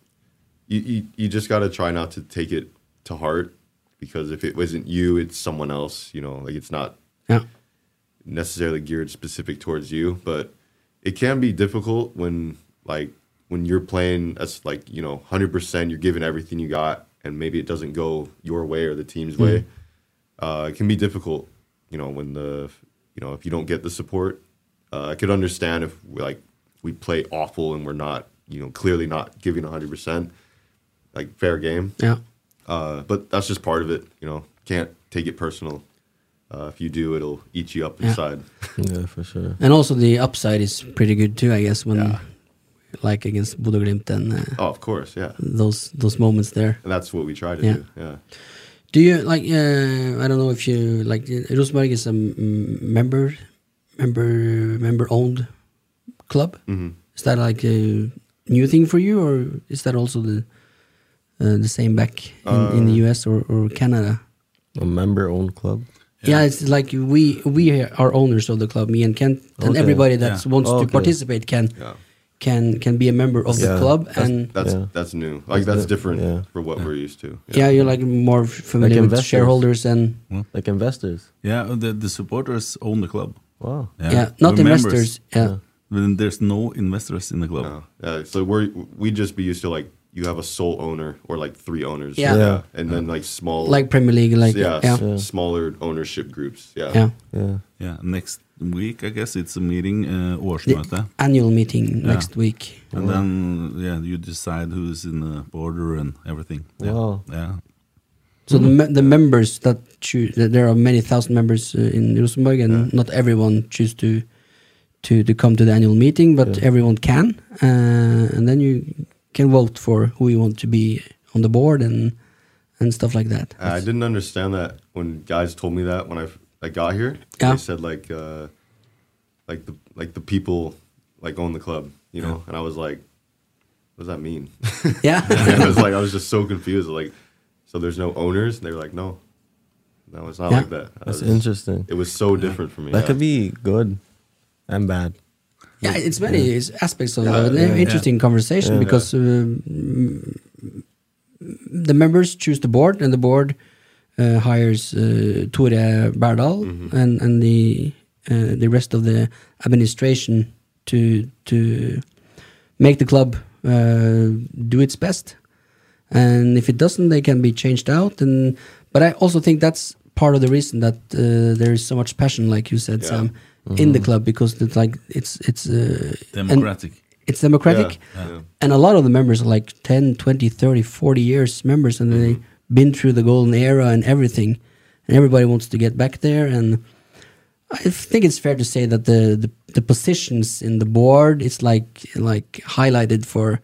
[SPEAKER 5] you, you you just got to try not to take it to heart because if it wasn't you, it's someone else. You know, like it's not
[SPEAKER 4] Yeah.
[SPEAKER 5] necessarily geared specific towards you, but it can be difficult when like when you're playing as like you know 100% you're giving everything you got and maybe it doesn't go your way or the team's way uh, it can be difficult you know when the you know if you don't get the support uh, i could understand if like we play awful and we're not you know clearly not giving 100% like fair game
[SPEAKER 4] Yeah.
[SPEAKER 5] uh, but that's just part of it you know can't take it personal uh, if you do it'll eat you up
[SPEAKER 4] Yeah.
[SPEAKER 5] inside
[SPEAKER 6] Yeah, for sure.
[SPEAKER 4] And also the upside is pretty good too, I guess. When like against Bodo Glimt and uh,
[SPEAKER 5] oh of course yeah
[SPEAKER 4] those those moments there.
[SPEAKER 5] And that's what we try to
[SPEAKER 4] Yeah.
[SPEAKER 5] do. Yeah.
[SPEAKER 4] Do you like? Uh, I don't know if you like. uh, Rosenborg is a m- member, member, member-owned club. Is that like a new thing for you, or is that also the uh, the same back in, in the US or, or Canada?
[SPEAKER 6] A member-owned club.
[SPEAKER 4] Yeah. it's like we we are owners of the club. Me and Kent and
[SPEAKER 6] Okay.
[SPEAKER 4] everybody that
[SPEAKER 6] Yeah.
[SPEAKER 4] wants to
[SPEAKER 6] Okay.
[SPEAKER 4] participate can can can be a member of the
[SPEAKER 5] Yeah.
[SPEAKER 4] club
[SPEAKER 5] That's-
[SPEAKER 4] and
[SPEAKER 5] that's that's new. Like
[SPEAKER 6] That's
[SPEAKER 5] that's,
[SPEAKER 6] di-
[SPEAKER 5] different
[SPEAKER 6] yeah.
[SPEAKER 5] for what we're used to.
[SPEAKER 4] yeah, you're like more f- familiar with
[SPEAKER 6] investors.
[SPEAKER 4] shareholders and
[SPEAKER 6] Like investors.
[SPEAKER 3] Yeah, the, the supporters own the club.
[SPEAKER 6] Wow.
[SPEAKER 4] Yeah, not
[SPEAKER 3] We're members.
[SPEAKER 4] investors, yeah. Yeah.
[SPEAKER 3] Then there's no investors in the club.
[SPEAKER 6] Oh.
[SPEAKER 5] Uh, so we're we just be used to like you have a sole owner or like three owners.
[SPEAKER 4] Yeah. Yeah.
[SPEAKER 5] And then like small
[SPEAKER 4] Like Premier League, like-
[SPEAKER 5] yeah,
[SPEAKER 4] yeah.
[SPEAKER 5] s- smaller ownership groups. Yeah.
[SPEAKER 4] Yeah.
[SPEAKER 6] Yeah.
[SPEAKER 3] Yeah. Next week, I guess it's a meeting, uh,
[SPEAKER 4] the
[SPEAKER 3] årsmøte.
[SPEAKER 4] annual meeting
[SPEAKER 3] Yeah.
[SPEAKER 4] next week.
[SPEAKER 3] And then,
[SPEAKER 6] Oh.
[SPEAKER 3] yeah, you decide who's in the border and everything. Yeah.
[SPEAKER 6] Wow.
[SPEAKER 3] Yeah.
[SPEAKER 4] So the, me- the members that choose, that there are many thousand members uh, in Rosenborg, and not everyone choose to to to come to the annual meeting, but everyone can, uh, and then you can vote for who you want to be on the board and and stuff like that.
[SPEAKER 5] I didn't understand that when guys told me that when I, f- I got here.
[SPEAKER 4] Yeah.
[SPEAKER 5] They said like uh, like the like the people like own the club, you know. And I was like, what does that mean?
[SPEAKER 4] *laughs*
[SPEAKER 5] *laughs*
[SPEAKER 4] Yeah. *laughs*
[SPEAKER 5] I was like, I was just so confused. Like, so there's no owners? And they were like, no, no, it's not
[SPEAKER 6] Yeah.
[SPEAKER 5] like that. I
[SPEAKER 6] That's
[SPEAKER 5] was-
[SPEAKER 6] interesting.
[SPEAKER 5] It was so different for me.
[SPEAKER 6] That
[SPEAKER 5] yeah.
[SPEAKER 6] could be good and bad.
[SPEAKER 4] Yeah, it's many it's aspects of
[SPEAKER 6] Yeah,
[SPEAKER 4] an
[SPEAKER 6] yeah,
[SPEAKER 4] interesting
[SPEAKER 6] yeah.
[SPEAKER 4] conversation
[SPEAKER 6] Yeah.
[SPEAKER 4] because uh, mm, the members choose the board, and the board uh, hires uh, Tore Berdal
[SPEAKER 3] Mm-hmm.
[SPEAKER 4] and and the uh, the rest of the administration to to make the club uh, do its best. And if it doesn't, they can be changed out. And but I also think that's part of the reason that uh, there is so much passion, like you said, Sam, in the
[SPEAKER 6] Mhm.
[SPEAKER 4] club because it's like it's it's uh, and
[SPEAKER 3] Democratic.
[SPEAKER 4] it's democratic.
[SPEAKER 3] Yeah, yeah.
[SPEAKER 4] And a lot of the members are like 10, 20, 30, 40 years members, and they've been through the golden era and everything. And everybody wants to get back there. And I think it's fair to say that the, the, the positions in the board it's like like highlighted for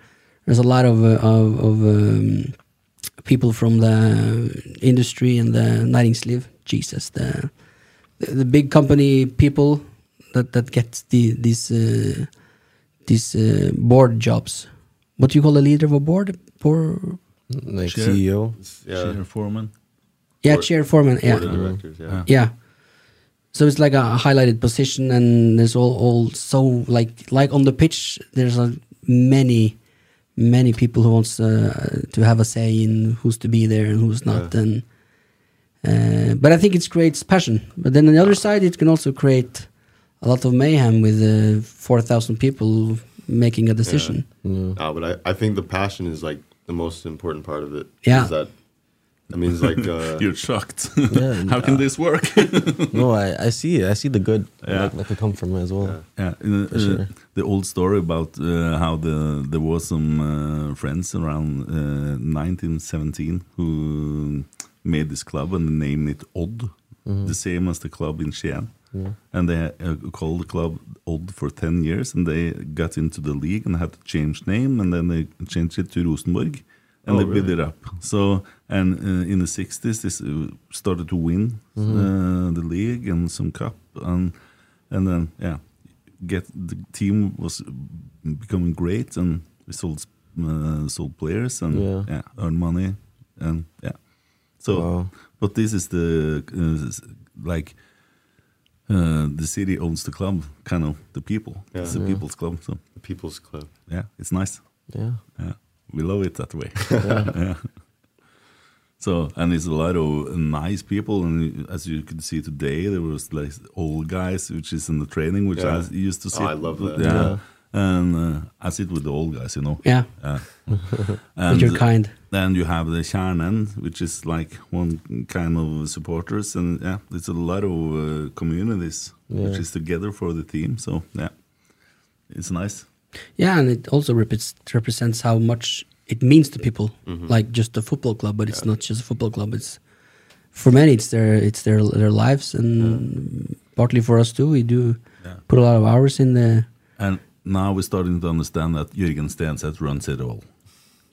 [SPEAKER 4] there's a lot of uh, of, of um, people from the industry and the Nighting Sleeve, Jesus, the the the big company people that that get the these uh, these uh, board jobs. What do you call a leader of a board? Board
[SPEAKER 6] Like E
[SPEAKER 3] Chair.
[SPEAKER 6] CEO.
[SPEAKER 5] Yeah.
[SPEAKER 3] Chair foreman.
[SPEAKER 4] yeah,
[SPEAKER 5] Board-
[SPEAKER 4] chair foreman. Yeah,
[SPEAKER 5] board of directors, yeah. Yeah.
[SPEAKER 4] yeah. So it's like a highlighted position, and there's all all so like like on the pitch. There's a many many people who wants uh, to have a say in who's to be there and who's not. And uh, but I think it creates passion. But then on the other side, it can also create a lot of mayhem with uh, four thousand people making a decision.
[SPEAKER 5] No, but I, I think the passion is like the most important part of it.
[SPEAKER 4] Yeah.
[SPEAKER 5] Is that that means
[SPEAKER 3] *laughs*
[SPEAKER 5] like uh,
[SPEAKER 3] You're shocked.
[SPEAKER 6] Yeah.
[SPEAKER 3] *laughs* How can this work?
[SPEAKER 6] *laughs* no, I, I see it. I see the good
[SPEAKER 3] Yeah.
[SPEAKER 6] that, that could come from it as well.
[SPEAKER 3] Yeah, uh,
[SPEAKER 6] For
[SPEAKER 3] uh,
[SPEAKER 6] sure.
[SPEAKER 3] the old story about uh, how the there was some uh, friends around uh, 1917 who made this club and named it Odd,
[SPEAKER 6] Mhm.
[SPEAKER 3] the same as the club in Skien.
[SPEAKER 6] Yeah.
[SPEAKER 3] And they uh, called the club Odd for 10 years and they got into the league and had to change name and then they changed it to Rosenborg and
[SPEAKER 5] Oh,
[SPEAKER 3] they built
[SPEAKER 5] really?
[SPEAKER 3] it up. So, and uh, in the 60s, this uh, started to win
[SPEAKER 6] Mhm.
[SPEAKER 3] uh, the league and some cup and and then yeah, get the team was becoming great, and we sold uh, sold players and yeah.
[SPEAKER 6] Yeah.
[SPEAKER 3] earned money, and yeah. So,
[SPEAKER 6] Wow.
[SPEAKER 3] but this is the uh, s- like uh, the city owns the club, kind of the people.
[SPEAKER 5] Yeah.
[SPEAKER 3] It's the
[SPEAKER 5] Yeah.
[SPEAKER 3] people's club, so
[SPEAKER 5] the people's club.
[SPEAKER 3] yeah, it's nice.
[SPEAKER 6] Yeah.
[SPEAKER 3] Yeah, we love it that way. *laughs* yeah. So and it's a lot of nice people, and as you could see today, there was like old guys, which is in the training, which
[SPEAKER 5] Yeah.
[SPEAKER 3] I used to
[SPEAKER 5] Oh,
[SPEAKER 3] sit.
[SPEAKER 5] I love that.
[SPEAKER 3] Yeah,
[SPEAKER 5] Yeah.
[SPEAKER 3] and uh, I sit with the old guys, you know.
[SPEAKER 4] Yeah.
[SPEAKER 3] And
[SPEAKER 4] you're kind.
[SPEAKER 3] Then you have the kärnan, which is like one kind of supporters, and yeah, it's a lot of uh, communities which
[SPEAKER 6] Yeah.
[SPEAKER 3] is together for the team. So yeah, it's nice.
[SPEAKER 4] Yeah, and it also repres represents how much it means to people,
[SPEAKER 3] Mm-hmm.
[SPEAKER 4] like just a football club. But it's not just a football club. It's for many, it's their it's their their lives, and partly for us too. We do put a lot of hours in the.
[SPEAKER 3] And now we're starting to understand that Jürgen Stenseth runs it all.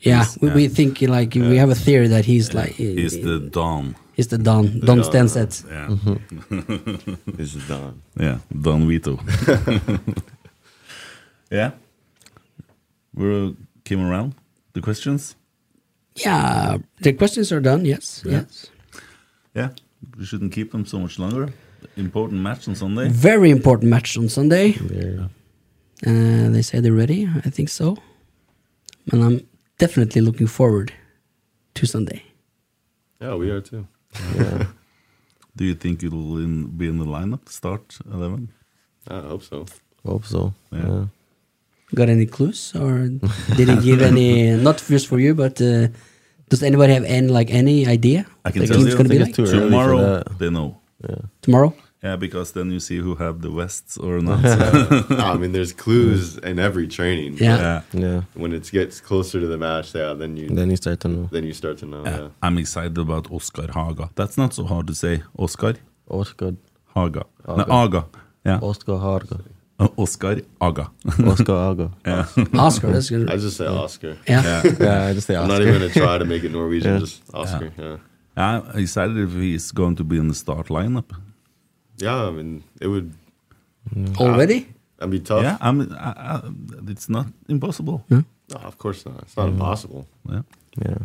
[SPEAKER 4] Yeah,
[SPEAKER 3] He's-
[SPEAKER 4] we, we think like we have a theory that he's like
[SPEAKER 3] He's the Dom.
[SPEAKER 4] he's the Don Don
[SPEAKER 3] Don,
[SPEAKER 4] Stansett.
[SPEAKER 3] Yeah.
[SPEAKER 5] This is done.
[SPEAKER 3] yeah, Don Vito. yeah. we came around the questions.
[SPEAKER 4] Yeah, the questions are done. Yes,
[SPEAKER 3] Yeah.
[SPEAKER 4] yes.
[SPEAKER 3] Yeah, we shouldn't keep them so much longer. Important match on Sunday.
[SPEAKER 4] Very important match on Sunday. Uh, they say they're ready. I think so, and I'm definitely looking forward to Sunday.
[SPEAKER 5] Yeah, we are too.
[SPEAKER 3] Do you think it'll in, be in the lineup? Start eleven.
[SPEAKER 5] I hope so.
[SPEAKER 6] Hope so.
[SPEAKER 3] Yeah.
[SPEAKER 4] Got any clues, or did he give any? Not just for you, but uh, does anybody have any like any idea?
[SPEAKER 3] I can
[SPEAKER 4] the
[SPEAKER 3] tell
[SPEAKER 4] game's
[SPEAKER 3] you
[SPEAKER 4] gonna be like?
[SPEAKER 3] tomorrow. They know.
[SPEAKER 4] Tomorrow.
[SPEAKER 3] Yeah, because then you see who have the vests or not.
[SPEAKER 5] *laughs*
[SPEAKER 3] *laughs*
[SPEAKER 5] I mean, there's clues in every training. but
[SPEAKER 3] Yeah.
[SPEAKER 6] Yeah.
[SPEAKER 5] When it gets closer to the match, yeah, then you
[SPEAKER 6] Then you start to know.
[SPEAKER 5] Then you start to know. Yeah.
[SPEAKER 3] I'm excited about Oscar Haga. That's not so hard to say. Oscar.
[SPEAKER 6] Oscar.
[SPEAKER 3] Haga. No,
[SPEAKER 6] Haga.
[SPEAKER 3] Aga. Yeah.
[SPEAKER 6] Oscar Haga.
[SPEAKER 3] Uh, Oscar Aga. *laughs*
[SPEAKER 6] Oscar Haga.
[SPEAKER 3] Yeah.
[SPEAKER 4] Oscar, that's good.
[SPEAKER 5] I just say Oscar.
[SPEAKER 4] Yeah.
[SPEAKER 6] *laughs* Yeah, I just say
[SPEAKER 5] I'm not
[SPEAKER 6] Oscar.
[SPEAKER 5] even gonna try to make it Norwegian.
[SPEAKER 6] *laughs* Yeah.
[SPEAKER 5] Just Oscar. Yeah.
[SPEAKER 3] I'm excited if he's going to be in the start lineup.
[SPEAKER 5] Yeah. I mean, it would.
[SPEAKER 4] *laughs* Already?
[SPEAKER 5] I, would be tough.
[SPEAKER 3] Yeah, I'm, I, I, it's not impossible.
[SPEAKER 5] No, of course not. It's not
[SPEAKER 3] Yeah.
[SPEAKER 5] impossible.
[SPEAKER 3] Yeah.
[SPEAKER 6] Mm-hmm. Yeah.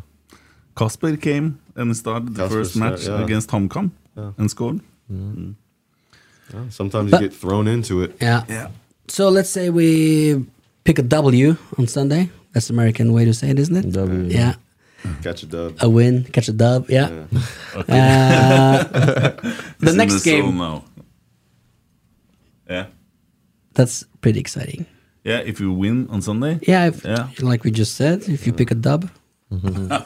[SPEAKER 3] Cosplay came and started the
[SPEAKER 5] Kasper
[SPEAKER 3] first
[SPEAKER 5] start-
[SPEAKER 3] match
[SPEAKER 5] yeah.
[SPEAKER 3] against Hong Kong
[SPEAKER 5] Yeah.
[SPEAKER 3] and scored.
[SPEAKER 5] Yeah, Sometimes
[SPEAKER 4] But-
[SPEAKER 5] you get thrown into it.
[SPEAKER 4] Yeah. Yeah. So let's say we pick a W on Sunday. That's the American way to say it, isn't it?
[SPEAKER 6] W.
[SPEAKER 4] Yeah.
[SPEAKER 5] Catch a dub.
[SPEAKER 6] Oh.
[SPEAKER 4] A win, catch a dub. Yeah.
[SPEAKER 5] Okay.
[SPEAKER 4] Uh,
[SPEAKER 3] He's
[SPEAKER 4] the
[SPEAKER 3] in
[SPEAKER 4] next
[SPEAKER 3] zone
[SPEAKER 4] game.
[SPEAKER 3] now. Yeah.
[SPEAKER 4] That's pretty exciting.
[SPEAKER 3] Yeah, if you win on Sunday.
[SPEAKER 4] Yeah, if,
[SPEAKER 3] Yeah.
[SPEAKER 4] Like we just said, if you pick a dub.
[SPEAKER 3] If you
[SPEAKER 5] Uh,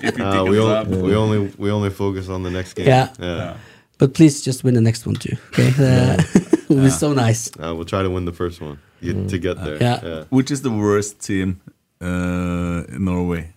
[SPEAKER 3] take
[SPEAKER 5] we,
[SPEAKER 3] a
[SPEAKER 5] on-
[SPEAKER 3] dub.
[SPEAKER 5] we only we only focus on the next game.
[SPEAKER 4] Yeah.
[SPEAKER 5] yeah.
[SPEAKER 4] But please just win the next one too. Okay. *laughs* Uh, it would be so nice.
[SPEAKER 5] Uh, we'll try to win the first one get,
[SPEAKER 6] Mm-hmm.
[SPEAKER 5] to get there.
[SPEAKER 4] Yeah.
[SPEAKER 3] Which is the worst team uh, in Norway?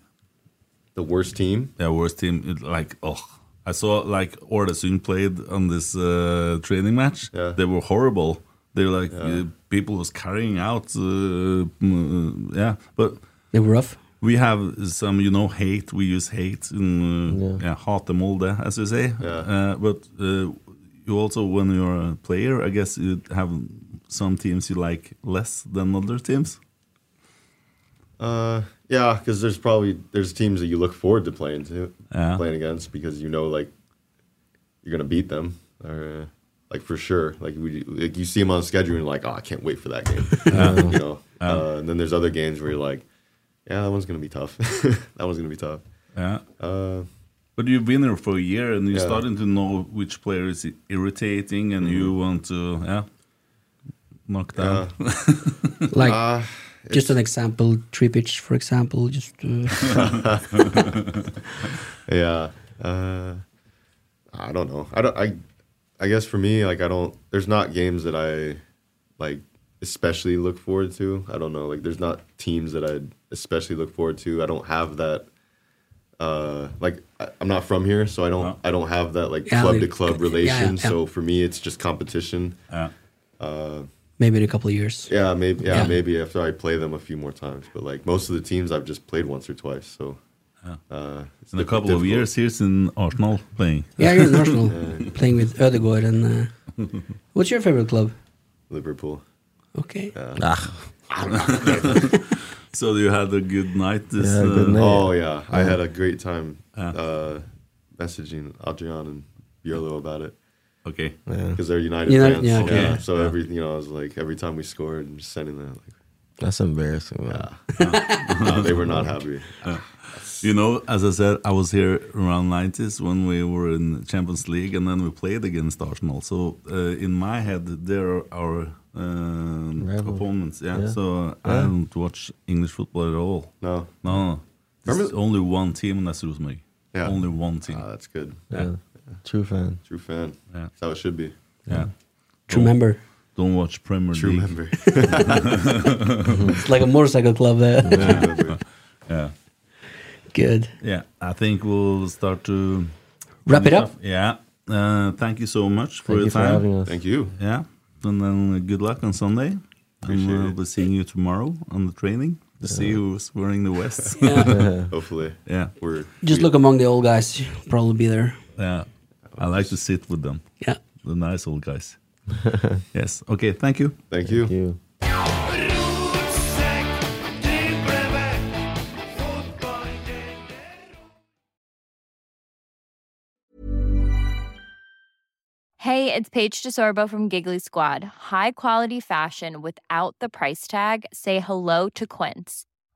[SPEAKER 5] The worst team?
[SPEAKER 3] Yeah, worst team. It, like, oh, I saw like Ordesund played on this uh, training match.
[SPEAKER 5] Yeah.
[SPEAKER 3] They were horrible. They were like uh, people was carrying out. Uh, mm, yeah, but
[SPEAKER 4] They were rough.
[SPEAKER 3] we have some, you know, hate. We use hate and uh, yeah. hate the molde, as you say. Uh, but uh, you also, when you're a player, I guess you have some teams you like less than other teams.
[SPEAKER 5] Uh, yeah, because there's probably there's teams that you look forward to playing to
[SPEAKER 3] Yeah.
[SPEAKER 5] playing against because you know like you're gonna beat them or uh, like for sure like we like you see them on schedule and you're like oh I can't wait for that game you know uh, and then there's other games where you're like yeah that one's gonna be tough *laughs* that one's gonna be tough
[SPEAKER 3] Yeah.
[SPEAKER 5] uh,
[SPEAKER 3] But you've been there for a year, and you're
[SPEAKER 5] Yeah.
[SPEAKER 3] starting to know which player is irritating, and you want to yeah knock down.
[SPEAKER 4] Like just an example, tree pitch, for example, just uh,
[SPEAKER 5] yeah. Uh, I don't know. I don't. I. I guess for me, like I don't. There's not games that I like especially look forward to. I don't know. Like there's not teams that I especially look forward to. I don't have that. Uh, like I, I'm not from here, so I don't.
[SPEAKER 3] Uh-huh.
[SPEAKER 5] I don't have that like
[SPEAKER 4] Yeah,
[SPEAKER 5] club
[SPEAKER 4] like-
[SPEAKER 5] to club
[SPEAKER 4] yeah, yeah,
[SPEAKER 5] relation.
[SPEAKER 4] yeah.
[SPEAKER 5] So for me, it's just competition.
[SPEAKER 3] Yeah.
[SPEAKER 5] Uh,
[SPEAKER 4] maybe in a couple of years.
[SPEAKER 5] yeah, maybe. Yeah,
[SPEAKER 4] Yeah.
[SPEAKER 5] maybe after I play them a few more times. But like most of the teams, I've just played once or twice. So. Uh,
[SPEAKER 3] *laughs* Uh-huh.
[SPEAKER 5] it's
[SPEAKER 3] In a
[SPEAKER 5] diff-
[SPEAKER 3] couple of
[SPEAKER 5] difficult.
[SPEAKER 3] years, here's in Arsenal playing.
[SPEAKER 4] Yeah, you're in Arsenal playing with Ødegaard and uh, what's your favorite club?
[SPEAKER 5] Liverpool.
[SPEAKER 4] Okay.
[SPEAKER 3] *laughs* so you had a good night. This
[SPEAKER 6] Yeah, good
[SPEAKER 3] uh,
[SPEAKER 6] night.
[SPEAKER 5] Oh yeah, I had a great time uh, messaging Adrian and Bjorlo about it
[SPEAKER 3] okay.
[SPEAKER 6] Yeah.
[SPEAKER 5] because they're United
[SPEAKER 4] United-
[SPEAKER 5] fans.
[SPEAKER 4] yeah,
[SPEAKER 5] Yeah,
[SPEAKER 4] okay.
[SPEAKER 3] Yeah.
[SPEAKER 5] so every you know, I was like every time we scored, I'm just sending that. Like,
[SPEAKER 6] That's embarrassing, man. *laughs*
[SPEAKER 5] no, they were not happy.
[SPEAKER 3] You know, as I said, I was here around 90s when we were in Champions League, and then we played against Arsenal. So uh, in my head, they're our um,
[SPEAKER 6] Rival.
[SPEAKER 3] opponents. Yeah.
[SPEAKER 6] Yeah.
[SPEAKER 3] So uh, I don't watch English football at all.
[SPEAKER 5] No,
[SPEAKER 3] No, there's
[SPEAKER 5] Remember-
[SPEAKER 3] only one team, and that's Rosemary.
[SPEAKER 5] Yeah.
[SPEAKER 3] Only one team.
[SPEAKER 5] Ah, that's good.
[SPEAKER 6] Yeah. True fan.
[SPEAKER 5] True fan.
[SPEAKER 3] Yeah.
[SPEAKER 5] That's how it should be.
[SPEAKER 3] yeah.
[SPEAKER 4] True member.
[SPEAKER 3] Don't watch Premier
[SPEAKER 5] True
[SPEAKER 3] League.
[SPEAKER 6] *laughs*
[SPEAKER 5] member.
[SPEAKER 4] It's like a motorcycle club there.
[SPEAKER 5] True member.
[SPEAKER 3] Yeah.
[SPEAKER 4] *laughs* Good.
[SPEAKER 3] Yeah. I think we'll start to
[SPEAKER 4] Wrap it up.
[SPEAKER 3] Yeah. Uh, thank you so much for your
[SPEAKER 6] Thank you for
[SPEAKER 3] time.
[SPEAKER 6] having us.
[SPEAKER 5] Thank you.
[SPEAKER 3] Yeah. And then uh, good luck on Sunday. and
[SPEAKER 5] Appreciate
[SPEAKER 3] uh,
[SPEAKER 5] it.
[SPEAKER 3] we'll be seeing you tomorrow on the training to see who's wearing the
[SPEAKER 6] *laughs*
[SPEAKER 3] West.
[SPEAKER 5] Hopefully,
[SPEAKER 3] yeah.
[SPEAKER 5] we're
[SPEAKER 4] Just
[SPEAKER 5] we-
[SPEAKER 4] look among the old guys. You'll probably be there.
[SPEAKER 3] Yeah. I like to sit with them,
[SPEAKER 4] Yeah.
[SPEAKER 3] the nice old guys.
[SPEAKER 6] *laughs*
[SPEAKER 3] yes. Okay. Thank you.
[SPEAKER 5] Thank
[SPEAKER 6] Thank
[SPEAKER 5] you.
[SPEAKER 6] you.
[SPEAKER 2] Rotsekk, dypp
[SPEAKER 9] Hey, it's Paige DeSorbo from Giggly Squad. High quality fashion without the price tag. Say hello to Quince.